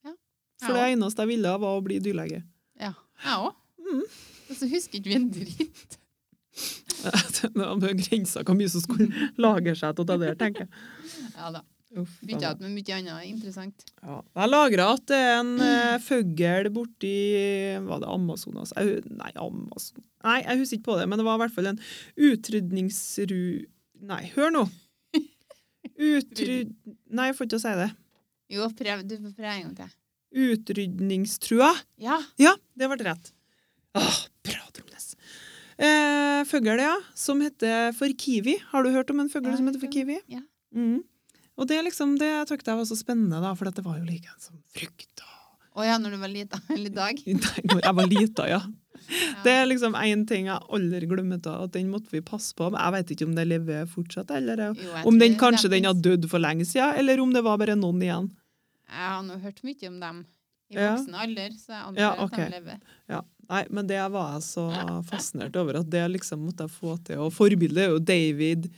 Speaker 1: Ja.
Speaker 2: For det eneste jeg ville, var å bli dyrlege.
Speaker 1: Ja. Jeg òg.
Speaker 2: Mm.
Speaker 1: Og så husker ikke vi en dritt.
Speaker 2: Det var grensa hvor mye som skulle lagre seg til det der, tenker jeg.
Speaker 1: Ja da.
Speaker 2: Uff,
Speaker 1: Bytta
Speaker 2: da.
Speaker 1: ut med mye annet interessant.
Speaker 2: ja. Jeg lagra at det er en eh, fugl borti Var det Amazonas? Jeg, hu- nei, Amazon Nei, jeg husker ikke på det, men det var i hvert fall en utrydningsru... Nei, hør nå! Utryd... Nei, jeg får ikke til å si det.
Speaker 1: Jo, prøv. Du får prøve en gang til.
Speaker 2: Utrydningstrua.
Speaker 1: Ja.
Speaker 2: Ja, det ble rett. Åh, bra, Tromnes. Eh, fugl, ja, som heter for kiwi. Har du hørt om en fugl
Speaker 1: Ja,
Speaker 2: som heter for
Speaker 1: ja,
Speaker 2: kiwi?
Speaker 1: ja.
Speaker 2: Mhm. Og det, er liksom, det tykte jeg var så spennende, da, for at det var jo like en som frukt. og-
Speaker 1: Å ja, når du var lita. Eller i dag.
Speaker 2: Nei, når jeg var lita, ja.
Speaker 1: Ja.
Speaker 2: Det er liksom én ting jeg aldri glemmer av, at den måtte vi passe på. Men jeg vet ikke om det lever fortsatt, eller
Speaker 1: Jo, jeg
Speaker 2: om
Speaker 1: tror
Speaker 2: den
Speaker 1: det
Speaker 2: kanskje den
Speaker 1: finnes.
Speaker 2: har dødd for lenge siden, eller om det var bare noen igjen.
Speaker 1: Jeg har nå hørt mye om dem i
Speaker 2: Ja.
Speaker 1: voksen alder, så jeg antar
Speaker 2: Ja,
Speaker 1: at
Speaker 2: ok.
Speaker 1: de lever.
Speaker 2: Ja, nei, men det var jeg så fascinert over at det liksom måtte jeg få til. Og forbildet er jo David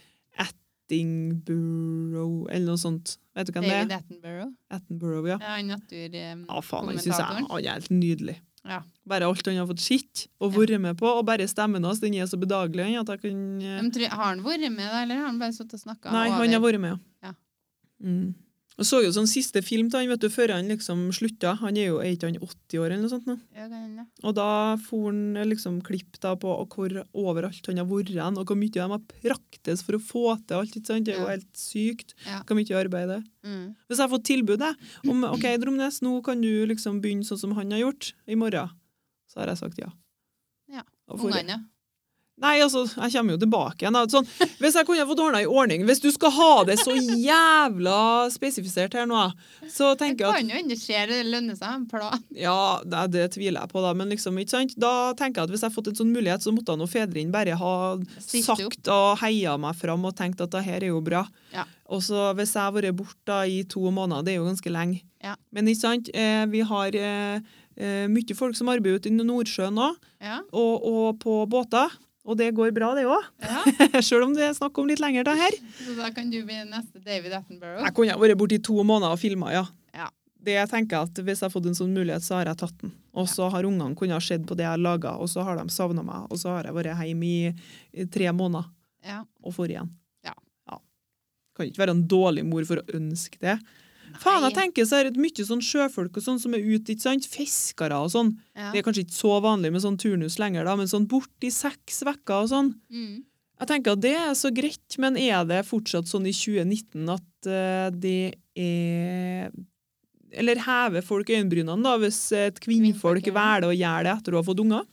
Speaker 2: Attenborough, eller noe sånt. Vet du hvem det
Speaker 1: David
Speaker 2: er?
Speaker 1: Attenborough.
Speaker 2: Attenborough, ja.
Speaker 1: Ja, han natur... eh,
Speaker 2: Ja, faen, han synes jeg
Speaker 1: kommentatoren.
Speaker 2: han er helt nydelig.
Speaker 1: Ja.
Speaker 2: Bare alt han har fått sitt og vært med på, og bare stemmen hans, den er så bedagelig han, at jeg kan eh,
Speaker 1: Men tror- Har han vært med, da, eller har han bare sittet og snakka?
Speaker 2: Nei, han har vært med,
Speaker 1: Ja.
Speaker 2: Mm. Og så jo sånn siste film til han, vet du, før han liksom slutta. Han er jo er ikke han 80 år eller noe sånt nå.
Speaker 1: vært
Speaker 2: Og da for han liksom klipp da på hvor overalt han har vært hen, og hvor mye de har praktes for å få til alt. ikke sant? Det er jo
Speaker 1: Ja.
Speaker 2: helt sykt
Speaker 1: Ja.
Speaker 2: hvor mye arbeid det er.
Speaker 1: Mm.
Speaker 2: Hvis jeg har fått tilbud jeg, om ok, Dromnes, nå kan du liksom begynne sånn som han har gjort, i morgen, så har jeg sagt ja.
Speaker 1: Ja.
Speaker 2: Og for-
Speaker 1: Ungene, ja.
Speaker 2: Nei, altså, jeg kommer jo tilbake igjen. da. Sånn, hvis jeg kunne fått ordna ei ordning Hvis du skal ha det så jævla spesifisert her nå, så
Speaker 1: Det
Speaker 2: tenker jeg at
Speaker 1: kan jo hende skje, det lønner seg å ha en plan.
Speaker 2: Ja, det, det tviler jeg på, da. Men liksom, ikke sant? da tenker jeg at hvis jeg har fått en sånn mulighet, så måtte han og fedrene bare ha
Speaker 1: Stilt opp.
Speaker 2: sagt og heia meg fram og tenkt at det her er jo bra.
Speaker 1: Ja.
Speaker 2: Og så hvis jeg har vært borte da i to måneder, det er jo ganske lenge.
Speaker 1: Ja.
Speaker 2: Men ikke sant, eh, vi har eh, eh, mye folk som arbeider ute i Nordsjøen òg,
Speaker 1: Ja.
Speaker 2: og, og på båter. Og det går bra, det òg.
Speaker 1: ja.
Speaker 2: Sjøl om det er snakk om litt lenger, det her.
Speaker 1: Så da kan du bli neste David Attenborough.
Speaker 2: Jeg kunne ha vært borte i to måneder og filma, ja.
Speaker 1: Ja.
Speaker 2: det jeg tenker at Hvis jeg har fått en sånn mulighet, så har jeg tatt den. Og så har ungene kunnet ha sett på det jeg har laga, og så har de savna meg. Og så har jeg vært hjemme i, i tre måneder
Speaker 1: Ja.
Speaker 2: og får igjen.
Speaker 1: Ja.
Speaker 2: Kan ikke være en dårlig mor for å ønske det. Faen, jeg
Speaker 1: Nei.
Speaker 2: tenker så er det mye sånn sjøfolk og sånn som er ute, ikke sant? Fiskere og sånn.
Speaker 1: Ja.
Speaker 2: Det er kanskje ikke så vanlig med sånn turnus lenger, da, men sånn borti seks uker og sånn.
Speaker 1: Mm.
Speaker 2: Jeg tenker at det er så greit, men er det fortsatt sånn i 2019 at eh, det er Eller hever folk øyenbrynene da, hvis et kvinnfolk
Speaker 1: Kvinnfolk, ja.
Speaker 2: velger å gjøre det etter å ha fått unger?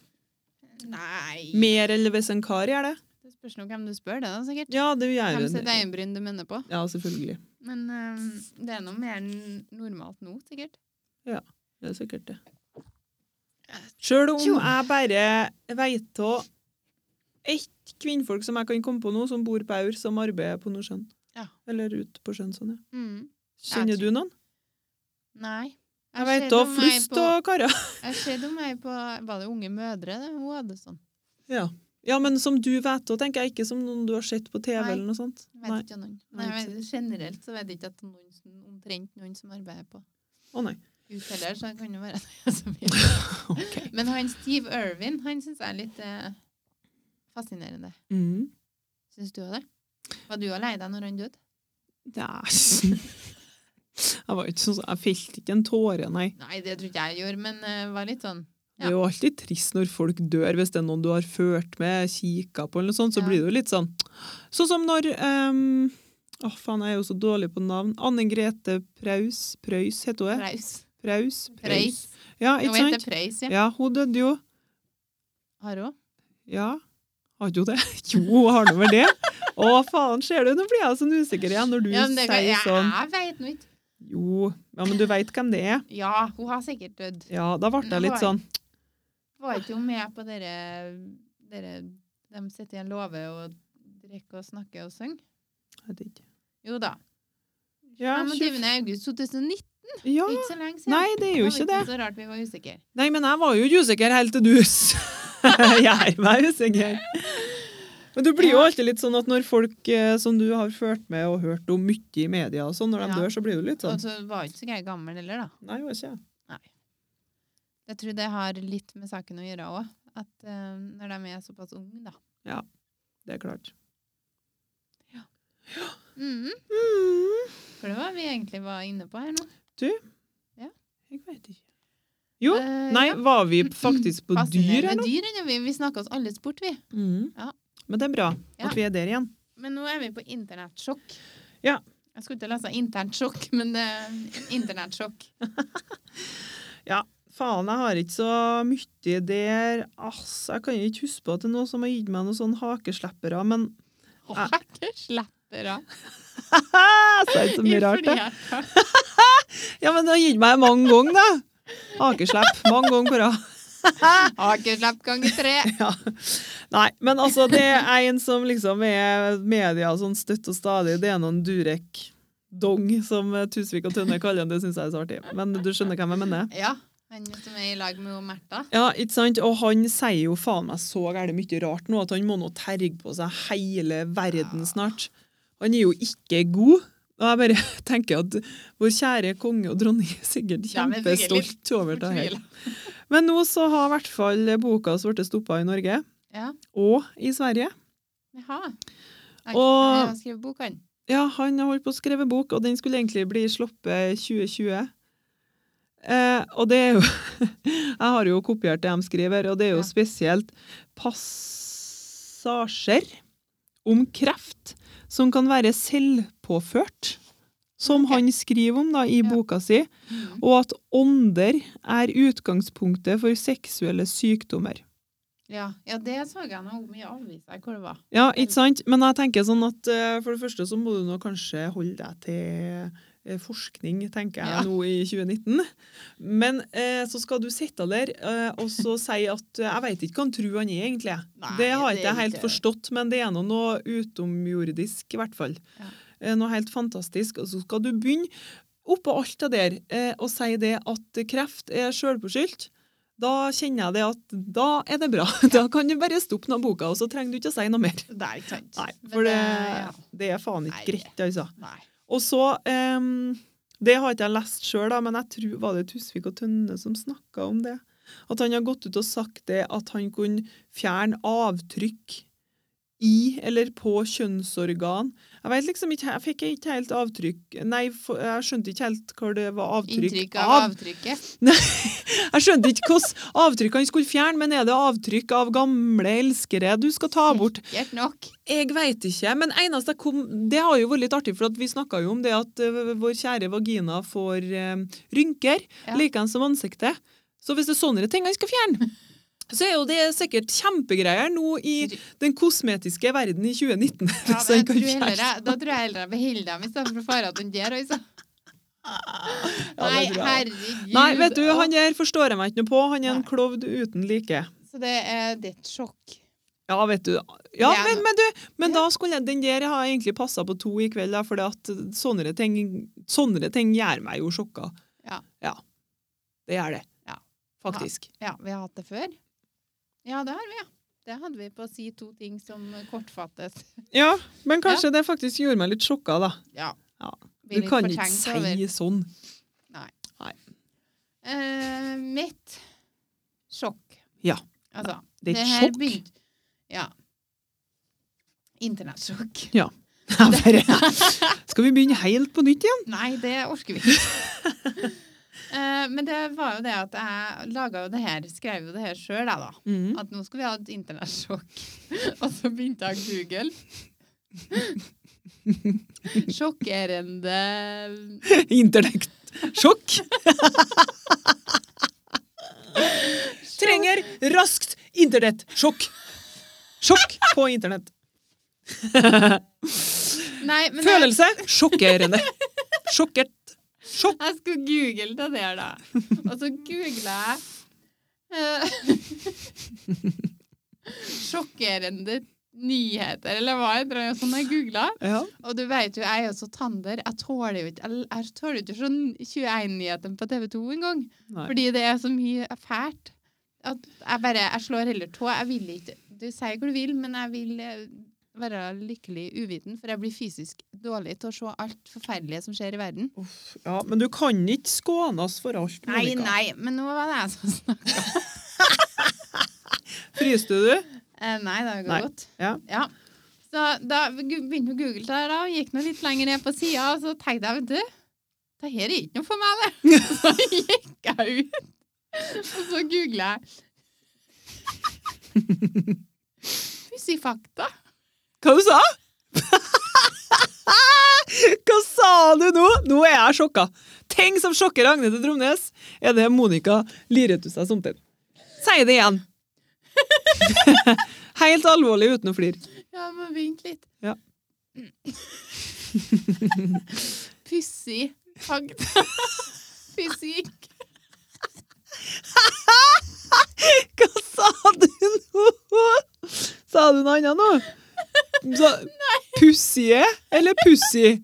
Speaker 1: Nei.
Speaker 2: Mer eller hvis en kar gjør det?
Speaker 1: Det spørs nå hvem du spør, det da, sikkert.
Speaker 2: Ja, det gjør
Speaker 1: Hvem sitt
Speaker 2: en.
Speaker 1: øyenbryn du mener på.
Speaker 2: Ja, selvfølgelig.
Speaker 1: Men eh, det er noe mer n- normalt nå, sikkert.
Speaker 2: Det er sikkert det. Sjøl om
Speaker 1: Jo.
Speaker 2: jeg bare veit av ett kvinnfolk som jeg kan komme på nå, som bor på Aur, som arbeider på Nordsjøen.
Speaker 1: Ja.
Speaker 2: Eller ute på sjøen, sånn, ja.
Speaker 1: Mm.
Speaker 2: Kjenner
Speaker 1: Jeg
Speaker 2: du noen?
Speaker 1: Nei.
Speaker 2: Jeg
Speaker 1: ser
Speaker 2: veit
Speaker 1: dem
Speaker 2: av
Speaker 1: her
Speaker 2: flust
Speaker 1: på-
Speaker 2: og karer.
Speaker 1: Jeg ser dem her på Var det Unge mødre? det? Hun hadde sånn.
Speaker 2: Ja. ja, men som du vet av, tenker jeg, ikke som noen du har sett på TV
Speaker 1: Nei.
Speaker 2: eller noe sånt.
Speaker 1: Jeg vet
Speaker 2: Nei.
Speaker 1: ikke om noen.
Speaker 2: Nei,
Speaker 1: Nei,
Speaker 2: ikke
Speaker 1: jeg vet, generelt så vet jeg ikke at noen, som- omtrent noen som arbeider på
Speaker 2: Å nei.
Speaker 1: ut heller, så det kan jo være det som vil.
Speaker 2: OK.
Speaker 1: Men han Steve Irwin, han syns jeg er litt eh, fascinerende.
Speaker 2: Mm.
Speaker 1: Syns du òg det? Var du òg lei deg når han døde?
Speaker 2: Ja. Jeg var ikke sånn, jeg felte ikke en tåre, nei.
Speaker 1: Nei, det tror ikke jeg gjorde, men eh, var litt sånn
Speaker 2: Det er jo alltid trist når folk dør, hvis det er noen du har ført med, kikka på eller noe sånt, så
Speaker 1: Ja.
Speaker 2: blir det jo litt sånn. Sånn som når ehm, Å, faen, jeg er jo så dårlig på navn. Anne Grete Preus Preus heter hun det?
Speaker 1: preis.
Speaker 2: Preus?
Speaker 1: Preis.
Speaker 2: Ja,
Speaker 1: Nå
Speaker 2: ikke
Speaker 1: heter
Speaker 2: sant?
Speaker 1: det preis, ja.
Speaker 2: Ja, hun døde jo.
Speaker 1: Har hun?
Speaker 2: Ja. Har ikke hun det? Jo, hun har nå vel det. Å, faen, ser du, nå blir jeg sånn usikker igjen når du
Speaker 1: Ja, men det, kan-
Speaker 2: sier
Speaker 1: jeg,
Speaker 2: sånn.
Speaker 1: jeg vet nå ikke.
Speaker 2: Jo, ja, men du veit hvem det er.
Speaker 1: Ja, hun har sikkert dødd.
Speaker 2: Ja, da ble jeg
Speaker 1: Nå
Speaker 2: litt
Speaker 1: har
Speaker 2: sånn
Speaker 1: Var ikke hun med på dere, dere De sitter i en låve og drikker og snakker og synger?
Speaker 2: Jeg vet ikke.
Speaker 1: Jo da.
Speaker 2: Ja,
Speaker 1: 25. august 2019, det
Speaker 2: ja.
Speaker 1: er ikke så lenge siden.
Speaker 2: Nei, det er jo
Speaker 1: var
Speaker 2: ikke det.
Speaker 1: Så rart vi var usikre.
Speaker 2: Nei, men jeg var jo usikker helt til du s- gjør meg usikker. Men du blir jo alltid litt sånn at når folk eh, som du har ført med og hørt om mye i media, og sånn, når de
Speaker 1: Ja.
Speaker 2: dør, så blir du litt sånn
Speaker 1: Og så var jo ikke så gøy gammel heller, da.
Speaker 2: Nei, det var ikke jeg.
Speaker 1: Jeg tror det har litt med saken å gjøre òg. At eh, når de er såpass unge, da.
Speaker 2: Det er klart.
Speaker 1: Mhm.
Speaker 2: Mm,
Speaker 1: For det var vi egentlig var inne på her nå.
Speaker 2: jeg vet ikke. Jo.
Speaker 1: Eh,
Speaker 2: Nei,
Speaker 1: ja.
Speaker 2: var vi faktisk på dyr,
Speaker 1: Fascinerende
Speaker 2: eller?
Speaker 1: dyr, eller? Vi, vi snakka oss alle bort, vi.
Speaker 2: Mm.
Speaker 1: Ja.
Speaker 2: Men det er bra
Speaker 1: Ja.
Speaker 2: at vi er der igjen.
Speaker 1: Men nå er vi på internettsjokk.
Speaker 2: Ja.
Speaker 1: Jeg skulle ikke lese interntsjokk, men det er internettsjokk.
Speaker 2: Faen, jeg har ikke så mye der. Ass, jeg kan jo ikke huske på at det er noe som har gitt meg noen sånne hakesleppere, men
Speaker 1: Og
Speaker 2: Ja.
Speaker 1: jeg slapper av.
Speaker 2: Så er det så mye rart, det.
Speaker 1: det.
Speaker 2: Ja, men det har gitt meg mange ganger, da. Hakeslepp. Mange ganger på rad.
Speaker 1: Akerslapp ganger tre.
Speaker 2: Ja. Nei, men altså, det er en som liksom er media sånn støtt og stadig. Det er noen Durek Dong, som eh, Tusvik og Tønne kaller han. Det syns jeg er så artig. Men du skjønner hvem jeg mener?
Speaker 1: Ja. Han som er i lag med hun Märtha.
Speaker 2: Ja, ikke sant? Og han sier jo faen meg så gærent mye rart nå at han må nå terge på seg hele verden snart. Han er jo ikke god. Og jeg bare tenker at vår kjære konge og dronning er sikkert
Speaker 1: Ja, men sikkert litt
Speaker 2: kjempestolt over det her.
Speaker 1: fortvila.
Speaker 2: Men nå så har i hvert fall boka hans blitt stoppa i Norge
Speaker 1: Ja.
Speaker 2: og i Sverige.
Speaker 1: Jaha. Han
Speaker 2: Og-
Speaker 1: har skrevet bok, han.
Speaker 2: Ja, han har holdt på å skrive bok, og den skulle egentlig bli sluppet i 2020. Eh, og det er jo Jeg har jo kopiert det de skriver, og det er jo
Speaker 1: Ja.
Speaker 2: spesielt passasjer om kreft som kan være selvpåført, som
Speaker 1: Ok.
Speaker 2: han skriver om da
Speaker 1: Ja.
Speaker 2: i boka si,
Speaker 1: Mhm.
Speaker 2: og at ånder er utgangspunktet for seksuelle sykdommer.
Speaker 1: Ja. ja, det så jeg noe om i avisa hvor det var.
Speaker 2: Ja, ikke sant? Men jeg tenker sånn at eh, for det første så må du nå kanskje holde deg til eh, forskning, tenker jeg
Speaker 1: Ja.
Speaker 2: nå i 2019. Men eh, så skal du sitte der eh, og så si at eh, jeg vet ikke hva han tror han er egentlig.
Speaker 1: Nei,
Speaker 2: det har
Speaker 1: det
Speaker 2: ikke
Speaker 1: er
Speaker 2: jeg helt
Speaker 1: ikke-
Speaker 2: forstått, men det er nå noe utomjordisk i hvert fall.
Speaker 1: Ja.
Speaker 2: Eh, Noe helt fantastisk. Og så skal du begynne oppå alt det der eh, og si det at kreft er sjølforskyldt. Da kjenner jeg det at da er det bra. Da kan du bare stoppe noen boka, og så trenger du ikke å si noe mer.
Speaker 1: Det er ikke sant.
Speaker 2: Nei,
Speaker 1: Men
Speaker 2: for det,
Speaker 1: ja.
Speaker 2: det er faen ikke
Speaker 1: Nei.
Speaker 2: greit, altså.
Speaker 1: Nei.
Speaker 2: Og så em, Det har ikke jeg lest sjøl, men jeg tror var det Tusvik og Tønne som snakka om det. At han har gått ut og sagt det at han kunne fjerne avtrykk i eller på kjønnsorgan. Jeg vet liksom ikke, jeg fikk ikke helt avtrykk Nei, for, jeg skjønte ikke helt hva det var avtrykk
Speaker 1: Inntrykk
Speaker 2: av.
Speaker 1: av avtrykket.
Speaker 2: Jeg skjønte ikke hvilke avtrykk han skulle fjerne, men er det avtrykk av gamle elskere du skal ta bort?
Speaker 1: Sikkert nok.
Speaker 2: Jeg veit ikke, men eneste jeg kom, det har jo vært litt artig, for at vi snakka jo om det at ø, vår kjære vagina får ø, rynker,
Speaker 1: Ja.
Speaker 2: likeens som ansiktet. Så hvis det er sånne ting han skal fjerne, så er jo det sikkert kjempegreier nå i den kosmetiske verden i
Speaker 1: Ja,
Speaker 2: 2019. hvis
Speaker 1: men
Speaker 2: han
Speaker 1: jeg
Speaker 2: kan
Speaker 1: tror
Speaker 2: fjerne-
Speaker 1: heller, jeg- da tror jeg heller jeg beholder dem istedenfor å fare at den der. Altså.
Speaker 2: Ja,
Speaker 1: Nei,
Speaker 2: det er bra.
Speaker 1: herregud.
Speaker 2: Nei, vet du, han
Speaker 1: Åh,
Speaker 2: der forstår jeg meg ikke noe på. Han er en
Speaker 1: Nei.
Speaker 2: klovn uten like.
Speaker 1: Så det er det er et sjokk.
Speaker 2: Ja, vet du. Ja,
Speaker 1: Det er
Speaker 2: men,
Speaker 1: noe.
Speaker 2: men du, men da skulle jeg- den der har jeg egentlig passa på to i kveld, da, for sånne ting, sånne ting gjør meg jo sjokka.
Speaker 1: Ja.
Speaker 2: Det gjør det.
Speaker 1: Ja.
Speaker 2: Faktisk.
Speaker 1: Ja, vi har hatt det før. Ja, det har vi, ja. Det hadde vi på å si to ting som kortfattes.
Speaker 2: Ja, men kanskje det faktisk gjorde meg litt sjokka, da.
Speaker 1: Ja.
Speaker 2: Ja.
Speaker 1: Blir
Speaker 2: Du
Speaker 1: litt
Speaker 2: kan ikke
Speaker 1: fortenkt
Speaker 2: si
Speaker 1: over.
Speaker 2: sånn.
Speaker 1: Eh, mitt sjokk.
Speaker 2: Ja.
Speaker 1: Altså,
Speaker 2: Det er et
Speaker 1: her
Speaker 2: sjokk.
Speaker 1: begynte- Ja. Internettsjokk.
Speaker 2: Ja, bare- Skal vi begynne helt på nytt igjen?
Speaker 1: Nei, det orker vi ikke. Eh, men det var jo det at jeg laga jo det her, skrev jo det her sjøl, jeg, da. At nå skal vi ha et internettsjokk. Og så begynte jeg Google. Sjokkerende
Speaker 2: Internett. Sjokk. Trenger raskt internett. Sjokk. Sjokk på internett.
Speaker 1: Nei, men jeg,
Speaker 2: Følelse sjokkerende. Sjokkert. Sjokk.
Speaker 1: jeg skulle google det der, da. Og så googla jeg eh, Sjokkerende nyheter, eller hva heter det? Sånn jeg googla.
Speaker 2: Ja.
Speaker 1: Og du vet jo, jeg er jo så tander. Jeg tåler jo ikke jeg, jeg tåler jo ikke sånn 21-nyheten på TV 2 engang.
Speaker 2: Nei.
Speaker 1: Fordi det er så mye fælt. At jeg bare jeg slår heller tå. Jeg vil ikke Du sier hva du vil, men jeg vil eh, være lykkelig uviten, for jeg blir fysisk dårlig til å se alt forferdelige som skjer i verden.
Speaker 2: ja, men du kan ikke skånes for alt,
Speaker 1: Nei,
Speaker 2: Monica.
Speaker 1: nei, men nå var det jeg som snakket.
Speaker 2: Fryste du?
Speaker 1: Eh, Nei, det går
Speaker 2: Nei.
Speaker 1: godt.
Speaker 2: Ja.
Speaker 1: Så da gu- begynte å google der, da, og gikk nå litt lenger ned på sida, og så tenkte jeg, vet du, det her er ikke noe for meg, det. Så gikk jeg ut, og så googla jeg. Pussig fakta.
Speaker 2: Hva du sa Hva sa du nå? Nå er jeg sjokka. Ting som sjokker Agnete Tromnes, er det Monica lirer ut seg somtid. Si det igjen. Helt alvorlig uten å flire.
Speaker 1: Ja, må vink litt.
Speaker 2: Ja.
Speaker 1: Pussig fakta. Fysikk.
Speaker 2: Hva sa du nå? Sa du noe annet nå? Sa, pussige eller pussig?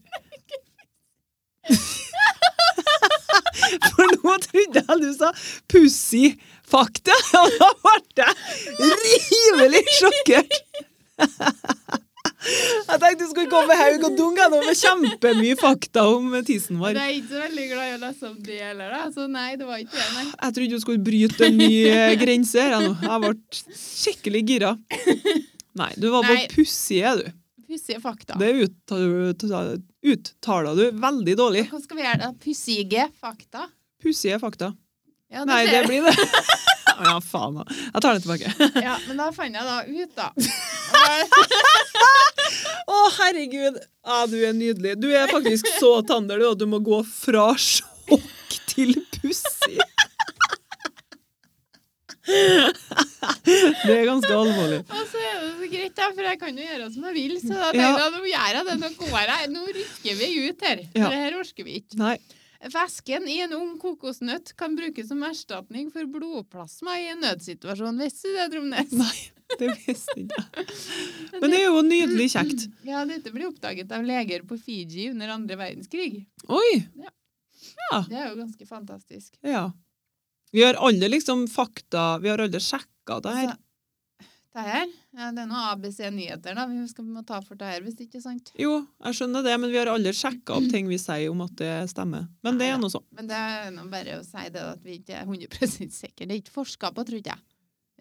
Speaker 2: For nå trodde jeg du sa pussy-fakta, og da ble jeg rivelig sjokkert. Jeg tenkte du skulle komme med haug og dunk jeg, nå med kjempemye fakta om tissen vår.
Speaker 1: Men Jeg er ikke så veldig glad i å lese om det heller, da. Så nei, det var ikke det, nei.
Speaker 2: Jeg trodde du skulle bryte en ny eh, grense her. Jeg, nå. jeg ble skikkelig gira. Nei, du var
Speaker 1: Nei.
Speaker 2: bare pussig, er du.
Speaker 1: Pussige fakta.
Speaker 2: Det uttaler uttaler du veldig dårlig.
Speaker 1: Hva skal vi gjøre da? Pussige fakta?
Speaker 2: Pussige fakta.
Speaker 1: Ja, du
Speaker 2: Nei, det
Speaker 1: ser
Speaker 2: blir det. Ja, faen da. Jeg tar det tilbake.
Speaker 1: det. ja, men da fant jeg da ut, da.
Speaker 2: Å, herregud. Ja, du er nydelig. Du er faktisk så tander, du, og du må gå fra sjokk til pussig. Det er ganske alvorlig.
Speaker 1: Og så er det så greit, da, for jeg kan jo gjøre som jeg vil. Så da
Speaker 2: Ja.
Speaker 1: tenkte jeg nå gjør jeg det. Nå går jeg. Nå rykker vi ut her.
Speaker 2: Ja.
Speaker 1: For det her orker vi ikke.
Speaker 2: Nei.
Speaker 1: Væsken i en ung kokosnøtt kan brukes som erstatning for blodplasma i en nødsituasjon. Visste du det, Tromnes?
Speaker 2: Nei, det visste ikke jeg. Men det er jo nydelig kjekt.
Speaker 1: Ja, dette ble oppdaget av leger på Fiji under andre verdenskrig.
Speaker 2: Oi!
Speaker 1: Det er jo ganske fantastisk.
Speaker 2: Ja. Vi har alle liksom fakta Vi har alle sjekka det her.
Speaker 1: Altså, Det her, ja, det er noe ABC-nyheter da, vi skal må ta for det her hvis det ikke er sant.
Speaker 2: Jo, jeg skjønner det, men vi har aldri sjekka opp ting vi sier om at det stemmer. Men det er nå sånn.
Speaker 1: Men det er nå bare å si det at vi ikke er 100 sikre. Det er ikke forska på, tror ikke jeg.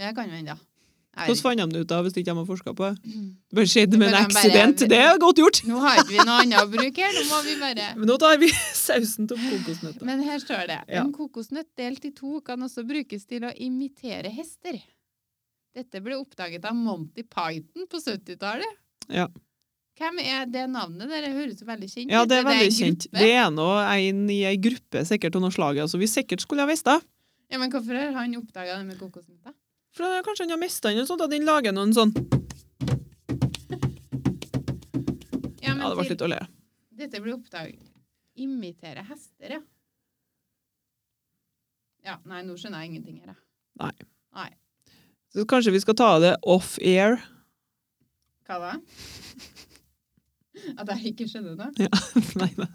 Speaker 1: Det kan jo hende. Jeg vet
Speaker 2: Hvordan
Speaker 1: ikke.
Speaker 2: fant de det ut av hvis ikke de har forska på det? Det bare skjedde
Speaker 1: Men
Speaker 2: med en
Speaker 1: de Mm. bare-
Speaker 2: accident. Det er godt gjort!
Speaker 1: Nå har ikke vi noe annet å bruke her, nå må vi bare
Speaker 2: Men nå tar vi sausen til kokosnøtter.
Speaker 1: Men her står det
Speaker 2: Ja.
Speaker 1: En kokosnøtt delt i to kan også brukes til å imitere hester. Dette ble oppdaget av Monty Python på 70-tallet.
Speaker 2: Ja.
Speaker 1: Hvem er det navnet der? Det høres jo veldig kjent
Speaker 2: Ja,
Speaker 1: ut.
Speaker 2: det er
Speaker 1: en
Speaker 2: veldig kjent.
Speaker 1: gruppe?
Speaker 2: Det er nå en i ei gruppe sikkert av noe slag, altså vi sikkert skulle ha visst det.
Speaker 1: Ja, men hvorfor har han oppdaga det med kokosnøtta?
Speaker 2: For det er kanskje han har mista den, eller sånt, at den lager noen sånn
Speaker 1: Ja, men
Speaker 2: Ja, det ble
Speaker 1: til-
Speaker 2: litt å le.
Speaker 1: Dette ble oppdaget. Imitere hester, ja. Ja, nei, nå skjønner jeg ingenting her, jeg.
Speaker 2: Så kanskje vi skal ta det off air.
Speaker 1: Hva da? At jeg ikke skjønner det?
Speaker 2: Nei, nei.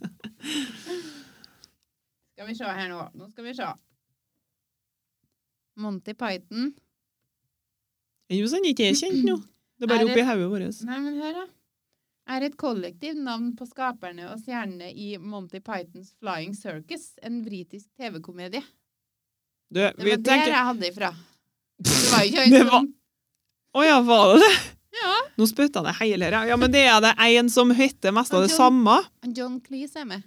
Speaker 1: Skal vi se her nå. Nå skal vi se. Monty Python.
Speaker 2: Enn hvis han sånn, ikke er kjent nå. Det er bare
Speaker 1: Er det-
Speaker 2: oppi hodet vårt.
Speaker 1: Nei, men hør, da. Er et kollektivt navn på skaperne og stjernene i Monty Pythons Flying Circus, en britisk TV-komedie.
Speaker 2: Du,
Speaker 1: Det
Speaker 2: vi
Speaker 1: var der
Speaker 2: tenker
Speaker 1: jeg hadde ifra. Det var jo ikke
Speaker 2: Det
Speaker 1: en
Speaker 2: var-
Speaker 1: sånn
Speaker 2: Å ja, var det det?
Speaker 1: Ja.
Speaker 2: Nå spytta det hele her. ja. Ja, men det er det en som heter mest av det samme.
Speaker 1: Han John Cleese er med.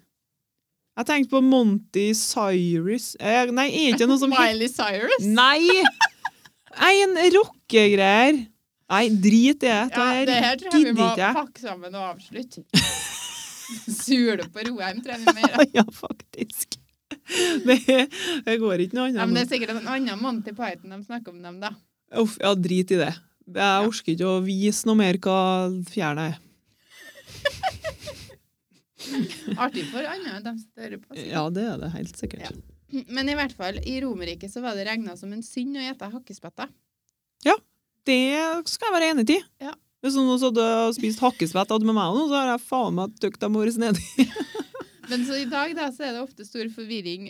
Speaker 2: Jeg tenkte på Monty Cyrus eh, Nei, er ikke noe som heter
Speaker 1: Miley Cyrus.
Speaker 2: Nei! En rockegreier. Nei, drit i det.
Speaker 1: Ja, det her tror jeg vi
Speaker 2: gidder
Speaker 1: må
Speaker 2: ikke jeg.
Speaker 1: pakke sammen og avslutte. Sule på Roheim tror jeg vi mer.
Speaker 2: Ja, faktisk. Det, det går ikke noe
Speaker 1: Ja, men det
Speaker 2: annet.
Speaker 1: er sikkert en annen Monty Python de snakker om dem, da.
Speaker 2: Uff, ja, drit i det. Jeg orker ikke å vise noe mer hva fjerna er.
Speaker 1: Artig for andre enn dem som hører på. sikkert.
Speaker 2: Ja, det er det helt sikkert.
Speaker 1: Ja. Men i hvert fall, i Romerike så var det regna som en synd å gjette hakkespetter.
Speaker 2: Det skal jeg være enig i.
Speaker 1: Ja.
Speaker 2: Hvis noen hadde spist hakkespett hadde med meg nå, så har jeg faen meg tøkt dem årets nedi.
Speaker 1: Men så i dag da, så er det ofte stor forvirring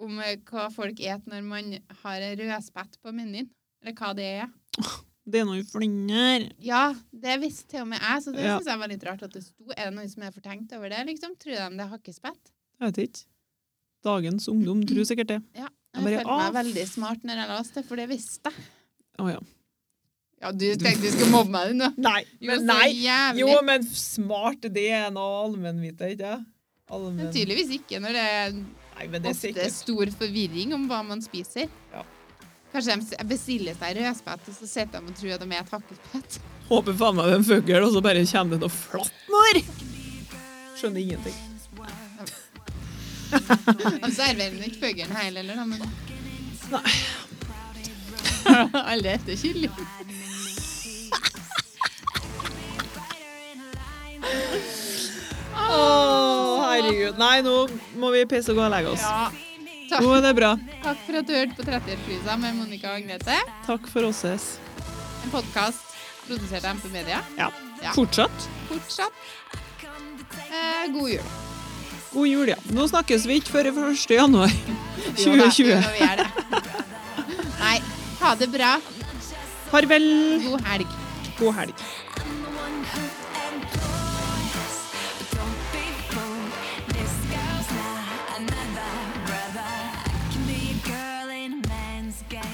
Speaker 1: om eh, hva folk et når man har en rødspett på menyen. Eller hva det er.
Speaker 2: Det er noen flinger.
Speaker 1: Ja, det visste til og med jeg, så det
Speaker 2: Ja.
Speaker 1: synes jeg var litt rart at det sto. Er det noen som er fortenkt over det, liksom? Tror de det er hakkespett?
Speaker 2: Jeg vet ikke. Dagens ungdom tror sikkert det.
Speaker 1: Jeg
Speaker 2: Jeg
Speaker 1: følte
Speaker 2: bare,
Speaker 1: meg
Speaker 2: «Å,
Speaker 1: veldig smart når jeg leste det, for det visste jeg.
Speaker 2: Å ja.
Speaker 1: Ja, du tenkte du skulle mobbe meg nå.
Speaker 2: Nei,
Speaker 1: Jo, så jævlig.
Speaker 2: men smart, det er noe allmennvite, ikke
Speaker 1: Men tydeligvis ikke når det er
Speaker 2: Nei, men
Speaker 1: ofte stor forvirring om hva man spiser.
Speaker 2: Ja.
Speaker 1: Kanskje de s- bestiller seg rødspett, og så sitter de og tror at de er et hakkespett.
Speaker 2: Håper faen meg det er en fugl, og så bare kommer det noe flatt når. Skjønner ingenting.
Speaker 1: De serverer jo ikke fuglen heller, eller da, men
Speaker 2: Nei.
Speaker 1: alle etter kylling.
Speaker 2: Å, herregud. Nei, nå må vi pisse og gå og legge oss.
Speaker 1: Ja.
Speaker 2: Nå
Speaker 1: Takk,
Speaker 2: er det bra.
Speaker 1: takk for at du hørte på 30-årskrisa med Monica og Agnete.
Speaker 2: Takk for oss. ses.
Speaker 1: En podkast produsert av MP Media.
Speaker 2: Ja.
Speaker 1: Ja.
Speaker 2: Fortsatt
Speaker 1: Fortsatt eh, god jul.
Speaker 2: god jul, ja. Nå snakkes vi ikke før 1. januar
Speaker 1: Jo da,
Speaker 2: 2020.
Speaker 1: jo, vi er det. Nei, ha det bra.
Speaker 2: Farvel.
Speaker 1: God helg.
Speaker 2: God helg.
Speaker 3: I'm the one who employs, but don't be fooled. This girl's not another brother. I can be a girl in a man's game.